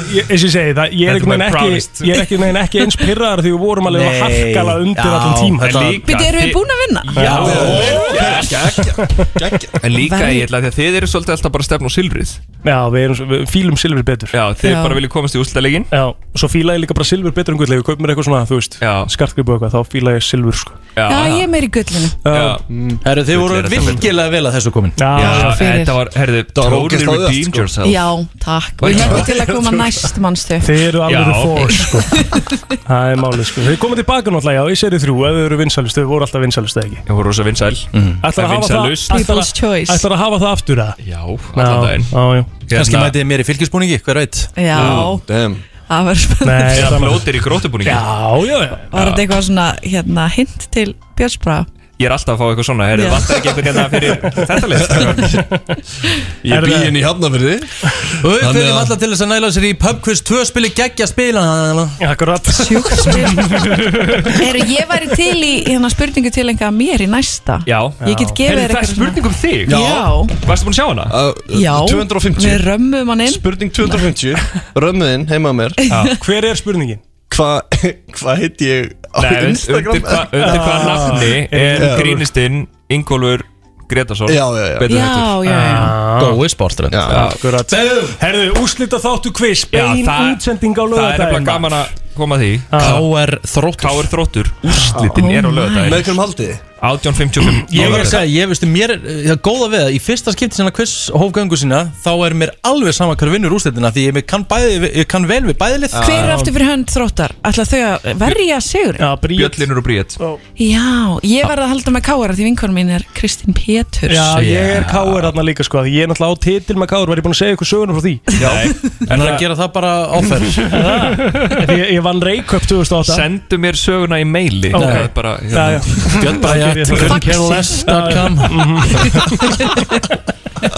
B: ég, eins og ég segi það Ég er
O: Þetta
B: einhvern
O: er
B: veginn
O: promised.
B: ekki Ég er ekki, neginn, ekki eins pyrraðar því við vorum alveg að
C: Nei.
B: harkala undir
C: Já,
B: allan tíma
C: þetta-
O: En líka
N: Býttu, erum við
O: þið-
N: búin að vinna?
O: Já, geggja, geggja En líka
N: Verð-
O: ég ætla að því að þið eru svolítið alltaf bara að stefna á silfrið
B: Já, við, erum, svo- við fílum silfur betur
O: Já, þið
N: Já.
O: bara viljið komast í úrslitalegin
B: Já, og svo fíla ég líka bara silfur betur en gull Ef ég kaup mér eitthvað svona, þú veist,
O: Já.
B: skartgripu eitthvað Þá fíla ég silfur, sko
N: Já, ég er meir í gullinu
O: Já,
C: Herru, þið voru
O: Þetta er þetta.
C: virkilega vel að þessu komin
B: Já,
O: já,
N: fyrir.
O: þetta var, herðu,
P: var
O: totally
P: ógeðslega auðvelt,
O: redeemed
P: sko.
O: yourself
N: Já, takk Og ég hefði til að koma næst, mannstu
B: Þið eru alveg
O: Já.
B: fór, sko Það er málið, sko Þið komið tilbaka náttúrulega, já, í seri þrjú Ef þið eru vinsælust, þið voru alltaf vinsælust, eða ekki
O: Ég voru rosa vinsæl
B: Ætlar að hafa það
O: Vinsælust.
B: ætlar
N: People's
B: að-
N: choice.
B: ætlar að hafa það aftur, eða?
O: Já, allan daginn Hérna-
B: Já, Hérna- já, já.
C: Kanski mætið þið mér í fylgisbúningi, hver veit
N: Já,
P: Damn
N: það var spennandi
B: Nei,
O: Eða
B: það-
O: blótir í grótubúningi
B: Já, já, já
N: Var þetta eitthvað svona, hérna, hint til Björnsbra?
O: Ég er alltaf að fá eitthvað svona, herðu,
N: Já.
O: vantar ekki einhvern hérna fyrir þetta list
P: Ég bý henni í hafnafyrði
C: Og við
P: Þannig
C: fyrir
P: að-
C: alltaf til þess að næla sér í pubquiz 2 spili geggja spila
B: Akkurat
N: Eru, ég væri til í hérna spurningu til einhvað mér í næsta
O: Já
N: Ég get
O: Herðu,
N: gefið þér
O: það er
N: eitthvað svona-
O: spurning um þig
N: Já,
O: Varstu búin að sjá hana?
P: Uh,
N: já
P: 250
N: Við römmum hann inn
P: Spurning 250 Römmuðinn heima á mér
B: Hver er spurningin?
P: Hvað hva heit ég á
O: Nei, undir
P: Instagram?
O: undir hvað undir
N: Ah.
O: hvaða nafni er
P: Já.
O: grínistinn Ingólfur Gretarsson
P: Já, já, já.
O: Betur Ah. hættur
N: Já, já, já
C: Gói sportrönd
P: Já.
B: Akkurat Herðu, úslita þáttu quiz Bein
O: það er-
B: útsending á
O: Það er nefnilega
B: lögadaginn
O: gaman að koma að því
C: K.R. þróttur
O: K.R. Þróttur, Ah. úrslitin er á
N: my.
O: lögadaginn
P: Með hverjum haldið? þið?
O: 1855
C: Ég verður að segja, ég veistu, mér er, það er góða við það Í fyrsta skipti sinna quiz hófgöngu sína Þá er mér alveg sama hver vinnur úrstættina Því ég mér kann, bæði, ég kann vel við bæðilið
N: Hver
P: Ah.
N: er aftur fyrir hönd þróttar? Ætla þau að verja sigur?
B: Já,
O: Bjöllinur og Bríett
N: Já, ég verð að halda með káar Því vinkonum mín er Kristín Péturs
B: Já, ég er káur þarna líka sko Ég er náttúrulega á titil með káur, var ég búin að segja ykkur söguna frá því
C: En það er að gera það bara áferð
B: Því Ég, ég vann Reykjöp 2008
O: Sendu mér söguna í maili
B: Ok.
O: Það er bara hérna,
B: Já, já.
O: Björn bara,
B: Já,
O: já,
B: já. Faxi.
C: Careless.com.
B: Já, já.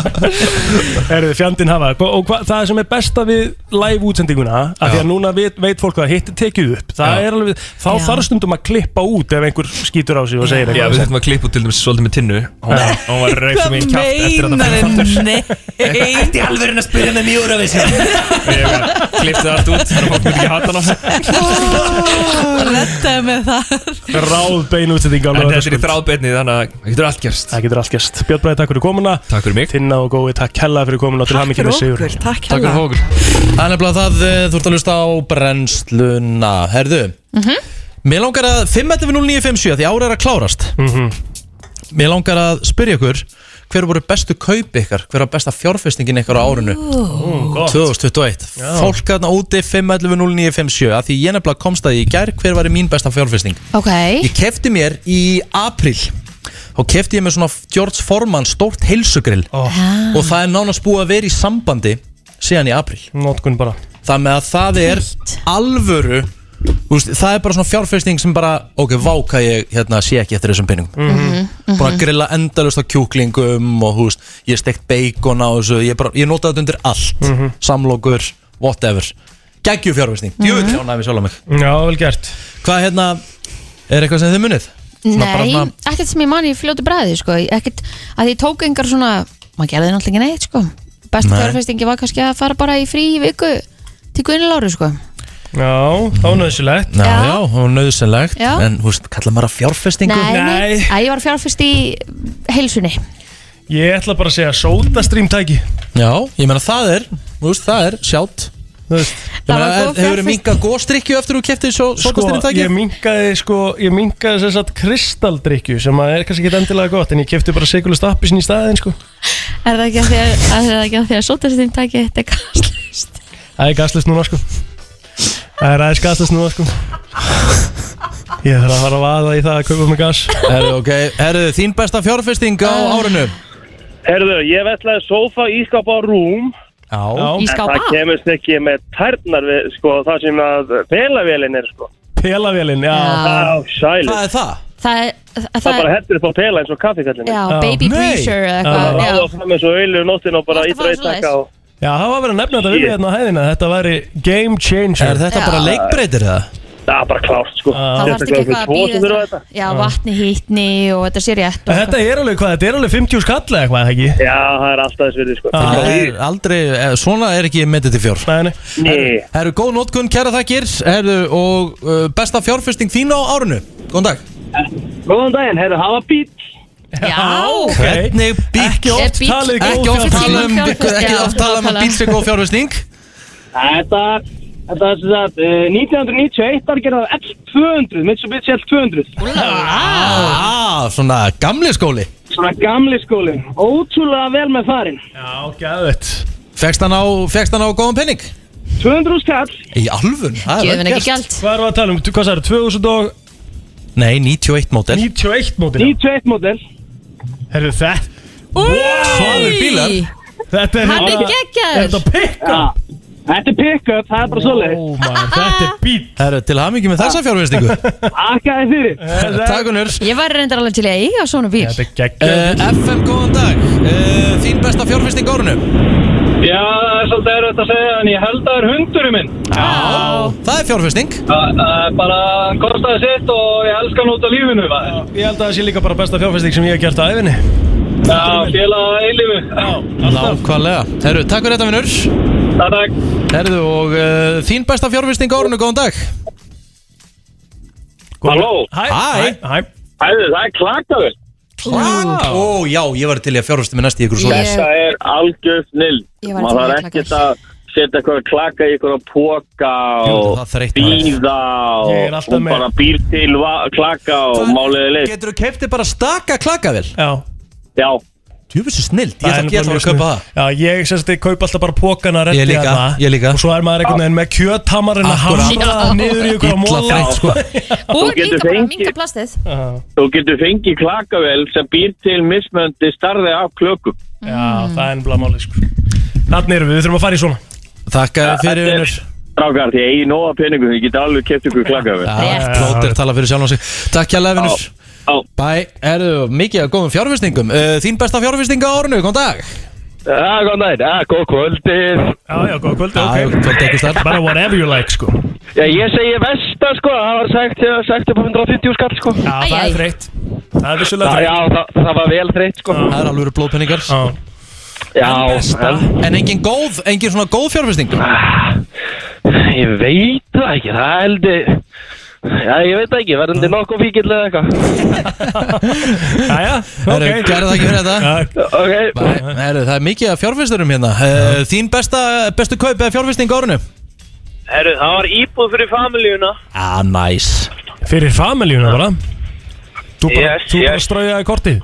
B: Erðu fjandinn hafa Hva- Og hva, það sem er besta við live útsendinguna að Því að núna veit, veit fólk að hitt er tekið upp Það er alveg, þá
O: Já.
B: þarf stundum að klippa út ef einhver skýtur á sig og segir
O: Já, við þurfum að klippa út til dæmis svolítið með tinnu Hún var- hún var reykt um einn kjátt eftir að það fyrir
N: meinar Nei
C: Ertu í alvöru að spyrja með mjög úr af þessu?
O: Klippti það allt út, þannig að fólk myndi ekki hata hana
N: Rettaði með það
B: Ráð bein útsending á
O: En þetta er í
B: laugardagskvöld.
O: þráðbeinni, þannig að það getur allt gerst
B: Það getur allt gæst Björn Bræði, takk fyrir komuna
O: Takk fyrir mig
B: Tinna og Gói, takk hella fyrir komuna og til hamingi með sigur
N: takk
C: Takk fyrir okkur Það er nefnilega það, eh, þú ert að hlusta á brennsluna Herðu, mér langar að 5.11.09.57, því ára er að klárast
B: Mhm.
C: Mér langar að spyrja ykkur Hver voru bestu kaup ykkar? Hver var besta fjárfestingin ykkar á árinu?
B: gott.
C: 2021
B: Já.
C: Fólk aðna úti 5.11.09.57 af Því ég nefnilega komst að því í gær Hver var mín besta fjárfesting?
D: Ok,
C: Ég kefti mér í april og kefti ég mér svona George Foreman stórt heilsugrill
B: Ah.
C: og það er nánast búið að vera í sambandi síðan í april
B: Notkun bara
C: Það með að það er alvöru úst, það er bara svona fjárfesting sem bara ok, váka ég hérna sé ekki eftir þessum pinningum
Q: Mhm, mhm.
C: Búin að grilla endalust á kjúklingum og húst, ég stekt bacon á þessu ég, bara, ég notaði þetta undir allt
B: Mhm.
C: samlokur, whatever Gægju fjárfesting, djúvill
Q: Mhm.
C: mm -hmm. sjálf á mig
B: Já, vel gert
C: Hvað hérna, er eitthvað sem þið munið? Svona bara
D: nei,
C: svona-
D: ekkert sem ég man í fljótu bræði sko. ekkert að ég tók engar svona maður gerði náttúrulega ekki neitt sko. besta
C: Nei.
D: fjárfestingi var kannski að fara bara í frí í viku til Gunniláru sko.
B: Já, þá nöðsilegt
C: Já, já, það var nöðsynlegt
D: Já.
C: En þú veist, kalla maður að fjárfestingu
D: nei, nei. Æ, ég var fjárfest í heilsunni
B: Ég ætla bara að segja sódastream tæki
C: Já, ég meina það er, þú veist, það er sjátt
B: Þú veist
C: Ég meina, er- hefur þið minkað góstrykju eftir þú keftið svo
B: Sko,
C: sótastyrintæki?
B: ég minkaði sko, ég minkaði þess að kristaldrykju sem að er kannski ekki endilega gott en ég kefti bara sekulust appisinn í staðin sko
D: er það ekki að því að, að, það ekki að, því að sótastinn tæki þetta kastlist
B: Það er gaslist núna sko Það er aðeins gaslist núna sko Ég þarf að fara að vaða í það að kaupa með gas
C: Herðu, ok, herðu, þín besta fjárfesting á
D: Ah.
C: árinu
R: Herðu, ég vettlaði sófa ískap á rúm
C: Já
R: En Það kemurst ekki með tærnar við, sko, það sem að pelavélin er, sko
B: Pelavélin, já
R: Já, sælir
C: Hvað er það?
D: það er hérna, það,
R: Það bara hendur upp á pela eins og kaffikallin
D: Já, baby Nei. breezer eða eitthvað,
R: Já,
D: já.
R: ráða fram eins og auðlu nóttin og bara
D: Þetta
R: ítra
D: var
R: eitt taka
D: svoleiðis.
R: og
B: Já, það var verið að nefna þetta við mig hérna á hæðina Þetta væri game changer Ah.
C: Er þetta bara Já. leikbreytir eða?
R: Það er bara klárt sko
D: það varst ekki eitthvað að býða þetta Ah. já, vatni hittni og þetta sé rétt og
B: Þetta er alveg hvað, þetta er alveg 50 skall eða eitthvað, ekki? Ah.
R: Já, það er alltaf þess verið sko
C: Það er aldrei, eh, svona er ekki metið til fjár
B: Nei, nei
R: Nei.
C: Herru, góð nótkunn, kæra þakkir Herru, og uh, besta fjárfesting þín á árinu Góðan dag
F: Góðan daginn, herru, hafa bít
D: Já, ok.
C: Hvernig bíl
B: Ekki oft
D: bíll-
B: talið góð
C: Ekki oft
B: fjárfesting.
C: tala um, ekki oft tala um að bíl sé góð fjárfesting
F: Þetta, þetta er sem sagt, eh, 1991 þar gerða það L200, Mitsubishi L200
C: Ah, svona gamli skóli
F: Svona gamli skólin, ótrúlega vel með farin
B: Já, gæðvett
C: Fekst hann á, fekst hann á góðan penning?
F: 200 skall
C: Í alvun? Það er vel gert.
D: gælt
B: Hvað erum við að tala um? Hvað sagður, 2000 og
C: Nei, 91 mótel
B: 91 mótil
F: 91 mótel
B: Herru þetta
C: Hvað er bílar?
B: Þetta er
D: Hann er
B: hérna-
D: geggjaður.
B: Er Þetta er pick-up
F: Þetta er pick-up, það er bara svoleiði
C: Oh
B: maður, Ah, Þetta er Ah. bíl
C: Herru, Ah. til hamingi með þessa fjárfestingu
F: Akkaði fyrir
C: Takk unnur
D: ég var reyndar alveg til í að eiga svona bíl
B: Þetta er gegn
C: uh, FM, góðan dag uh, Þín besta fjárfesting árunu
F: Já, það er svolítið erfitt að segja en ég held að það er hundurinn minn
C: Já Það er fjárfesting
F: Það er bara hann kostaði sitt og ég elska hann út af lífinu maður.
B: Ég held að það sé líka bara besta fjárfæsting sem ég hef gert á æfinni
F: Já, félag að eilifu
C: Nákvæmlega Herru, takk fyrir þetta vinnur
F: Takk
C: Herru, og uh, þín besta fjárfesting árunu, góðan dag
F: Halló
B: Hæ
C: Hæ.
B: Hæ
F: Hæðu, það er klakaður
C: Ó, já, ég var til í að fjárfesta með næst í ykkur svo
D: Ég-
F: Þetta er algjör snill
D: Ég var að
F: Maður
D: tala
F: þarf
D: um
F: ekkert að setja eitthvað klaka í eitthvað póka og býða
C: Ég er
F: og,
C: alltaf
F: og
C: með.
F: bara býr til va- klaka og máliði leitt
C: Getur þú keftið bara staka klakavel?
B: Já
F: Já
C: Djúfis er snild,
B: Það
C: ég ætla
B: er
C: ekki að
B: nefnilega
C: að kaupa það
B: lausnin. Já, ég semst ég kaupa alltaf bara pókana
C: Ég líka,
B: ég líka hérna. Og svo er maður einhvern veginn með kjöthamarinn að
C: Akkúrat.
B: hamra það niður í ykkur á
C: Illa
B: móla
C: frætt, sko.
D: Og
F: getur
D: líka bara
F: fengið-
D: minga plastið
F: Þú getur fengið klakavel sem býr til mismöndi starði af klökum
B: Já, það er ennblá máli sko Þannig erum við, við þurfum að fara í svona
C: Takka fyrir
F: Þetta er- Strákar, því ég eigi nóga peningum, ég get alveg keft ykkur klakavel
C: Plóter tala fyrir sjálf og sig Takk hjá lefinur Bæ, erðu mikið að góðum fjárfestingum uh, Þín besta fjárfestinga á árinu, góðan dag
S: Já, góðan dag, já, góð kvöldið Já,
B: já, góð kvöldið,
C: ok Góð kvöldið, ekki starf
B: Bara whatever you like sko
S: Já, ég segi vesta, sko, það var sagt, sagt upp á 150 skall, sko Já,
B: það er þreytt Það er vissulega
S: Já, það, það var vel þreytt, sko
C: Það er alveg blóðpenningar
S: Já,
C: En engin góð, engin svona góð fjárfesting
S: en Ah, ég veit það ekki, það heldur Já, ég veit það ekki, verðandi nokkuð fíkild eða eitthvað
B: Jæja,
C: ok Gerðu það ekki fyrir þetta
S: Ok
C: Bæ, herðu, það er mikið að fjárfesturum hérna uh, Þín besta, bestu kaup eða fjárfesting á árinu
S: Herru, það var íbúð fyrir familíuna
C: Ah, nice
B: Fyrir familjuna bara Þú bara,
S: Yes,
B: þú bara
S: yes.
B: straujaði kortið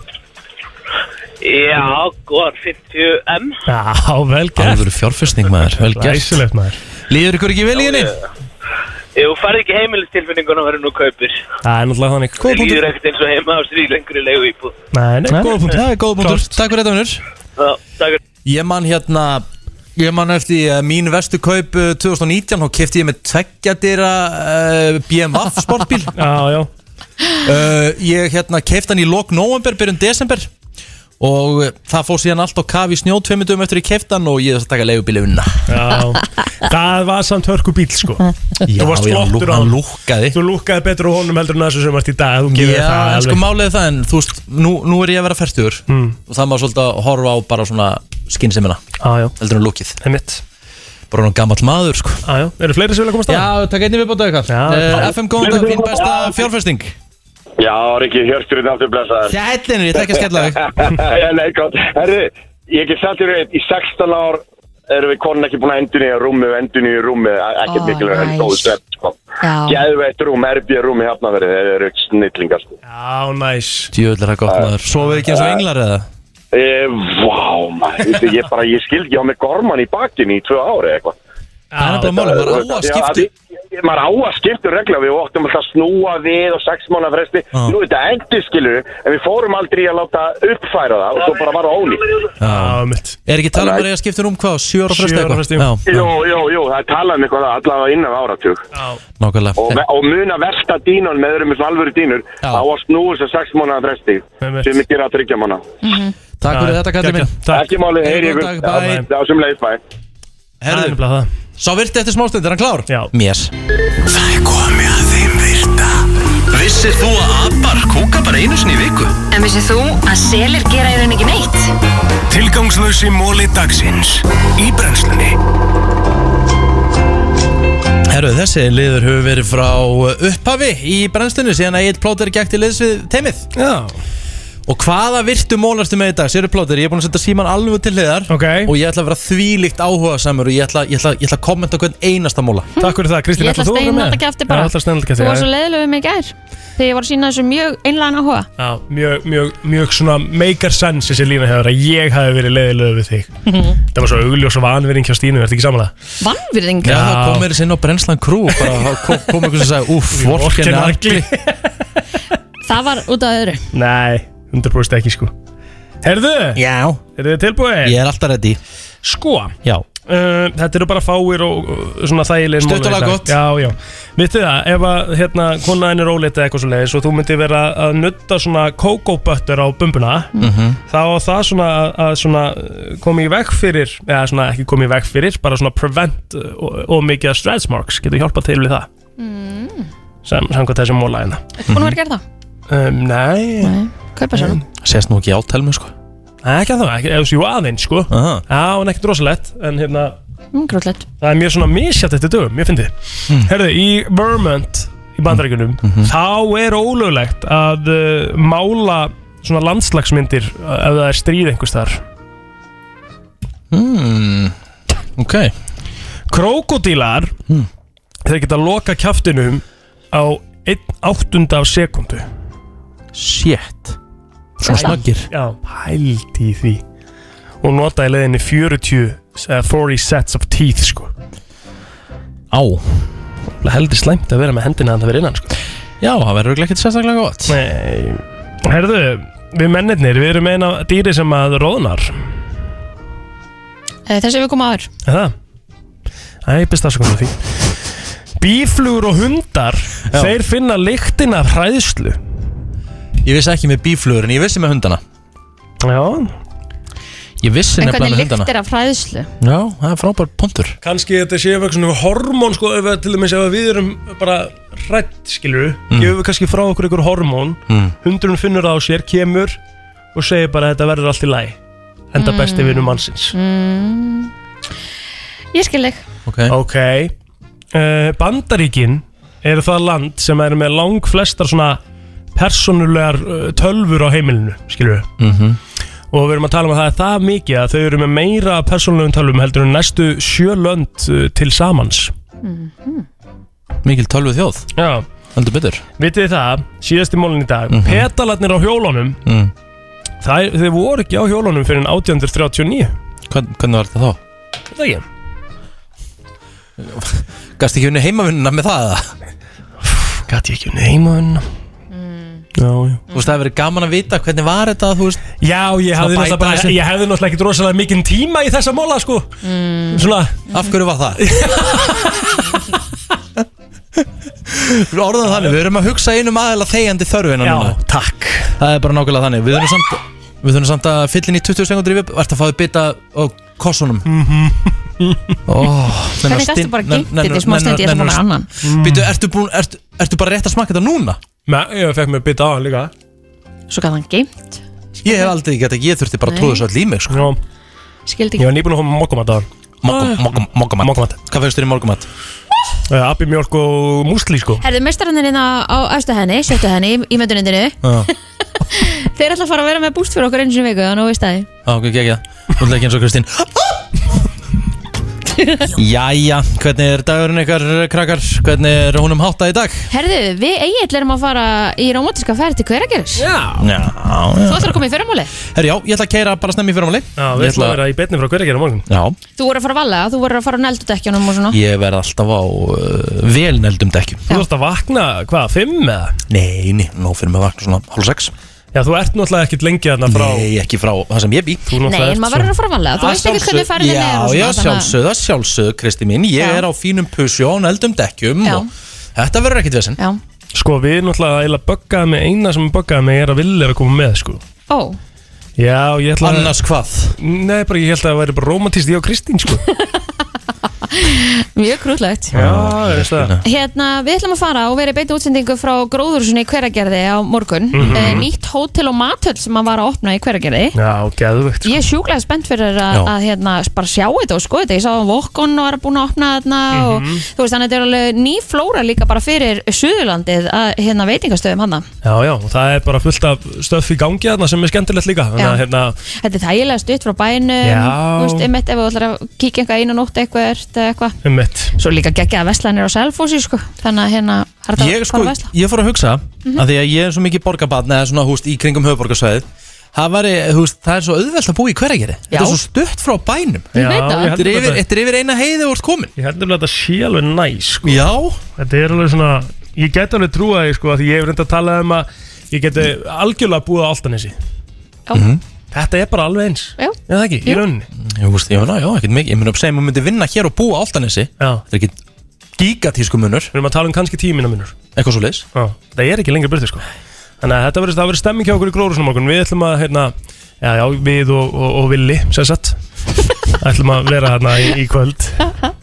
S: Já, góðar 50M
B: Já, vel gert
C: Alvöru fjárfesting maður, vel gert
B: Glæsilegt maður
C: Líður ykkur ekki vel í henni?
S: Þú færð Eh, ekki heimilistilfinninguna verður nú kaupir
B: Það er náttúrulega þannig
S: Góða punktur Líður ekkert eins og heima á stríð lengur í leiðu íbúð
B: Nei, nei, góða punktur
C: Það er góða punktur, takk fyrir þetta vinnur
S: Já, takk
C: Ég man hérna Ég man eftir því að mín vestu kaup eh, 2019 Há kefti ég með tveggjadýra uh, BMW sportbíl
B: Já, já
C: Ég hérna kefti hann í lok november, byrjun desember Og eh, það fór síðan allt á kaf í snjó Tveimundum eftir ég kefti hann og ég þess að taka leigubíli unna
B: Já, það var samt hörku bíl sko
C: Já,
B: Þú varst
C: já, hann
B: flottur
C: lú-
B: á
C: hann lúkkaði
B: Þú lúkkaði betur á honum heldur en þessu sem varst í dag Þú gefur það
C: Já,
B: alveg.
C: en
B: Hmm.
C: sko málið er það en þú veist, nú, nú er ég að vera færtur og það maður svolítið að horfa á bara svona skinnsemina,
B: ah,
C: heldur en lúkið
B: Einmitt.
C: Bara hann gammal maður sko
B: ah, Eru fleiri sem vilja komast
C: að? Já, takk einnig viðbótað eitthvað uh, FM góðan dag, þín besta fjárfesting
S: Já, Rikki, hjörstur þetta aftur blessaður
C: Sællin, ég ætla ekki að skella þig
S: Já, nei, gott Herru, ég get sagt þér eitt Í 16 ár erum við konin ekki búin að endun í rúmi Endun í rúmi,
D: Ó,
S: e- ekkert mikilvæg
D: nice.
S: En góðu svepp, sko Gæðu eitt rúm, erbjör rúm í hafnaverið Þeir eru snillingar, sko
B: Já, næs
C: Djöðl er það gott maður, sofið ekki eins og englar eða?
S: Eh, Vá, maður veistu, Ég bara, ég skildi, ég á með gorman í bakinn í tvö ári eitthvað
C: Það er bara málið, maður á að skipta
S: skiptu maður á að skipta regla við óttum alltaf að snúa við og sex mánu fresti nú er þetta endur skilur en við fórum aldrei að láta uppfæra það og svo bara var það ólíkt
B: Já, mitt
C: Er ekki talað um að ég að skipta um hvað, sjö ára fresti eitthvað? Já,
S: Jú, jú, jú, það er talað um eitthvað það, allavega innan áratug
C: nákvæmlega
S: og, ve- og muna versta dínan með öðrum eins og alvöru dínur á að snúa þess að sex mánu fresti
B: Einmitt.
S: sem ekki er að tryggja manna
C: Takk fyrir þetta, kallið minn
S: ekki máli, heyri ykkur
C: Góðan dag, bye.
S: Já, já, sem leið, bæ
C: Herðu, sá virti eftir smástund, er hann klár? Já Mér
T: Það er komið að þeim virta Vissir þú að abar kúka bara einu sinni í viku?
M: En vissið þú að selir gera í raun ekki neitt?
T: Tilgangslösi móli dagsins Í brennslunni
C: Herru, þessi liður hefur verið frá upphafi í brennslunni síðan að eitt plóter gekk til liðs við teimið
B: Já
C: Og hvaða virtu mólarstu með í dag? Séru plóter, ég er búin að setja síman alveg til hliðar okay. Og ég ætla að vera þvílíkt áhuga samur Og ég ætla, ég ætla, ég ætla að kommenta hvern einasta móla
B: Hm. Takk fyrir það,
D: Ég ætla að steina þetta kæfti bara Þú var svo leiðilega við mig í gær Þegar ég var að sína þessu mjög einlægan áhuga
B: Já, mjög, mjög, mjög svona meikar sens þessi lína hefur að ég hafi verið leiðilegu við þig Það var svo augljós og vanverðing hjá Stínu, ertu ekki samanlega?
D: Vannvirðing
C: Já, það kom meira sinn á brennslan krú og Bara þá kom, kom ykkur sem sagði, úff, hérna vorken
B: Vorkenna
C: agli
D: Það var út af öðru
B: Nei, 100% ekki sko Herðu?
C: Já
B: Eru þið tilbúin?
C: Ég er alltaf ready
B: Sko
C: Já
B: Uh, þetta eru bara fáir og og svona þægilegir málar
C: Stutt og
B: í dag.
C: laggott.
B: Já, já Vittu það, ef að hérna konaðin er óleita eitthvað svo leiðis og þú myndir vera að nutta svona kókóböttur á bumbuna
C: Mhm.
B: þá á það svona að- að svona komi í veg fyrir eða svona ekki komi í veg fyrir bara svona prevent uh, og, og mikið af stretch marks getur hjálpað til við það
D: Mm.
B: sem samkvæmt þessum mólæðina
D: Ertu búin að vera að gera það?
B: um, Nei
D: Nei, kaupa sér hana.
C: Sérst nú ekki átelmi, sko
B: Nei, ekki að það, ekki, eða þessu aðeins, sko Já, en ekkert rosalett, en hérna
D: mm, Grótlegt
B: Það er mjög svona misjátt eftir dögum, ég fyndi mm. Herðu, í Vermont í bandaríkunum, þá er ólöglegt að uh, mála svona landslagsmyndir uh, ef það er stríð einhvers þar
C: Hmm, ok Hmm.
B: Krokodílar Þeir geta loka kjaftinum Á 1 áttund af sekundu
C: Shit Svona snaggir
B: Já, pældi í því Og nota í leiðinni 40 eða 40 sets of teeth sko
C: Á
B: Heldur slæmt að vera með hendina Þannig að vera innan sko
C: Já, það verður ekki sérstaklega gott
B: Nei Herðu, við mennirnir Við erum eina dýri sem að róðnar
D: Eh, Þessi við komum aður
B: Er það? Æ, best afsökunar á því Bíflugur og hundar Þeir finna lyktin af hræðslu
C: Ég vissi ekki með bíflugur en ég vissi með hundana
B: Já
C: Ég vissi
D: En
C: nefnilega
D: hvernig
C: með
D: lykt
C: hundana
D: er af fræðslu?
C: Já, það er frábær pontur
B: Kanski þetta séu eitthvað svona hormón sko ef að til dæmis ef að við erum bara rætt skilur
C: Mm.
B: gefum við kannski frá okkur einhver hormón
C: Mm.
B: hundurinn finnur það á sér, kemur og segir bara þetta verður allt í læ enda
D: Mm.
B: besti vinnu mannsins
D: Mm. Ég skil þig
C: Ok,
B: Uh, Bandaríkin eru það land sem er með lang flestar svona persónulegar uh, tölfur á heimilinu skilur við
C: Mhm.
B: og við erum að tala um að það er það mikið að þau eru með meira persónulegum tölvum heldur en næstu sjö lönd uh, til samans
C: Mikil tölvu þjóð
B: Já
C: Heldur betur
B: Vitið þið það, síðasti mólin í dag
C: Mhm.
B: Petalarnir á hjólunum
C: mm.
B: það, Þeir voru ekki á hjólunum fyrir 1839
C: Hvern, Hvernig var þetta þá?
B: Það ekki
C: Gast ekki unni heimavinnuna með það?
B: Gat ég ekki unni heimavinnuna Já, já
C: Þú veist, það hefur verið gaman að vita hvernig var þetta, þú veist
B: Já, ég
C: Svona
B: hefði
C: bæta
B: náttúrulega bara,
C: þessu.
B: ég hefði náttúrulega ekkert rosalega mikinn tíma í þessa móla sko mm. Svona
C: Af hverju var það? Við orðum þannig, við erum að hugsa einum aðeila þegjandi þörfina
B: Já,
C: takk Það er bara nákvæmlega þannig Við þurfum samt, við þurfum samt að fylla inn í 20 sekundur yfir Vart að fáið bita á kossunum mm
B: Mhm.
C: -hmm. oh,
D: Hvernig gastu bara geymt þetta í smá stund, ég ætla að fá mér annan.
C: Býtu, ertu, búin, ertu, ertu bara rétt að smakka þetta núna?
B: Nei, ég fekk mér bita á hann líka
D: Svo gæði hann geimt
C: Ég hef aldrei gett ekki, ég þurfti bara að
D: Nei.
C: tróða þessu all í mig sko.
D: Skildi
B: Ég
D: ekki
B: var nýbúin að hóma mokkumat á Ah. hann
C: Mokkumat
B: Mokkumat
C: Hvað fegstu þér í morgumat?
B: Uh, Abbi mjölk og músli sko
D: Herðu mestarannirinn á, á östu henni, sjöttu henni, í- í möndunindinu
C: Já.
D: Þeir ætla að fara að vera með búst fyrir okkur einu sinni í viku, þannig að við stæði
C: Já, ok, ekki það Þú ætla ekki eins og Kristín Jæja, hvernig er dagurinn ykkar krakkar? Hvernig er húnum háttað í dag?
D: Herðu, við eigið erum að fara í romantiska ferð til Hveragerðis
B: Já
C: Já,
D: Þú
C: já
D: ætlar að koma í fyrramáli
C: Herri, já, ég ætla að keira bara snemmi í fyrramáli
B: Já, við ætlum að vera í betni frá hverja gera morgun
C: Já,
D: Þú voru að fara að valga, þú voru að fara á neldudekjunum og svona
C: ég verð alltaf á uh, velneldum dekkjum
B: Þú þarft að vakna, hvað, fimm eða?
C: Nei, nei, nú fyrir mig að vakna svona hálf sex
B: Já, þú ert náttúrulega ekkert lengi þarna frá
C: Nei, ekki frá það sem ég bý
D: Nei, en maður verður að fara að valga, þú
B: Að
D: veist ekki
B: sjálfsögðu.
D: hvernig ferðin er og
C: Já,
D: svona, þannig
C: já,
D: að-
C: sjálfsögðu, sjálfsögðu, Kristi mín Ég
D: Já.
C: er á fínum pusju á neldum dekkjum
D: Já.
C: og Þetta verður ekkit vesinn
D: Já,
B: Sko, við náttúrulega eiginlega böggaði mig, eina sem böggaði mig er að vilja að koma með, sko
D: ó,
B: Já, ég ætla að...
C: Annars hvað?
B: Nei, bara ég held að það væri bara romantist ég og Kristín, sko
D: mjög krútlegt
B: Já, veist það
D: Hérna, við ætlum að fara og vera í beita útsendingu frá Gróðursunni í Hveragerði á morgun mm
B: Mhm.
D: Nýtt hótel og matöll sem að var að opna í Hveragerði
B: Já, geðvegt,
D: Ég er sjúklega spennt fyrir að,
B: Já.
D: að hérna, bara sjá þetta og skoða þetta Ég sá að Vokon var búin að opna þarna
B: Mhm.
D: og þú veist, þannig að þetta er alveg ný flóra líka bara fyrir Suðurlandið að hérna veitingastöðum hana
B: Já, já, og það er bara fullt af stöf í gangi þarna sem er skemmtilegt líka Þannig að,
D: Já.
B: hérna,
D: Þetta er þægilega stutt frá bænum
B: Já.
D: Þú veist, um eitt ef þú ætlar að kíkja eitthvað einu nótt eitthvað eitthva.
B: um mitt
D: Svo líka geggja að veslanir á Selfossi sko. Þannig að hérna, það er
C: ég,
D: þetta
C: sko,
D: bara að vesla
C: ég fór að hugsa
B: Mhm.
C: að því að ég er svo mikið borgarbarn eða svona húst í kringum höfuborgarsvæðið það, væri, þú veist, það er svo auðvelt að búa í hverjargeri þetta er svo stutt frá bænum
B: Ég veit það.
C: þetta er yfir, þetta er yfir eina heiði úr komin
B: Ég heldur að þetta sé alveg næs, sko
C: Já
B: Þetta er alveg svona, ég get alveg trúa því, sko, af því ég hef reynda að tala um að ég geti algjörlega búið á Altanesi
D: Já Mhm.
B: Þetta er bara alveg eins
D: Já,
B: Já, það ekki, í rauninni
C: ég, veist, ég, meina, já, ekkert mikið, ég meina að segja maður myndi vinna hér og búa á Altanesi þetta er ekki gigatísku munur
B: Við erum að tala um kannski tímina munur
C: eitthvað svo leis
B: Já, það er ekki lengur burti sko Þannig að þetta verður, það verður stemming hjá okkur í gróðursunum okkur Við ætlum að, hérna, já, já, við og, og, og Willi, sem sagt ætlum að vera hérna í, í kvöld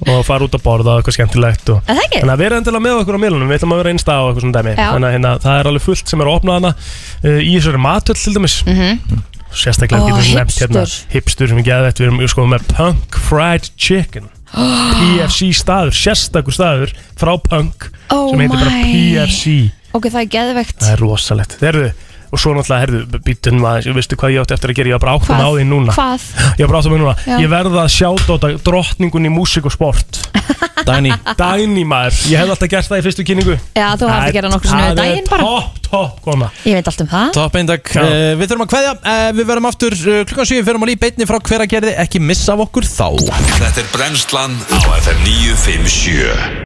B: og fara út að borða og eitthvað skemmtilegt og,
D: Er það ekki?
B: Þannig að vera endilega með okkur á milunum, við ætlum að vera einstað og eitthvað svona dæmi
D: Já.
B: Þannig að hérna, það er alveg fullt sem er að opna hana uh, í þessari matöll til dæmis
D: Mhm.
B: Sérstaklega
D: Ó,
B: getum við nefnt hérna
D: hipster.
B: hipstur sem er geðvett, við erum sko með Punk Fried Chicken PFC staður, sérstakur staður frá Punk
D: Oh
B: sem heitir bara
D: my.
B: PFC
D: Ok, það er geðvegt
B: Það er rosalegt Herðu, og svo náttúrulega, herðu, býtum maður Vistu hvað ég átti eftir að gera, ég var bara áttum á því núna
D: Hvað?
B: Ég var bara áttum á því núna
D: Já.
B: Ég verða að sjáta á drottningun í músík og sport
C: Dagný
B: Dagný maður, ég hef alltaf gert það í fyrstu kynningu
D: Já, þú hafði gerað nokkur sinnum við
B: Það
D: um
B: er
D: daginn bara
B: Topp, topp, koma
D: Ég veit allt um það
C: Topp eindag
B: Já.
C: uh, Við þurfum að kveðja uh, Við verðum aftur uh, klukkan 7 Við verðum að líf beitni frá hveragerði Ekki missa af okkur þá
G: Þetta er brennslan á FM 957